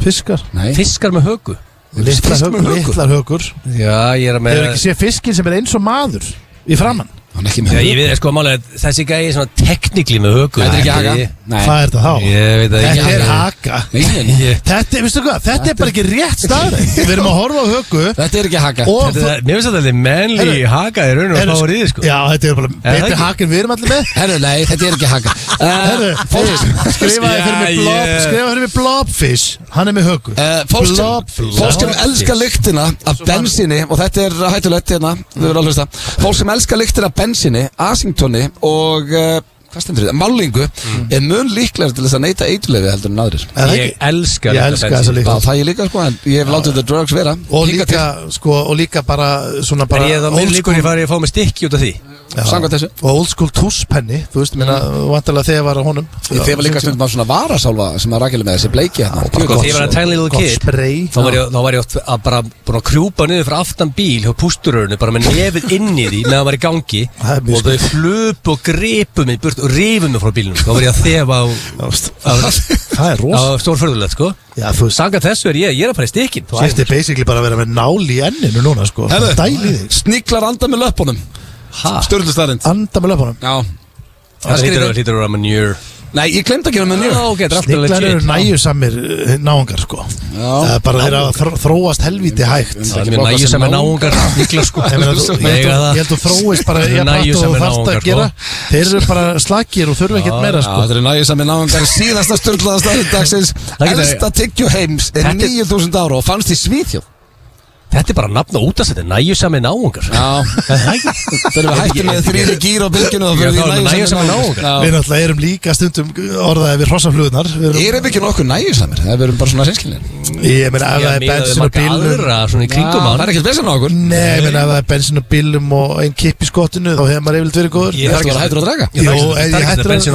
B: Fiskar
A: nei
C: Fiskar með högu
B: Litlar
A: Fisk
B: hökur,
A: með höku
B: litlar hökur.
C: Já, ég er
B: Þeir
C: að með
B: eru ekki séð fiskin sem er eins og maður Í framann
A: Hann er ekki með
C: Já, ég
A: höku
C: veit, sko, málega, þessi gæi er svona teknikli með högu
A: Þetta er ekki haka
B: Hvað
A: Nei,
B: er þetta þá?
C: Ég veit það
B: Þetta
C: ekki
B: er haka
A: Nei, nei.
C: Ég-
B: Þetta, veistu hvað, þetta er bara ekki rétt staðræð Við erum að horfa á höku
A: Þetta er ekki haka
B: og
C: Þetta er- Mér finnst þetta er menli
B: Herru,
C: haka í raun og
B: Herru,
C: spáur í þið, sko
B: Já, þetta er bara
C: það
B: betri
C: ekki?
B: haka en við erum allir með
A: Herru, nei, þetta er ekki haka
B: Herru,
A: Eh, Fólk
B: þeir- Skrifaði fyrir mig
C: Sko, Já,
B: blob,
C: ég-
B: skrifaði fyrir mig blobfish Hann er með höku
A: Eh, Fólk sem-
B: Blobfish.
A: fólk sem elskar lyktina af bensíni og þetta er hættulegt hérna, við verðum að hlusta fólk sem elskar lyktina af bensíni, asingtoni og uh, hvað stendur þetta, málingu
C: Mm.
A: er mun líklega til þess að neyta eitulefi heldur en aðrir
B: Er það
C: Ég
B: ekki?
C: elska
B: Ég
C: þetta
B: elska
C: bensín.
B: þessa lykt.
A: Já, það ég líka sko, en ég hef látið þetta drugs vera
B: Og
A: Hingað
B: líka, sko, og líka bara Svona
C: En
B: bara
C: ég er það minn
B: old
C: líkur
B: school-
C: ég fari að fá mig stykki út af því
B: Já.
A: samkvæmt þessu.
B: Og old school túspenni, þú veist, minna
C: Mm.
B: Vantarlega þegar var að honum
A: til Þegar var líka stundum á svona varasálfa sem að rakilum með þessi bleiki hérna Djöfull
C: Sko,
A: gott.
C: þegar ég var að tiny little
B: Gott
C: kid
B: spray.
C: Þá var ég, þá var ég oft að bara búin að krjúpa niður frá aftan bíl hjá pústurörunu bara með nefið inn í því meðan það var í gangi
B: Það er mjög
C: og þau flupu og gripu mig burt og rifu mig frá bílnum þá var ég að þefa á, á,
B: Það er
C: á
B: rosa
C: stórförðulegt sko
B: Já, þú veist,
C: Sanga þessu er ég, ég er að fara í stykkin
B: þú ætti basically bara að vera með nál í enninu núna, sko
A: Herðu.
B: Dæli þig
A: Sniglar anda með löpunum Störlustarind
B: Anda með löpunum
A: Já Það
C: Það
A: skrýtur
C: hlýtur hlýtur að vera manjur
A: Nei, ég glemd að gera með nýra
C: Já, ok, þetta er alltaf
B: Sniglar eru næjusamir eh, náungar, sko Það er bara þeir að þró- þróast helviti hægt
C: Það er ekki með næju sem er náungar Niklas sko
B: Ég meina, þú- ég held þú- ég held þú þróist bara
C: Þeir
B: Ég pratt og
C: eru næjusamir
B: þú þarft
C: náungar,
B: að gera Þeir eru bara slakir og þurfa ekkert meira, sko
A: Þetta er nægir sem er náðungar síðasta störlaða starind dagsins
C: Það getur-
A: Elsta tyggju heims er
C: Þetta er-
A: 9000 ára og fannst í Svíþjóð
C: Þetta er bara nafn og útast Þetta er næju sem er náungar
A: Já Þegar við hættum með þrýri gýr á bylginu og
C: Já,
A: fyrir
C: þá er
A: því nægir sem er
C: náungar.
A: náðungar
B: Við náttúrulega erum líka stundum orðaðið við hrossaflugunar
A: Ég er ekki nokkuð nægir samir, það verðum bara svona sinnskilin
B: Ég meina, ef það er
C: miðað við
B: bensin og
C: marga
B: bílur
C: aðra Svona í kringum
A: Það er
C: hann
A: ekkert besen á okkur
B: Nei, ég meina ef það er bensin og bílum og einn kipp í skottinu þá hefur maður yfirleitt verið góður
C: Ég þarf
A: Þetta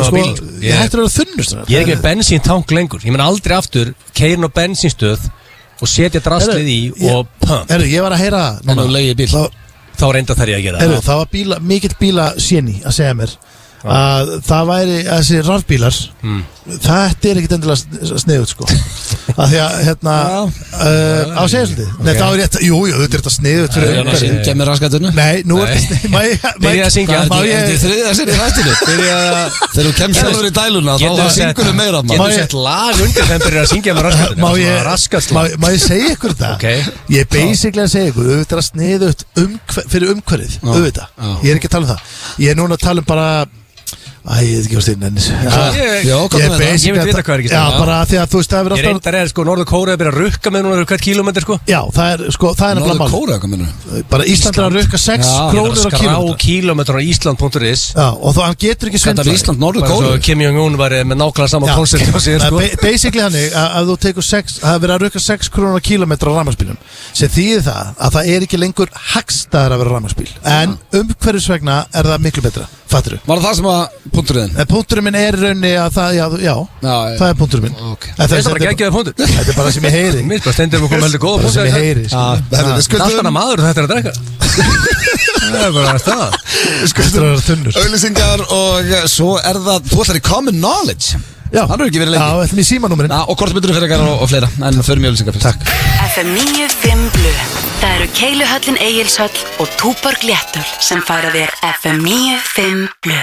C: ekki
A: var
C: að-
A: hættur að draga
B: Jó, en
C: þarf ekki-
B: ég hættur að sko, ég hættur að vera þunnur svona.
C: þarf ekki þetta bensín á bíl. Ég- Ég er ekki með bensín tank lengur Ég menn aldrei aftur Keirin á bensinstöð Og setja draslið í
B: Ég-
C: Og pump
B: Herru, ég var að heyra
A: En þú leiði bíl
B: Þá,
C: Þá reynda þær ég að gera
B: herru,
C: það.
B: það var bíla, mikill bíla séni að segja mér að það væri að þessi rafbílar
C: Hmm.
B: þetta er ekkit endilega sniðut sko að því að hérna uh, á segjöldi Nei, það er rétt, jú, jú, þetta er þetta sniðut
A: Það er hann að syngja með raskatunnu
B: Nei, nú er þetta sniðut
C: Byrja að syngja.
B: Má
A: Þetta er
B: ég
A: þriðja sinni í þættinu Þegar þú kemst sjálfur í dæluna þá
C: Getur
A: það
C: þú sett-
A: syngur við meira
C: Getur
A: maður
B: Má
C: þú
B: ég-
C: sett lag undir þeim byrjar að syngja með raskatinn
B: Má ég,
C: Raskast
B: má,
C: lag
B: má ég segja ykkur þetta?
C: Ok.
B: Ég er basically að segja ykkur auðvitað er að sniðu umhver, fyrir umhverfið auðvitað, ég er ekki að tala um það Ég er núna að tala um bara Æ, ég veit ekki hvað styrn ennis
C: Ég-
A: Já, hvað með það?
C: Ég veit vita hvað er ekki
B: Já,
C: stundum.
B: bara af því að þú veist það er
C: Ég
B: verið alltaf
C: reyndar er sko Norður Kóra er að byrja að rukka með núna Hvert kílómetri sko
B: Já, það er, sko, það er
A: Norður
B: nefnilega
A: Kóra, hvað minnur
B: mál Bara Ísland er Ah, að rauka 6
A: Já,
C: Ég þarf
B: krónur á
C: að skrá
B: kílómetra
C: kílómetra á Ísland.is
B: Já, og þú, hann getur ekki
A: Þetta
B: svindla
A: er Ísland, Norður
C: Bara eins
A: Kóra
C: og Kim Jong-un var eh, með nákvæmlega sama
B: Já.
C: koncept á sér
B: Það er
C: sko.
B: ba- basically hannig að, að þú tekur 6 það er verið að rauka 6 krónur á kílometra rafmagsbílum sem þýðir það að það er ekki lengur hagstæðar að vera rafmagsbíl en umhverfisvegna er það miklu betra fattur
A: Var það það sem að punkturinn?
B: En punkturinn minn er í rauninni að það, já, já,
A: Já, já.
B: það er punkturinn minn
A: Ok.
B: En
C: Þetta bara
B: þetta-
C: geggjaði punktur
B: Þetta er bara það sem ég heyri
C: Mér bara stendur um að koma heldur góða
B: Bara
C: punktur
B: sem ég heyri
A: Já, þetta er
C: Allt
A: skuldum
C: annað maður en þetta er að drekka Það er bara að stað
B: Þetta er að vera þunnur
A: Auðlýsingar og eh, svo er það Þú ætlar í common knowledge
B: Já,
A: Hann er ekki verið
B: Já,
A: lengi
B: þetta er í símanúmerinn
A: Já, Ah, og kortmyndur fyrir ykkar og, og fleira En förum í auðlýsingar fyrst Takk
J: FM 95 Blu Það eru Keiluhöllin Egilshöll og Túborg Léttul sem færa þér FM 95 Blu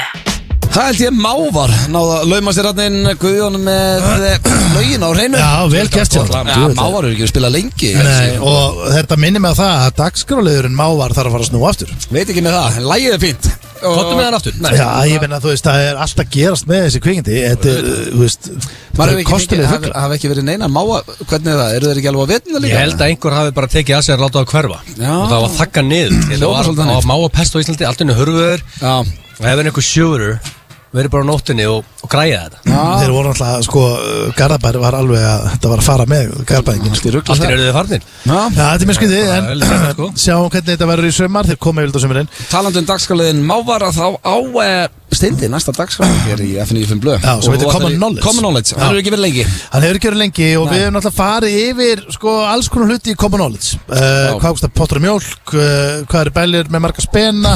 A: Það held ég mávar Náða að lauma sér hann inn Guðjón með eh, lögin á hreinu
B: Já, vel gert hjá honum.
A: Já, mávar eru ekki að spila lengi ég held
B: Nei,
A: ég.
B: og þetta minnir mig á það að dagskráliðurinn mávar þarf að fara að snúa aftur
A: Veit ekki með það, en lægið er fínt
C: Kottum við hann aftur Nei.
B: Já, ég menna þú veist, það er allt að gerast með þessi kvikindi Þetta er, uh, þú veist, það
A: Maður hefur ekki,
B: er
A: fengið-
B: kostulega
A: hafi-
B: fugla
A: hafi ekki verið neina máva Hvernig er það, eru þeir ekki alveg á vetnina líka?
C: Ég held að einhver hafi bara tekið að sér að láta það hverfa
A: Já.
C: Og það var þakka niður Þetta
A: Hljómar
C: var
A: svolítið
C: á
A: þannig.
C: máa pest á Íslandi Allt henni hörfuður
A: Já,
C: Og hefur einhver sjöfurur Verið bara á nóttinni og, og græja þetta
B: Þeir voru alltaf, sko, uh, Garðabær var alveg að Þetta var að fara með Garðabæðingin sko.
A: rugl
C: Allt er eru þið farnir
A: Já,
B: Já, þetta er mjög skriðið,
C: Það er
B: en
C: vel þetta, sko.
B: sjáum hvernig þetta verður í sömar Þeir koma yfir þetta sömurinn
A: Talandi um dagskáliðin Mávara þá á eh, steindi næsta dagskáli hér í FNÍFM Blöð
B: Já, sem
A: Og
B: heitir
A: þú ætlar
B: Common
A: í-
B: Knowledge.
A: Common Knowledge, það
B: Já.
A: eru ekki verið lengi
B: Hann hefur ekki verið lengi og við hefum alltaf farið yfir sko alls konar hluti í common knowledge uh,
A: Já.
B: Hvað kostar potur og mjólk, uh, hvað eru bælir með marga spena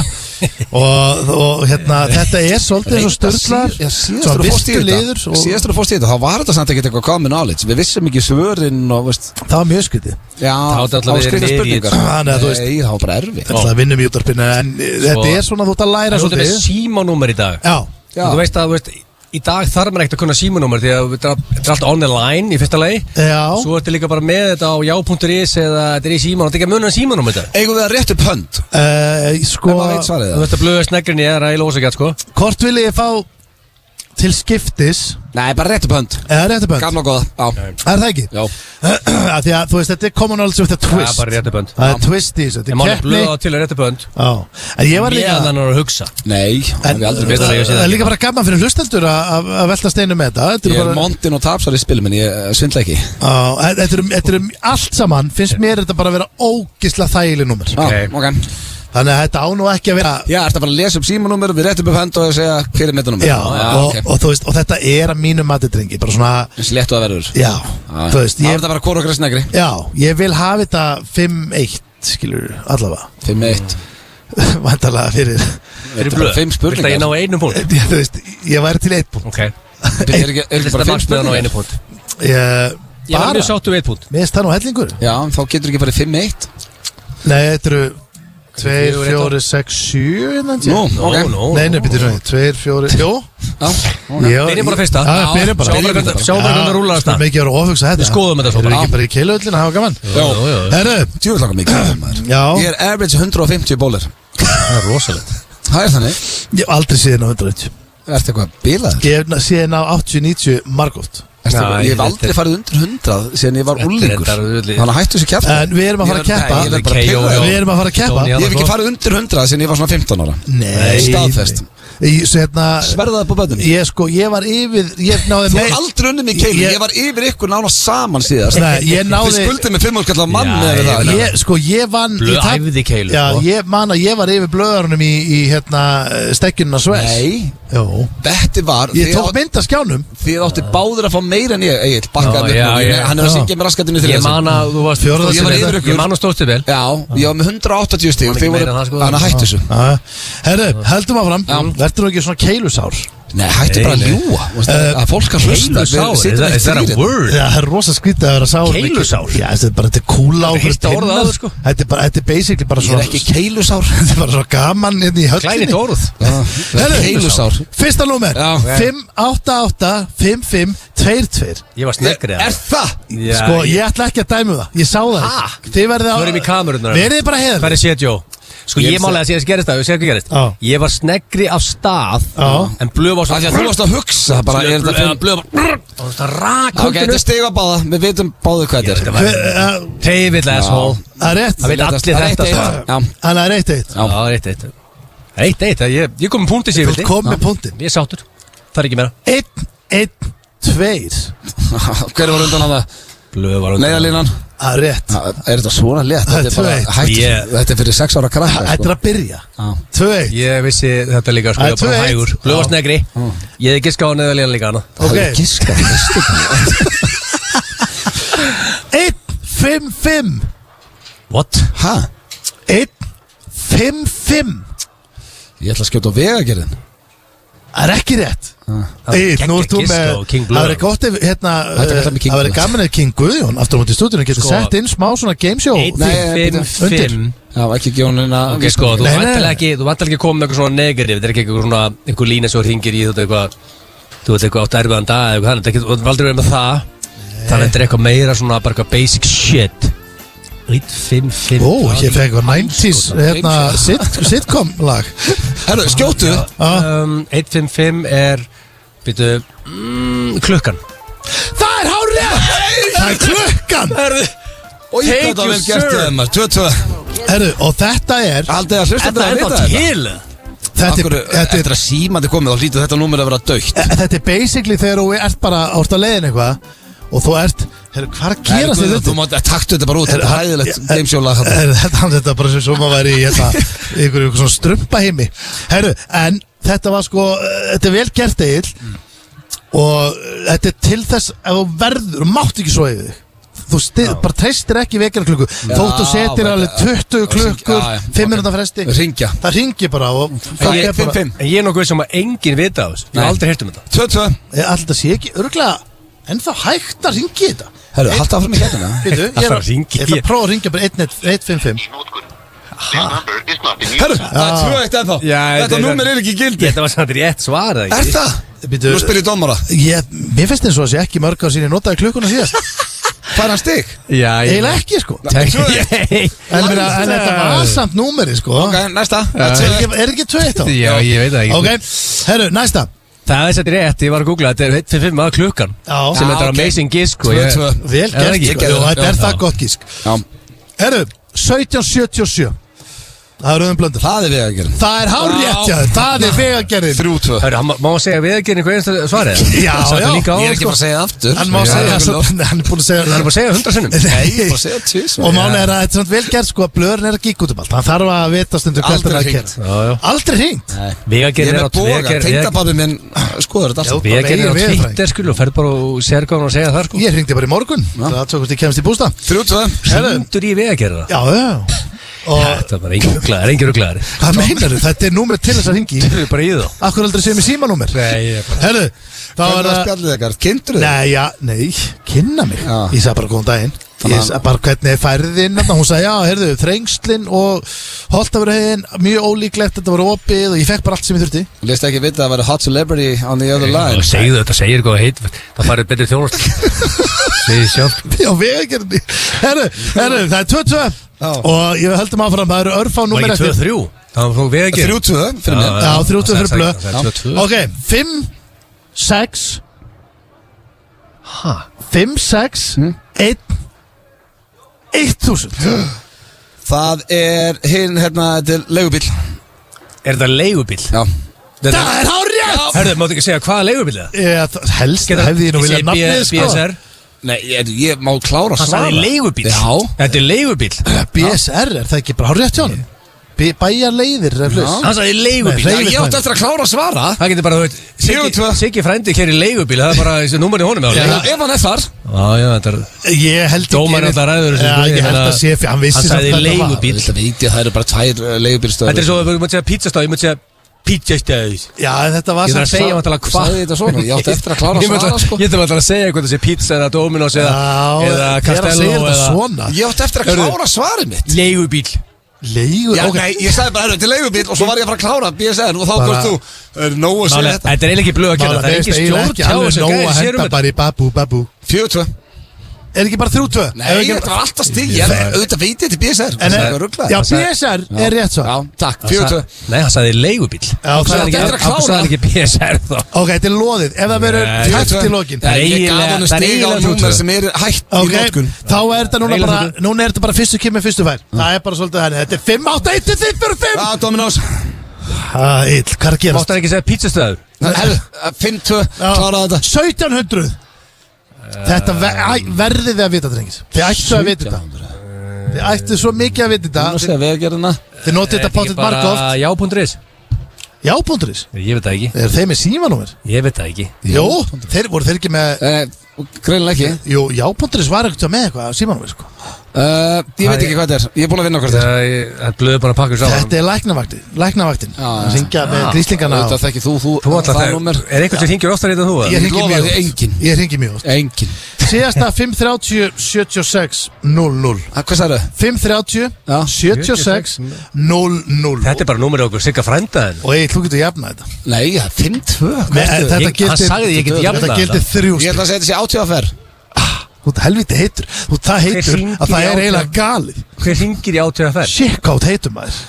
B: og, og hérna þetta er svolítið eins og störtlar
A: Já, síðastur að fórst í
B: liður
A: þetta
B: og
A: Síðastur að fórst í þetta, þá var þetta samt ekkert eitthvað Common Knowledge Við vissum ekki svörin og veist
B: það var mjög skytið
A: Já,
C: átti alltaf verið
A: skrýtnar
C: niður í-
A: spurningar
B: Þannig að þú veist-
A: Nei, það var bara erfið
B: Þetta vinnum í útarpinu en uh, þetta er svona þú ert að
C: Það
B: læra
C: er svolítið með
B: svolítið
C: símanúmer í dag
B: Já,
A: Já.
C: Þú veist að, þú veist Í dag þarf maður ekkert að kunna símanúmer Því að þetta þetta er allt on the line í fyrsta lagi
B: já
C: Svo ertu líka bara með þetta á já.is Eða þetta er í síman Og þetta er ekki að muna símanúmer þetta
A: Eigum við að rétt upp hönd
B: uh, Sko,
A: Ef maður veit svarið
C: Þú
A: það
C: veist að blöða snegrinni er að ég lósa ekki að sko
B: hvort vil ég fá til skiptis
A: Nei, bara rétt upp hönd
B: eða réttubönd?
A: Gamla og góða, já
B: Er það ekki?
A: Já,
B: Af Því að þú veist, þetta er common knowledge with a
C: Það er
B: twist
C: bara réttu bönd
B: Það er twist í þessu,
C: Ég
B: þetta
C: máli
B: er keppni
C: blöða til að réttu bönd
B: Já, en ég var líka
C: Meðan hann er að hugsa
A: nei, það
B: En
A: er aldrei
B: það
A: betra
C: ég
B: það
C: sé það
B: er
C: ekki.
B: líka bara gaman fyrir hlustendur að- að að velta steinu með þetta
A: Ég
B: Þetta eru
A: er
B: bara-
A: montin og tapsar í spilum en ég eh, svindla ekki
B: Á, en þetta eru- þetta eru allt saman Finnst mér þetta bara að vera ógisla þægileg númer
A: Já,
C: Ok.
A: ok
B: Þannig að þetta á nú ekki að vera
A: Já, ertu bara að lesa upp símanúmer við réttum upp hönd og segja hver er mittanúmer
B: Já, og,
A: ok
B: og, þú veist, og þetta er að mínu mati drengi Bara svona,
A: Þessi léttu að verður
B: já, þú veist
A: Það
B: ég,
A: verður bara hvora okkar snegri
B: Já, ég vil hafa þetta 5-1 skilur allavega
A: 5-1
B: Vandalega fyrir
C: Fyrir
A: bara
C: blöð
A: fimm spurningar.
C: Þetta ég ná einum punkt
B: Já, Þú veist, ég væri til 1 punkt
C: Ok
A: Byrju, Er ekki- er ekki
C: Þetta
A: bara 5
C: er markmiðan á einu
A: spurningar?
C: punkt
B: Ég,
C: Ég var
B: bara,
C: mjög sáttu við eitt punkt
B: mér er það nú hellingur
A: Já, en þá getur ekki farið 5-1
B: Nei, þetta eru 2,
C: fjögur,
B: 4, 6, 7 innan sé
A: Nú,
C: Nó,
A: ok
C: nó
B: hérna, Nei, nei, býttu svona 2, 4, jú
A: Já,
C: Byrjum bara fyrsta
B: Já, byrjum bara
C: Sjáum bara
A: Byrjum
C: hvernig- sjáum bara hvernig það rúlar af
B: Skulum
C: stað
B: ekki vera ofugsa þetta
C: Við skoðum þetta svo
B: Erum við
C: bara.
B: ekki bara í keiluöllin að hafa gaman?
A: Já.
B: Herru,
A: Djúvillaka mikið maður.
B: já
A: Ég er average 150 bólir
C: Það er rosalegt
A: Það er þannig
B: Ég hef aldrei séð ná 100
A: Ertu eitthvað bilaður?
B: Ég hef séð ná 80-90 margótt
A: Ertu eitthvað-
C: Nei,
A: Ég hef
C: þetta
A: aldrei
C: er-
A: farið undir 100 síðan ég var
C: Þetta er
A: úlingur
C: reyndar auðvitað-
A: Þannig að hættu þessu kjæft
B: En við erum að fara að keppa
A: Ég er bara
C: K.O.
A: pirraður.
B: Við erum að fara að keppa
C: Tony,
A: Ég
C: já.
A: hef ekki farið undir 100 síðan ég var svona 15 ára
B: Nei
A: Staðfest.
B: Ég, svo hérna
A: Sverðaði upp á bönnum
B: Ég sko, ég var yfir Ég náði
A: Þú
B: mei-
A: er aldrei unnið mig keilu,
B: Ég-
A: ég var yfir ykkur nána saman síðast
B: Nei, ég náði-
A: Þið skuldið með 5 skall á mann
C: Já,
A: með
C: ég-
A: það
B: Ég, sko, ég vann
C: Blöð
B: ég tap-
C: æfði keilu,
B: Já,
C: sko.
B: ég man að ég var yfir blöðarunum í, í hérna, stekjunna Sves
A: Nei,
B: Jó
A: þetta var
B: Ég
A: þið
B: tók
A: átt-
B: mynd að skjánum
A: Þið átti báður að fá meira en ég Egil, bakkaði mér
C: Já,
A: nú,
C: já,
A: ég-
C: já.
A: Hann er að
B: Já.
A: syngja með raskatinu til
C: Ég man að þú varst
B: Fjórða
A: Ég var
B: sinni
A: yfir
C: Ég
A: ykkur
C: man að stóðstu vel
A: Já, ég var með 180 stíg
C: Man
A: Þið
C: ekki meira
A: voru,
C: en það, sko.
A: hann að hættu þessu
B: Já. Herru, heldum áfram Verður þú ekki svona keilusár
A: Nei, hættu
C: Nei,
A: bara að
C: nei.
A: ljúa veist, Að fólk að hlusta
C: Keilusár,
A: við sitjum
C: er
A: ekki þrír
C: það a
A: hérna.
C: word?
B: Já, það er rosa skrítið að vera sár með-
C: Keilusár?
B: Já, þetta er bara, þetta er kúla á
C: Hefur
B: einhverju
C: heyrt það orðað
B: pinnar.
C: áður, sko?
B: Þetta er bara, þetta er basically bara
A: Ég
B: svona
A: er ekki keilusár
B: Þetta er bara svona gaman hérna í höllinni
C: Klænit orð
A: Það er Keilusár
B: Fyrsta númer
A: Já.
B: 588 55 22
C: Ég var snegri
A: Er það?
B: Sko, ég ætla ekki að dæmu það Ég sá það
C: Ha?
B: ekki. Þið verðið á
C: Förum í kamerurnar.
B: Verðið bara hérna. heiðar
C: Hvað er setjó? Sko ég málega að sé að gerist það, ég sé hvað gerist
B: Já.
C: Ég var snegri af stað
B: Já.
C: En blöð var
A: Af því að
C: svo
A: þú varst að hugsa bara Er þetta
C: Blöð-
A: fimm blöð
C: Og þú veist að rak
A: Ok, þetta er stig á báða Við vitum báðu hvað þetta er
B: Það
C: Teivill asshole
B: eh, er rétt
C: Það veit allir þetta
A: Það er eitt,
C: sko.
A: eitt. Já
B: Þannig að það er eitt eitt
C: Já, það er eitt eitt Eitt eitt, það- ég, ég kom með punktið sér
B: Þú kom með punktin
C: Ég er sáttur, það er ekki meira
B: Einn, einn, tveir
A: Hver var undan að það?
C: Blöð var
A: Neiðalínan
B: Það er rétt
A: Er þetta svona létt? Þetta er bara
B: Tvö eitt.
A: hætt
C: Ég-
A: Þetta er fyrir sex ára sko. krakka
B: Þetta er að byrja Tvö eitt
C: Ég vissi þetta líka sko,
B: Það er
C: ég var bara
B: 2-1.
C: hægur Ljóðast negri, ég hefði giska á neðalíðan líka hana
A: Það er
B: Ok.
A: giska veistu það?
B: 1, 5, 5
C: What?
A: Ha?
B: 1, 5, 5
A: Ég ætla að skjóta á vegagerðin
B: Það er ekki rétt
C: Það er
B: Egill, nú
C: geggjað
B: ert þú
C: gisk
B: með
C: á King Blöðan.
B: Það verið gott ef hérna
A: Ah. Þetta er kallað með King
B: Það verið
A: Blöðan.
B: gaman ef King Guðjón Aftur á móti í stúdíunum Getur
C: Sko-
B: sett inn smá svona gameshow
A: Nei, eh,
C: 1, 5,
B: undir.
C: 5
A: Já, ekki gjónina
C: Ok, sko, þú
B: Nei, nei.
C: vantar ekki, þú vantar ekki að koma með eitthvað svona negri Þetta er ekki eitthvað svona, einhver lína sem hringir í þetta eitthvað Þú veit eitthvað átt erfiðan dag eða eitthvað þannig Þetta er ekki- Þú veit aldrei verið með það Þannig að þetta er eitthvað meira svona, bara eitthvað basic shit 1, 5, 5
B: Ó, ég fekk eitthvað 90s Hérna sit- sitcom lag
A: Herru, skjótu
C: um, 1, 5, 5 er, býtu, mm, klukkan
B: Það er hárið Það er klukkan
C: Herðu,
A: Og ég gæti að vel gert þið maður Tvö, tvö
B: Herru, og þetta er
A: Haldið að hlusta þetta
C: þetta er
A: að
C: ennþá
A: vita þetta
C: til
B: Þetta
A: Akkur,
B: er, þetta er
A: eftir að símandi komið þá hlýtur þetta númer að vera dögt
B: E- Þetta er basically þegar þú ert bara árt að leiðin eitthvað og þú ert, herru, hvað er að gera sér
A: Þú
B: þetta?
A: mátt að taktu þetta bara út Þetta er hæðilegt gamesjóla
B: Herru, þetta, þetta er bara sem sem að væri í hérna, ykkur, ykkur svona strumpa heimi Herru, en þetta var sko eh, þetta er vel gert eil og eh, þetta er til þess ef þú verður, þú mátt ekki svo yfir þig þú stið, bara treystir ekki vekjarklukku þótt þú setir
A: þetta-
B: alveg 20 klukkur
A: Já, já,
B: 5
A: ok.
B: minúta fresti
A: Ringja
B: það ringi bara og það
A: Ég-
B: er bara-
A: fimm, fimm.
C: En ég er nokkuð sem að enginn vita á þessu Ég
A: Nei.
C: hef aldrei hirt um þetta
A: Tvö, tvö
B: Eh, alltaf sé ekki örglega ennþá hægt að ringi þetta
A: Herru, halda áfram í hérna
B: Býtu, ég er
C: Alltaf
B: að
C: að hringi
B: Ég ætla
C: ég.
B: að prófa að ringja bara 155
A: Herru, það er tvö eitt ennþá Þetta númer er ekki í gildi
C: Þetta var samt rétt svar eða
A: Er
C: ekki?
A: það?
B: Býtu,
A: Nú spyrir dómara
B: ég, mér finnst eins og að sé ekki mörg á sín ég notaði klukkuna síðast
A: Fær hann stig?
C: Já,
B: eiginlega ekki sko en,
C: ekki
B: en, en þetta var samt númeri sko
A: Ok, næsta
B: er, ekki, er ekki 21
C: Já, ég veit það ekki
B: ok, herru, næsta
C: Það er satt rétt, ég var að googla Þetta er 155 að klukkan
B: Já.
C: Sem
B: Já,
C: þetta er
A: ok.
C: amazing gisk og
A: Tvö,
C: ég-
A: tvö
B: vel
C: Er það
B: gert
C: ekki?
B: sko,
A: Ég gerði
B: Jú,
A: það.
B: þetta er
A: Já.
B: það gott gísk
A: Já,
B: herru, 1777 það er auðvun blöndur
A: það er við að gera
B: það er hárjætt,
A: Já.
B: já, það er vegagerðin
A: Þrjú, tvö
C: Hörru, hann má- má segja við að gera einhver einstu svarið
B: Já,
C: Satt
B: já.
C: það líka á
A: Ég er ekki
C: sko.
A: bara að segja það aftur
B: hann má
A: Já,
B: segja
A: ég vil
B: svo-
A: of-
B: hann er búin að segja
C: Hann er bara að segja 100 sinnum
A: Nei, ég er bara að segja tvis
B: Og málið er að þetta er svona vel gert sko að blöðurinn er að gík út um allt Hann þarf að vita stundum hvert
A: Aldrei
B: hann er að
A: hringt.
C: Já, já.
B: gera Aldrei hringt
A: Ég er
C: Vegagerð er
A: með
C: á
A: boga, tengdababbi minn skoður þetta
B: Já.
A: alltaf
C: Vegagerð er á
B: Bara megin veðurfræðing.
C: Twitter skil og ferð bara og sérgáðan og segja það sko
B: Ég hringdi bara í morgun Það tók hvort ég kemst í bústa
A: Þrjú, tvö
B: Herðu.
C: Hringdur í vegagerða
B: Já, já Og
C: Þetta er bara engin rugglaðar, engin rugglaðar
B: hvað meinar þú? Þetta er númerið til þess að ringi
C: Þetta er bara í þá
B: Akkur aldrei séu mér símanúmer
C: Nei, ég er bara
B: Herðu, þá
A: Það
B: er
A: var að
B: það
A: spjallið ekkert Kindur þið?
B: Nei, já, nei, kynna mig
A: Já.
B: Ég sagði bara góðan daginn Ég
A: Þannig að-
B: sagði bara hvernig er færðin þarna? Hún sagði, já, herðu, þrengslin og Holtafurhauðin, mjög ólíklegt Þetta var opið og ég fekk bara allt sem ég þurfti
A: Lest ekki vita að vera hot celebrity on the other line
C: Og segðu þetta, segir hvað það heit Það farið betri þjónust Segðu sjálf
B: Já, vegagerðinni Herru, herru, það er 2-2
A: Já.
B: Og ég höldum áfram, það eru örfá
C: Var
B: númer
C: ekki 2-3 Það var fók við ekki
A: Þrjú, tvö fyrir mér
B: Já, 3-2 fyrir blöð.
C: blöð
B: Ok, 5, 6
C: Ha?
B: 5, 6
C: Hmm?
B: 1 1000
A: Það er hinn hérna til leigubíl
C: Er þetta leigubíl?
A: Já
C: Þetta-
B: Það er hárið
C: Hörðu, máttu ekki segja hvaða leigubíl það?
B: Helst hefði ég nú viljað nafnið sko
C: BSR
A: Nei, ég, ég má klára
C: Hann sagði
A: svarið.
C: leigubíl
A: Já
C: Þetta er leigubíl
B: Eh, BSR, er það ekki bara hárið hjá honum? B- Bæjarleiðir, er flust
C: Hann sagði
B: Nei,
C: leigubíl
A: Já,
B: hreyfist
A: Ég átti eftir að klára að svara
C: Það getur bara, þú veit
A: Fjögur tvö.
C: Siggi- Siggi frændi kæri leigubíl Það er bara þessi númerni honum á
A: Já,
C: Já,
A: Ef hann er þar
C: já, þetta er
B: Ég held ekki
C: Dómarinn alltaf ræður þessu,
B: Já,
C: sko, ég
B: ég held
C: meina-
B: að sé fyrir Hann
C: Hann
B: vissi
C: sagði
B: samt þetta var.
C: leigubíl.
A: Þetta veit ég, það eru bara tvær eh, leigubílstöður
C: Þetta er svo, ef þú mátt segja pizzastáð Ég mátt segja pizzastáð Ég
B: Já, þetta var
C: þarf
B: samt
C: að segja
B: samt-
C: vantalega hvað
A: Sæði þetta svona, ég átti eftir að klára að
C: Ég myndi
A: svara sko
C: að- ég ætla bara að segja hvort það sé pizza eða Dominos eða,
B: Já,
C: eða
B: þegar hann
C: Castello
B: segir þetta
C: eða
B: svona
A: Ég átti eftir að
C: Hörðu.
A: klára svarið mitt
C: leigubíl
B: Leigur,
A: Já,
B: ok
A: nei, ég sagði bara, herru, til leigubíl og svo var ég að fara að klára BSN og þá
B: Bara-
A: komst þú Er nóg að segja
C: Málega,
A: þetta
C: þetta er eiginlega ekki blöð að gera
B: Mála,
C: Það er
B: veist
C: ekki
B: eiginlega
C: stjórn
B: ekki
C: hjá
B: alveg
C: þessu
B: nóg
C: gæði
B: að
C: sér um
B: henda
C: þetta
B: bara í babu, babu
A: Fjögur tvö
B: Er ekki bara 3-2?
A: Nei, þetta var alltaf stig Ég auðvitað veit ég til BSR
B: En,
A: Það er
B: eh,
A: rugglað
B: já, BSR er rétt svo
A: Já, takk, fjögur tvö
C: Nei, hann sagði leigubíl
B: það er
A: þetta er að klára.
C: Það er ekki PSR þá
B: Ok, þetta er loðið, ef það verður
C: Nei,
B: tæft
A: tvö.
B: til lokin
A: Nei, Ég gaf
C: eiginlega-
A: honum
C: það er
A: stig á
C: eiginlega
A: númer
C: tvö.
A: sem er hægt í
B: Ok,
A: notkun
B: þá er þetta núna
C: Eiginlega
B: bara
C: fyrir
B: Núna er þetta bara fyrstu kemur, fyrstu fær Það er bara svolítið henni, þetta er 5, 8, 1, 5, 4,
A: Já,
B: 5
A: Dominós
B: Æll, Ah, hvað er að
C: Máttu
B: gerast?
A: uh,
C: hann ekki segja pizzastöður
A: Herru, 5-2,
B: Já,
A: kláraði þetta
B: 1700 Þetta ve æ,
A: Eh.
B: verðið þið að vita, drengir Þið ættu að vita þetta Þið ættu svo mikið að vita
A: Nú
B: þetta
A: segja vegagerðina
B: Þið notið
A: Eh,
B: þetta pátitt marga oft
C: Já.is
B: Já.is
C: Ég veit það ekki
B: Er þeir með símanúmer?
C: Ég veit það ekki
B: Jó, þeir voru þeir ekki með
A: Eh, Greinilega ekki
B: Jú, Já.is var ekkert með eitthvað að símanúmer sko.
A: uh, Ég veit ekki hvað þetta er Ég er búin að vinna okkur þetta
C: Það er blöðu bara að pakka þessu saman
B: Þetta er læknavaktin Læknavaktin
A: já.
B: Ringja með gríslingana
A: Þetta þekki þú, þú,
C: Þú
A: það
C: ætlar það
A: númer
C: Er einhvern sem hingir oftar í þetta þú? eða?
B: Ég hringi
A: lofa
B: mjög
A: þér,
B: oft.
A: enginn.
B: Ég hringi mjög oft.
A: Engin
B: Síðasta 530 76 00
A: Ha, Ah, Hvað sagðu?
B: 530
A: Já.
B: 76 00
C: Þetta er bara númerið okkur Sigga frænda þenn
B: Og ég, þú getur jafnað þetta
A: Nei, það er 5-2
B: Me,
A: Hvert er-
B: þetta
C: Ég- hann sagði ég geti jafnað
B: Þetta
C: þetta.
B: gildi þrjú
A: Ég ætla
B: stig.
A: að segja þetta sé átjáferð
B: Þú ert helviti heitur Þú það heitur
C: hringir
B: að það
C: í
B: er
C: átján?
B: eiginlega galið
C: Hver hingir í átjöðaferð?
B: Shit, hvað þú ert heitur maður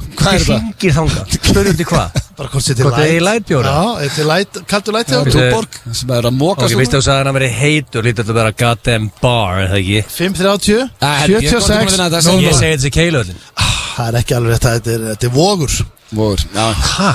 A: Hvað er
C: Hver
A: þetta?
C: hringir þangað? Spurðu út í hvað?
B: Bara hvort þetta
C: Hvort það er í light bjóra?
B: Já, þetta er light Kaltu light
A: Það er
B: bjóra
C: Bíddu.
A: Túborg sem er að móka
C: Ok, veistu þú sagði hann að veri heitur Lítið að vera goddamn bar, er það ekki?
B: 530
A: Ah, um
B: 76
C: Ég
B: 00
C: segi þetta sé keilöðin
B: Það er ekki alveg þetta Þetta er, þetta er vogur
A: Mór
C: Hæ,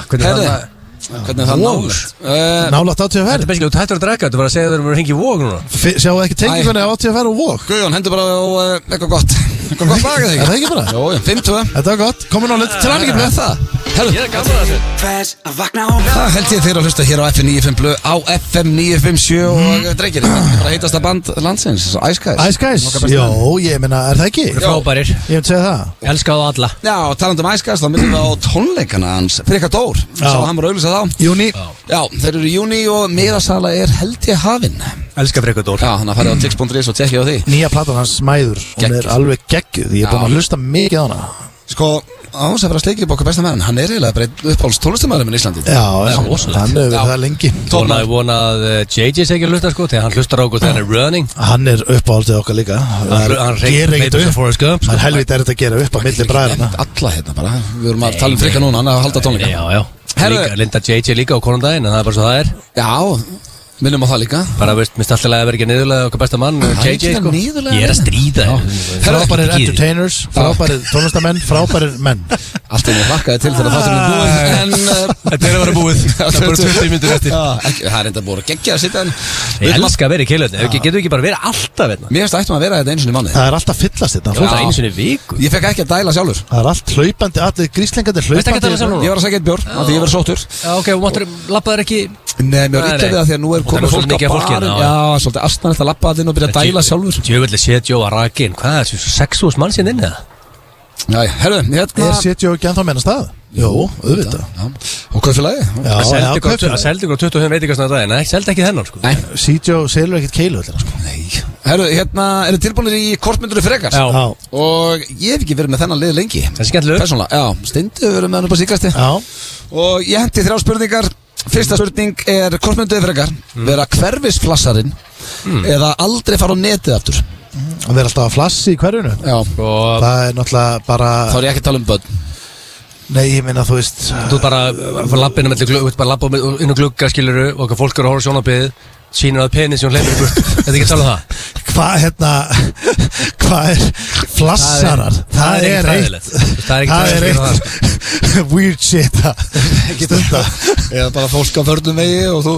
C: hvernig var
A: Herði
C: það?
A: Hvernig er það
C: Vógur.
A: nátt? Uh,
B: Nálægt
C: Þetta er
B: 80
C: beskilvægt, þú hættur að drekka Þú var að segja þau eru að hringi í vók núna
B: fer Sjáu ekki tengingunni á 80 fer og vog
A: Guðjón, hendur bara á uh, eitthvað gott Eitthvað gott lagað þig
B: Er það ekki bara?
A: Jó, já, 5-2
B: Þetta var gott Komum nú að leta til hann
A: Hvað er það? Herðu,
D: Crash, að vakna og
A: það held ég þeir að hlusta hér á FM 95 blöð á FM 957 og drengir, þetta er bara heitasta band landsins, Ice Guys
B: Mhm. Ice Guys Jó, ég meina, er það ekki?
C: Frábærir,
B: Ég myndi segja það
C: elska þá alla
A: Já, og talandi um Ice Guys, þá myndum við á tónleikana hans Frikka Dór, sá hann var auðvitað þá
B: Júni
A: Já, þeir eru í júni og miðasala er held ég hafin Já,
C: Elska Frekkadór
A: þannig að
B: Mm.
A: farið á tix.is og tekja á því
B: Nýja platan hans Mæður Hún
A: Geggjuð.
B: er alveg geggjuð Ég er búin
A: Já.
B: að hlusta mikið á hana
A: Sko, án sem fyrir að sleikja upp okkar besta meðan Hann er eiginlega bara uppáhalds tónlistamæður minn í Íslandi
B: Já,
A: Já,
B: en
A: rosalegt.
B: hann
A: Já.
B: hefur verið það lengi
C: Svona ég vona að eh, JJ segir hlusta sko Þegar hann hlustar á okkur þegar hann er running
B: Hann er uppáhaldið okkar líka
C: Hann, hann
B: gerir
C: reyndar
B: ekkert upp
C: Forrest Gump
B: Það er helvita er þetta að gera upp á milli bræðina
A: Alla hérna bara, við vorum að tala um frikka núna, hann er að halda tónleika
C: Já, já
A: Herðu.
C: Líka, Linda JJ líka á konundaginn En það er bara svo það er
A: Já, minnum á það líka
C: Bara veist, minnst alltaf að vera ekki niðurlega okkar besta mann
A: er ekki
C: JJ
A: það
C: sko
A: niðurlega
C: Ég er að
A: neina.
C: stríða
A: Herðu,
B: Frábærir entertainers, frábærir tónlistamenn, frábærir menn
A: Allt einu lakkaði til þegar þátturinn er búið En uh,
C: Þetta er að vera búið Það er bara 20 mínútur eftir
A: Já, ekki- Það er enda búið að gegja að sitja en
C: Ég elska að vera í keilöðin Getur við ekki bara verið alltaf hérna
A: Mér finnst ættum að vera þetta eins og í manni
B: Það er alltaf fyllast hérna. þetta
C: Það
B: fólk.
C: er einu sinni í viku
A: Ég fekk ekki að dæla sjálfur
B: Það er allt hlaupandi, allir gríslingandi
C: Veistu ekki að tala
B: hlaupandi
C: saman
A: Ég var að segja eitt bjór, af því ég verið sóttur
C: Já, ok, og máttur, lappaður ekki
A: Nei, mér var
C: Nei,
A: illa
C: nei.
A: við það því að nú er
C: Og það
A: komið
C: er
A: fólk á
C: svolítið mikið af fólki
A: barinn.
C: hérna, já.
A: Já, svolítið astnæðilegt að lappa að inn og byrja að dæla sjálfur
C: Djöfell er setjó að rakin Hvað er þessu 6.000 mann sinni inn hérna eða?
A: Já, herru, hérna
B: Er setjó ekki ennþá meina stað? Jó, auðvitað
A: Já, Og hvað fyrir lagi?
B: Já,
C: Að seldi
B: já,
C: ykkur-
B: kaupfélag.
C: að seldi ykkur 25 veitingastöðna daginn Nei, seldi ekki þennan sko
A: Nei,
B: Sítjó selur ekkert keilu allir sko.
A: nei Herru, hérna, eru tilbúinir í kortmynduru frekar?
C: Já,
B: Já,
A: Og ég hef ekki verið með þennan lið lengi
C: er skemmtilegur.
A: Persónulega, já, steindu verið með hann upp á síkasti
B: já,
A: Og ég hendi þrjá spurningar Fyrsta spurning er kortmyndu frekar Vera hverfisflassarinn Eða aldrei fara á netið aftur
B: það er alltaf að flassi í hverjunu
A: Já,
C: og
B: Það er náttúrulega bara
A: þá er ég ekki að tala um börn
B: Nei, ég meina þú veist
C: þú ert bara uh, lappinu mellir glugg, þú ert bara lappa inn á glugga skiluru og okkar fólk eru að horfa sjónabíð sínir að penis sem hún hleypur í burt Þetta er ekki að tala um það
B: Hvað hérna Hvað er Flassarar
C: Það
B: Það
C: er-
B: er
C: það er ekkert
B: eitt
C: hræðilegt. Það sko. er ekkert
B: Það er
C: hræðilegt að
B: eitt Weird shit að Stunda
A: Eða bara fólk á förnum vegi og þú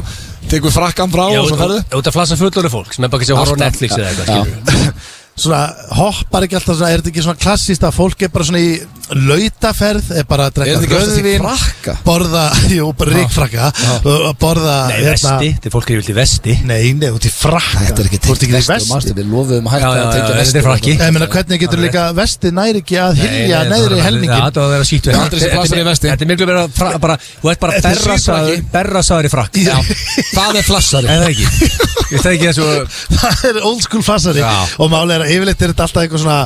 A: tekur frakkan frá
C: Já,
A: og svo
C: þú
A: ferðu
C: ert að flassa fullur fólk sem er bara ekki að horfa á
A: Alltaf.
C: Netflix eða
A: Já.
C: eitthvað skilurðu.
B: Svona hoppar ekki alltaf svona, Er þetta ekki svona klassist að fólk er bara svona í Lautaferð Er bara að
A: Er þetta
B: drekka
A: ekki oftast í
B: rauðvín,
A: frakka?
B: Borða Jú, bara ríkfrakka og Borða
C: Nei,
B: hérna-
C: vesti, þetta er fólk er vilt í vesti
B: Nei, nei, út í frakka
A: Þetta er ekki
B: Þú ert
A: tengt
B: ekki í
A: vestu,
B: vesti.
A: manstu, Við lofuðum um að
C: Já,
A: hætta
C: já,
A: að
C: já,
A: tengja
C: þetta
A: vestu
C: er frakki
B: Ég meina, hvernig getur
C: Hann er-
B: líka vesti næri ekki að hylja
C: Nei, nei,
B: neðri
C: það- Já,
B: helmingin
C: þetta var að vera sýttu
A: Það er aldrei sem flassar í vesti.
C: Þetta er miklu verið að fra- bara Þú ert bara
B: Þetta er
C: berrasaður
B: síðfrakki.
C: Berrasaður í frakk
A: Já, það er flassari
C: Eða ekki Ég þekki þessu
B: Það er old school fassari
C: Já.
B: Og málega er að yfirleitt er þetta alltaf eitthvað svona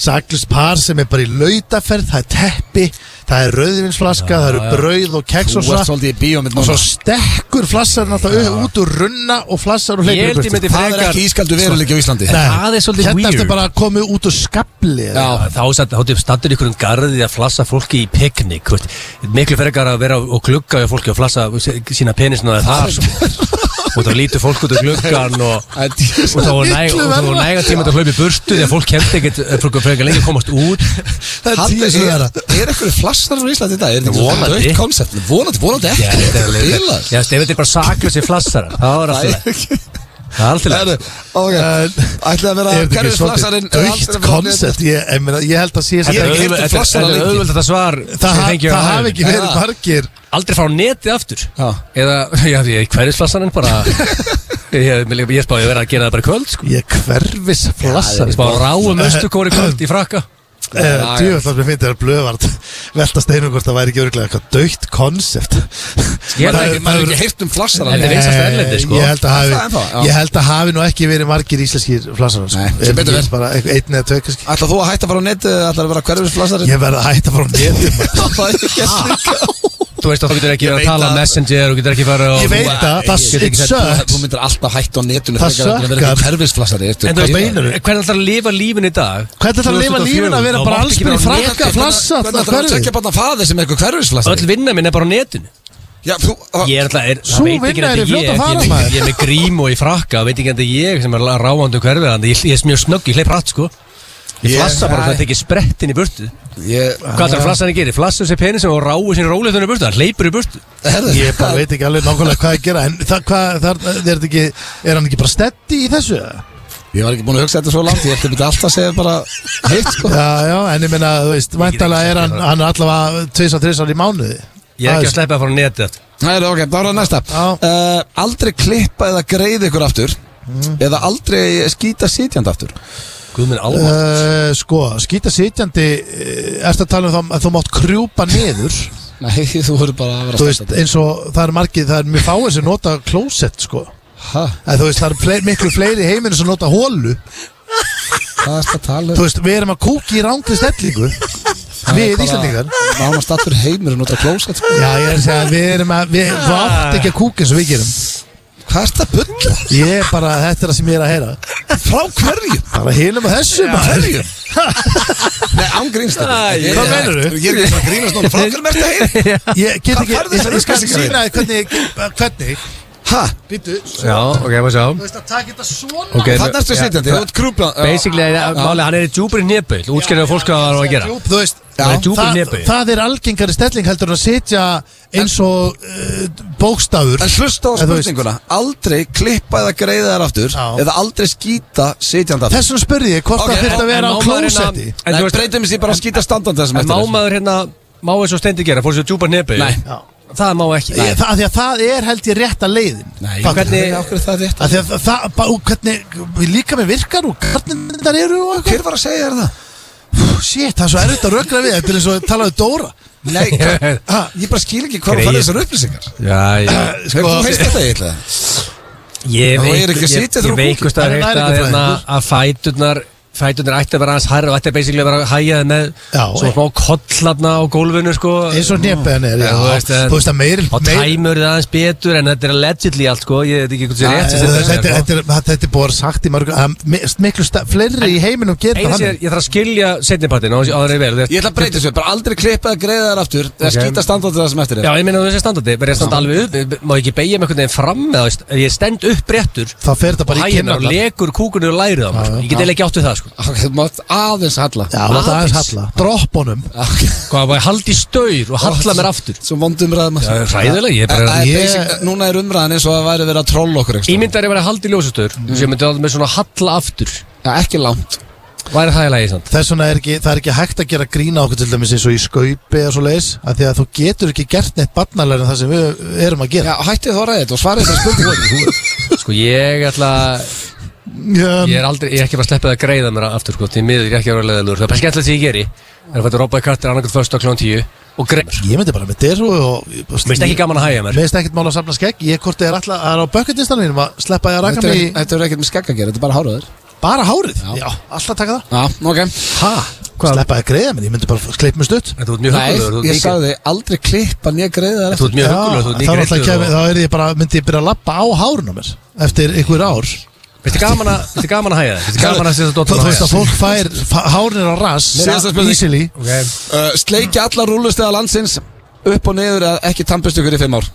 B: Saklust par sem er bara í lautaferð Það er teppi, það er rauðvinsflaska Það eru brauð og keks
A: Þú
B: og
A: ert
B: svona
A: svolítið í bíómynd
B: Og
A: núna
B: svo stekkur flassarinn alltaf upp- út úr runna Og flassar og
C: Ég
B: hleypir
C: held ég
B: burtu.
C: myndi
A: Það er
C: frekar
A: ekki ískaldu veruleiki á Íslandi
B: Nei,
C: Það er svolítið
B: Hérna
C: weird.
B: ertu bara að koma út úr skabli eða
A: Já,
C: Þá satt, þá standur ykkur um garði að flassa fólki í piknik þú veist. Miklu frekar að vera og glugga við fólki og flassa sína penisna það þar sko. og þá lítur fólk út úr gluggan og
A: Það er dýr-
C: og þá var næg- og þá var næga tíma til að hlaupa í burtu því að fólk kemst ekkert eh, fólk frekar lengi að komast út
B: Það er
A: Hann-
B: tíu sem
A: Er
B: vera
A: er eitthvað flassar á Íslandi í dag? Er þetta
C: Vonandi.
A: eitthvað koncept? Vonandi, vonandi
C: Já,
A: ekki
C: þetta er alveg-
A: Bilað.
C: Já, veist, ef þetta er bara saklösi flassarar þá er
A: Það
C: alltaf
A: er ekki
C: Það er alltaf
A: Herru, ok Ætlaði að vera
B: Er þetta ekki
A: Hverfisflassarinn
B: svolítið aukt koncept? Ég, ég, meina, ég held að sé
A: Þetta er ekki keyptur
C: auðvelt- þetta
A: flassar
C: þetta
A: lengi.
C: er auðvöld þetta svar
B: Það,
C: sem
B: ha-
C: fengið á
B: það hafi
C: hælinu.
B: ekki verið
A: Já.
B: margir
C: Aldrei frá netið aftur
A: Já.
C: Eða, já því, hverjusflassaninn bara Ég, ég, ég spáði að vera að gera það bara í kvöld sko.
B: Ég hverfis flassar
C: Ég spáði að ráum östukóri kvöld í frakka
B: Djúvel Eh, það mér finnst þér að blöðvart Velta steinum hvort það væri ekki örglega eitthvað dögt koncept
A: Maður
C: Ég held
A: hefur-
C: ekki-
A: maður hefur ekki heyrt um flassar
C: Þetta er vinsælt erlendis, sko.
B: Eh, Ég held að
A: Það er
B: hafi,
A: það, já.
B: ég held að hafi nú ekki verið margir íslenskir flassar sko.
A: Nei, sem betur fer.
B: Bara einhver- einn eða tvei kannski
A: Ætlaði þú að hætta að fara á netið eða Ætlaði að vera hverfisflassarinn
B: Ég verði að hætta frá netum
A: Það er ekki gert líka
C: Þú veist að þú getur ekki verið
A: veit
C: að tala
A: að-
C: um messenger Þú getur ekki fara
B: Ég veit að það
A: Ég get ekki
B: it
A: sagt, þú- Þú
B: sucks
A: myndir alltaf hætta á netinu
B: Það
A: frekar en að vera
B: suckar.
A: einhver Hverfisflassari ertu
C: En þú veist,
A: gauður.
B: meinarðu?
C: hvernig ætlar að lifa lífin í dag?
B: Hvernig ætlarðu að lifa lífinu að vera bara allsber í frakka, flassa,
A: Hvernig
B: það
A: ætlaði að
B: hverfið?
A: tekja bara faðið sem er eitthvað
C: Öll
A: hverfisflassari
C: vinna minn er bara á netinu
A: Já, þú
C: Ég er alltaf, er,
B: Sú vinna er í
C: ég,
B: fljóta
C: ég,
B: fara,
C: ég,
B: maður.
C: ég er með grím og í frakka og veit ekki að þetta er ég sem er ráandi um hverfið ég, ég er mjög snögg, ég hleyp hratt sko Ég flassa bara það tekið sprettin í burtu
A: Ég
C: Hvað þarf flassan að gera? Flassur sér penisum og ráu sér róleitun í burtu Það hleypur í burtu
A: Herðu,
B: Ég bara veit ekki alveg nákvæmlega hvað að gera En það, hvað, það, er, þetta ekki, er hann ekki bara steddi í þessu? eða?
A: Ég var ekki búin að hugsa þetta svo langt Ég ætti að byrja alltaf að segja bara Hitt sko
B: Já, já, en ég meina, þú veist, væntalega er hann, hann er allavega tveis og þreis ári í mánuði
C: Ég er ekki að
B: Það
C: sleppa að fara á netið aftur
A: Það er ok, þá er það næsta
B: Já.
A: uh, Aldrei klippa eða greiða ykkur aftur Eða aldrei skýta sitjandi aftur
C: Guð minn alveg
B: Uh, sko, skýta sitjandi eh, Ertu að tala um það að þú mátt krjúpa niður
A: Nei, þú eh, verður bara að vera
B: Þú veist, eins og það er margið Það er mjög fáið sem nota klósett, sko
A: Hæ,
B: að, Þú veist, það er fle miklu fleiri í heiminu sem nota hólu
A: hvað er þetta að tala um?
B: Þú veist, við erum að kúki í rángri stellingu Við Íslandingar
A: Nánast allur heimur en út af klósett sko.
B: Já, ég er að segja, við erum að við, Þú átt ekki að kúka eins og við gerum
A: Hvað er þetta að bulla?
B: Ég er bara, þetta er það sem ég er að heyra Frá hverju? Bara hinum að þessu Frá hverju?
A: Nei, ángrínstur
B: hvað meinarðu?
A: Ég er ekki að grínast núna Frá hverju merkt að heim?
B: Ég get
A: Hvað
B: ekki,
A: færðu
B: ég,
A: þessar
B: ég skal
A: upplýsingar?
B: sína þér hvernig, hvernig
A: Hæ,
B: Býtu,
C: Já, ok, maður sjá
B: þú veist að taka þetta svona
C: Ok,
A: það næstu
C: já,
A: sitjandi Þú ert krúpla
C: Basically, máli, hann er í djúbri néböld Útskjörðu að fólk hvað það var að gera
B: Djúp, Þú veist,
C: Það er djúpur
B: það,
C: hnepi.
B: það er algengari stelling heldur en að sitja eins og uh, bókstafur
A: En hlusta á
B: En þú veist-
A: spurninguna Aldrei klippa eða greiða þær aftur
B: Já.
A: Eða aldrei skýta sitjandi aftur
B: Þess vegna spurði ég hvort
A: Ok,
B: það þurft að
C: en-
B: vera á
C: en má maður hérna-
B: klósetti
C: En
A: Nei,
C: þú veist-
A: breytum þessi bara að skýta standandi þessum
C: En má maður hérna, má eins og stendi gera, fór sér djúpa nefi
A: Nei.
B: Já.
C: Það má ekki
B: Ég- Það af því að það er held ég rétta leiðin
A: Nei,
B: Fattar
A: hvernig,
B: þú?
A: af hverju er það rétt?
B: Af því að það, bara, og hvernig líka með virkar og hvernig þetta eru og eitthvað
A: Hver var að segja þér það?
B: Shit, það er svo erfitt að rökra við Þetta er eins og talaðu Dóra
A: Nei, hvað-
B: Ha,
A: ég bara skil ekki hvað
C: Greyið.
A: færði þessar upplýsingar
C: Já, já
A: Hefur þú heist þetta eitthvað?
C: Ég
A: Þú
C: veik-
A: er ekki að
C: ég-
A: sitja þér
C: Ég
A: á
C: veikust
B: kúki.
C: að
B: Það er
C: hérna
B: næringarfræði.
C: hérna að fæturnar fæturnar ætti að vera hans hærra og ætti að basically að vera hægjað með
B: Já,
C: svona
B: ég-
C: smá kollarna á gólfinu sko
B: Eins og nefnbæðan er já,
C: Já, þú veist, en-
B: Þú veist að meir,
C: og
B: meir
C: tæmur það aðeins betur en þetta er allegedly allt sko ég veit ekki hvort
B: Ja,
C: sér rétt
B: Þetta
C: sem
B: þetta-
C: þetta
B: þetta-
C: er sko.
B: þetta er þetta er búið að vera sagt í mörgum að mi- miklu sta- fleiri í heiminum geta
C: eins er
B: hann
C: ég þarf að skilja setnipartin á það er vel þú veist.
A: Ég ætla að breyta þessu, bara aldrei klippa eða greiða þær aftur Eða
C: Ok.
A: skýta standandi þessum eftir
C: já
A: þér
C: ég meina þessi standandi verður ég að standa alveg upp má ég ekki beigja með einhvern veginn fram eða þú veist, ef ég stend upp réttur
B: Þá fer þetta bara í
C: hægjum og
B: kynnar
C: legur kúkunni og lærið á mér sko. ég get eiginlega ekki átt við það sko
A: Ok, Þú mátt aðeins halla
B: Já, það er aðeins
C: Aðeins.
B: halla Droppunum
C: hvað var ég haldi í staur og halla mér aftur
A: Svo vondum ræðum
C: Já, hræðileg, ég er bara-
B: Ég-
A: Núna er umræðan eins og að væri verið að trolla okkur einhvers staðar.
C: Ímyndar ég verið að halda í ljósastöður mm. sem myndi að með svona halla aftur
A: Já, ekki langt
C: væri það í lagi samt
B: Þess vegna er ekki, það er ekki hægt að gera grína okkur til dæmis eins og í skaupi og svo leis af því að þú getur ekki gert neitt barnalega en það sem við erum að
A: Já,
B: gera
A: hættið þú að ræða þetta og svarið þessar spurningu
C: Sko ég ætla
B: Já,
C: ég er aldrei ég er ekki bara sleppið að greiða mér aftur sko því miður ég er ekki að vera leðalur það er bara skemmtilegt sem ég geri það er að fæta robbaði kartir annarkvæmt först á klón 10 og greið
B: Ég myndi bara með derru og
C: Mér finnst ekki gaman að hæja mér
B: Mér finnst ekkert mál að safna skegg Ég hvort er alltaf Það er á bökkutistanum mínum að sleppa ég að raka
A: Þetta er
B: mig í
A: ekki- þetta er ekkert með skegg að gera, þetta er bara háraður
B: bara hárið Já, alltaf taka það
A: Já, ok
B: Ha? Sleppa ég að greiða minn Ég myndi bara kleip mig stutt
C: En þú ert mjög huggulegur
A: Nei,
C: þú ert
A: ég
C: líka-
A: sagði aldrei klippa nýja greiða þær
C: en Þú ert mjög huggulegur þú ert
B: þá
C: líka
B: er alltaf
C: reyndur
B: kemi,
C: og-
B: þá er ég bara, myndi ég byrja að lappa á hárun á mér eftir ykkur ár
C: Finnst þér gaman að- finnst þér gaman að hæja þér? Finnst þér gaman að setja
B: Þú
C: dottinn
B: þú
C: að
B: veist að
C: hæja?
B: fólk fær hárun er á ras
A: Síðasta spurning.
B: easily
C: Ok.
A: Uh, sleiki allar rúlustegða landsins upp og niður að ekki tannbustu ykkur í fimm ár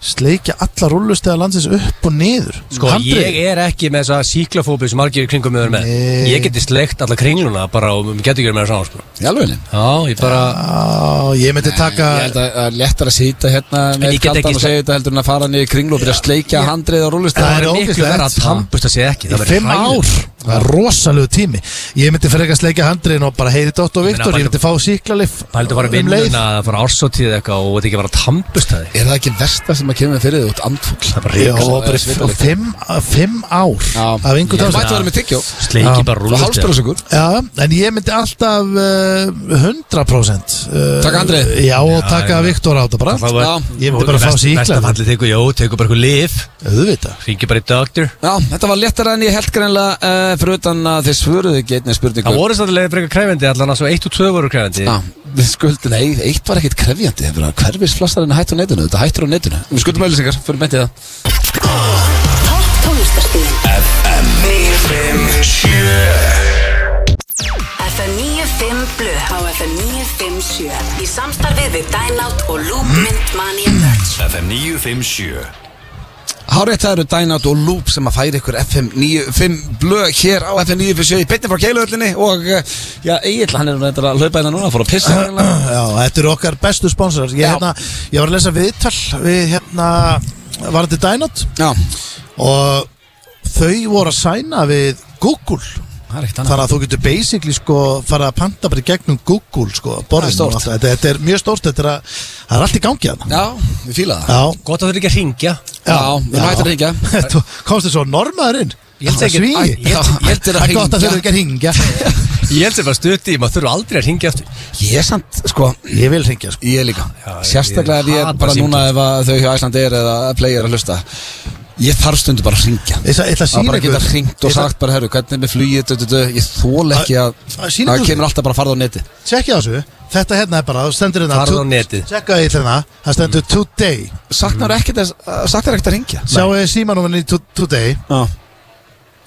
B: sleikja alla rúllustega landsins upp og niður
C: Sko,
B: Handriðið.
C: ég er ekki með þessa síklafóbi sem margir kringum með með
B: Nei.
C: Ég geti sleikt alla kringluna bara og mér getur ekki verið með það saman sko.
A: Í alveg henni?
C: Já, ég bara
B: Já, ég myndi taka
A: Ég held að, að lettar að sýta hérna með
C: ég get
A: kaldan
C: ekki
A: og segja þetta heldur en að fara niður í kringlu og byrja að sleikja handrið og rúlist
B: Það er
C: Það er miklu
B: ógeðslegt,
C: verið að
B: sko.
C: tampust að segja ekki
B: Í
C: Það væri
B: fimm ár,
C: hræðilegt.
B: það er rosalegu tími Ég myndi fyrir ekki að sleika handriðin og bara heyri Dótt og
C: Ég meina,
B: Viktor, ég myndi fá um síklarlif
C: Það heldur bara vinnuna, það fara ársóttíð eitthvað og þetta ekki bara tampust að þig
A: Er það ekki versta sem að kemur fyrir því út andfugl?
C: Það er bara
B: Já,
C: ríkast
B: bara f- fimm, fimm ár af
A: Ég mætti
B: einhvern
A: að vera
B: dag
A: með tyggjó
C: Sleiki bara
A: Og
C: rúlust
A: hálsbjörnsugur
B: Já, en ég myndi alltaf uh, 100% uh,
A: Taka handriðið?
B: Já, og taka Viktor á þetta bara Ég myndi bara fá
C: Besta
B: síklarlif
C: fallið tekur, já, tekur bara eitthvað lif
B: Auðvitað
C: Ringi bara í doctor
A: Já, þetta var lettara en ég held greinlega uh, fyrir utan að þið svöruðu ekki einnig spurningu
C: Það voru sannlega frekar kræfendi, allan að svo 1 og 2 voru kræfendi
A: Já, við skuldum, nei, eitt var ekkit krefjandi Það var hverfis flastarinn hættu á netinu, þetta hættur á netinu Við skuldum auðlýsingar, fyrir mentið það
J: Topp tónlistarstíðin FM 95 Blö á FM 957 í samstarfið við Dynout og Loopmynd Mania Merch
E: FM 957
A: Hárétt það eru Dynout og Loop sem að færi ykkur FM 95 blöð hér á FM 957 í beinni frá keiluhöllinni og eh, já, Egil, hann er reyndar að hlaupa hérna núna fór að pissa hérna
B: Já, þetta eru okkar bestu spónsorar ég,
A: Já.
B: hérna, ég var að lesa viðtal við hérna varandi Dynot
A: Já,
B: og þau voru að sæna við Google
A: það er ekkit annað
B: þannig að þú getur basically sko fara að panta bara í gegnum Google sko
A: Það er
B: borðinu
A: stórt.
B: og allt það. þetta, þetta er mjög stórt, þetta er, að, það er allt í gangi að það
A: Já, við fílaði það
B: Já,
C: Gott að þau ekki að ringja
A: Já, við mættum að hringja.
B: Þú komst þér svo normaðurinn
C: Ég held ekki-
B: Sví
C: Æ, ég held- ég held þér
B: Það
C: að
B: er gott að
A: hringja.
B: þau ekki að hringja
C: Ég held sem bara stutti, maður þurfa aldrei að ringja eftir
A: Ég samt, sko,
B: Ég vil hringja sko
A: Ég líka
C: Já,
A: Sérstaklega
C: ég
A: ef ég
C: hata
A: bara núna
C: símtöl.
A: ef að þau hjá Æsland er eða player að hlusta Ég þarf stundu bara að ringja
B: Ég ætla- ég ætla að sýna
A: bara
B: ykkur-
A: geta hringt og
B: ég ætla-
A: sagt bara herru hvernig er með flugið dö, dö, dö. Ég þól ekki
B: Að-
A: að
B: að sýna
A: það
B: ykkur-
A: kemur alltaf bara að farða á neti
B: Tjekkja þessu, þetta hérna er bara, það stendur hérna
C: Farðu
B: to-
C: á netið.
B: Tjekka því hérna, það stendur today
A: Saknar ekkert að, að- saknar ekkert að ringja
B: Sjáu þið símanúminni today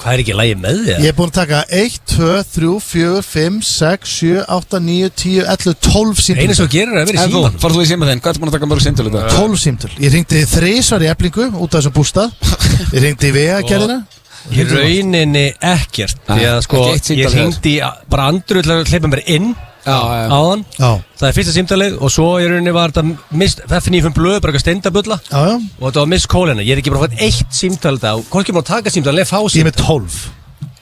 C: Hvað er ekki lægi með þig?
B: Ég er búin að taka 1, 2, 3, 4, 5, 6, 7, 8, 9, 10, 11, 12
C: Ég... Einu
B: símtöl
C: svo gerir er að vera
A: En
C: í
A: þú,
C: síman
A: farðu þú í síma þeim, hvað ertu búin að taka mörg símtölu þetta?
B: 12 símtöl Ég ringdi þrísvar í eflingu út af þessum bústað Ég ringdi í vegagerðina
C: Í rauninni ekkert Því að
A: Nei,
C: sko,
A: ekki eitt símtal hjá
C: ég
A: þér.
C: ringdi bara andru til að hleypa mér inn
A: Já, já.
C: á hann
B: Já,
C: Það er fyrsta símtalið og svo í rauninni var þetta mist, það finnir fyrir blöð, bara eitthvað steindabulla
B: já, já
C: og þetta var miss kólina, ég er ekki bara fætt eitt símtal þetta og hvorki maður taka símtal, leið fá
B: Ég er
C: símtal
B: með 12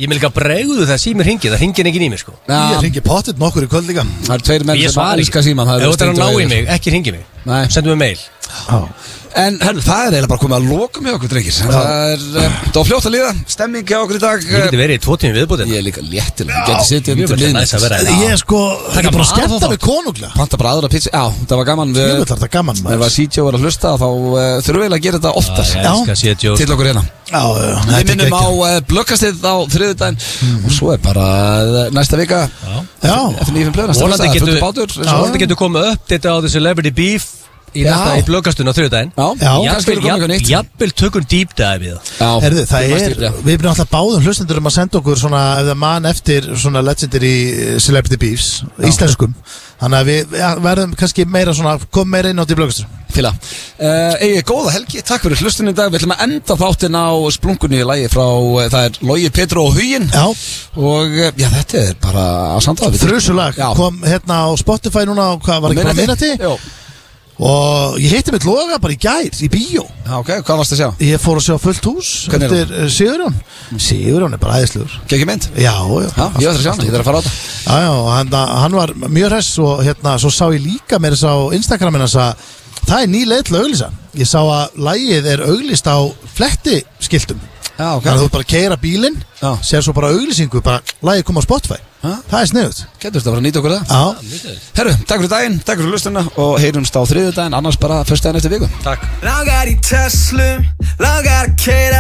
C: Ég með líka bregðu það símir hringið, það hringir enginn í mig sko
B: Ég
A: Já,
B: ringi pottit nokkur í kvöld líka
A: það eru tveir menn
C: Ég
A: sem
C: svari.
A: að elska síman
C: Ef þú ætlar að ná í mig, ekki hringi mig
A: Nei.
C: Sendu mig mail
A: En herru, það er eiginlega bara komið að lokum hjá okkur drengir Það er, eh, það var fljótt að líða Stemming hjá okkur í dag
C: Ég
A: eh,
C: geti verið í tvo tími viðbútin
A: Ég er líka léttileg, ég geti sitið
C: Mjög
A: undir
C: vel,
A: liðinu
C: næs að vera hérna.
B: Ég er sko, ég er
C: Taka
B: bara að
C: bara
B: skemmta
C: aðra
B: mig konunglega
A: Panta bara aðra pizza, já, það var gaman
B: Ég vil
A: við
B: þetta gaman
A: Ef
B: maður
A: að CJ var að hlusta þá uh, þurfum við að gera þetta oftar
C: Ég elska að sé djók
A: Til okkur hérna
B: Já, já, já,
A: Við
B: þetta er
A: minnum á
B: geggjað.
A: uh, blökkastið á þriðudaginn
C: Mhm.
A: Og svo er bara uh, næsta vika
B: Já,
A: Eftir nýjum blöðina
C: Volandi getur,
A: bátur eins og-
C: volandi getur komið upp þetta á The Celebrity Beef í
A: Já.
C: næsta í blöggastun á þriðdæðin
A: Já,
B: Já.
A: kannski verður komið eitthvað nýtt
C: Jafnvel tökum deep dive í það
A: Já,
B: Herðu, það
A: við
B: er,
A: mæst í- já.
B: við erum alltaf báðum hlustendur um að senda okkur svona, ef það man eftir svona legendir í eh, Celebrity Beefs, íslenskum Þannig að við ja, verðum kannski meira svona, kom meira inn á því blöggastur
A: Fíla uh, Egið góða helgi, takk fyrir hlustunni í dag Við ætlum að enda þáttin á splunkunni í lagi frá uh, Það er Logi, Petru og Hugin
B: Já,
A: Og uh, já, þetta er bara á samtáð
B: þrjusulag,
A: Já.
B: kom hérna á Spotify núna, á hvað var ekki bara minnati
A: Jó,
B: Og ég hitti mitt loga bara í gær, í bíó
A: já, ok, hvað varst að sjá?
B: Ég fór að sjá fullt hús
A: Hvernig er
B: eftir eh, Sigurjón Sigurjón er bara æðislegur
A: Gekki mynd?
B: Já, já,
A: Já, ég ætla að sjá hana, ég þarf að fara á þetta
B: Já, já, og hann, hann var mjög hress og hérna, svo sá ég líka mér þess á Instagramin hans að það er ný leið til að auglýsa. Ég sá að lægið er auglýst á flettiskiltum.
A: Já, ok.
B: Þannig að þú bara keira bílinn,
A: Já.
B: sér svo bara auglýsingu, bara lægið kom á Spotify.
A: Ha? Ah,
B: Það er sniðut.
A: Getur þetta bara að nýta okkur það?
B: Já,
A: Herru, takk fyrir daginn, takk fyrir lustunna og heyrumst á þriðjudaginn, annars bara fyrst daginn eftir viku
C: Takk
D: Langar í Teslum, langar að keira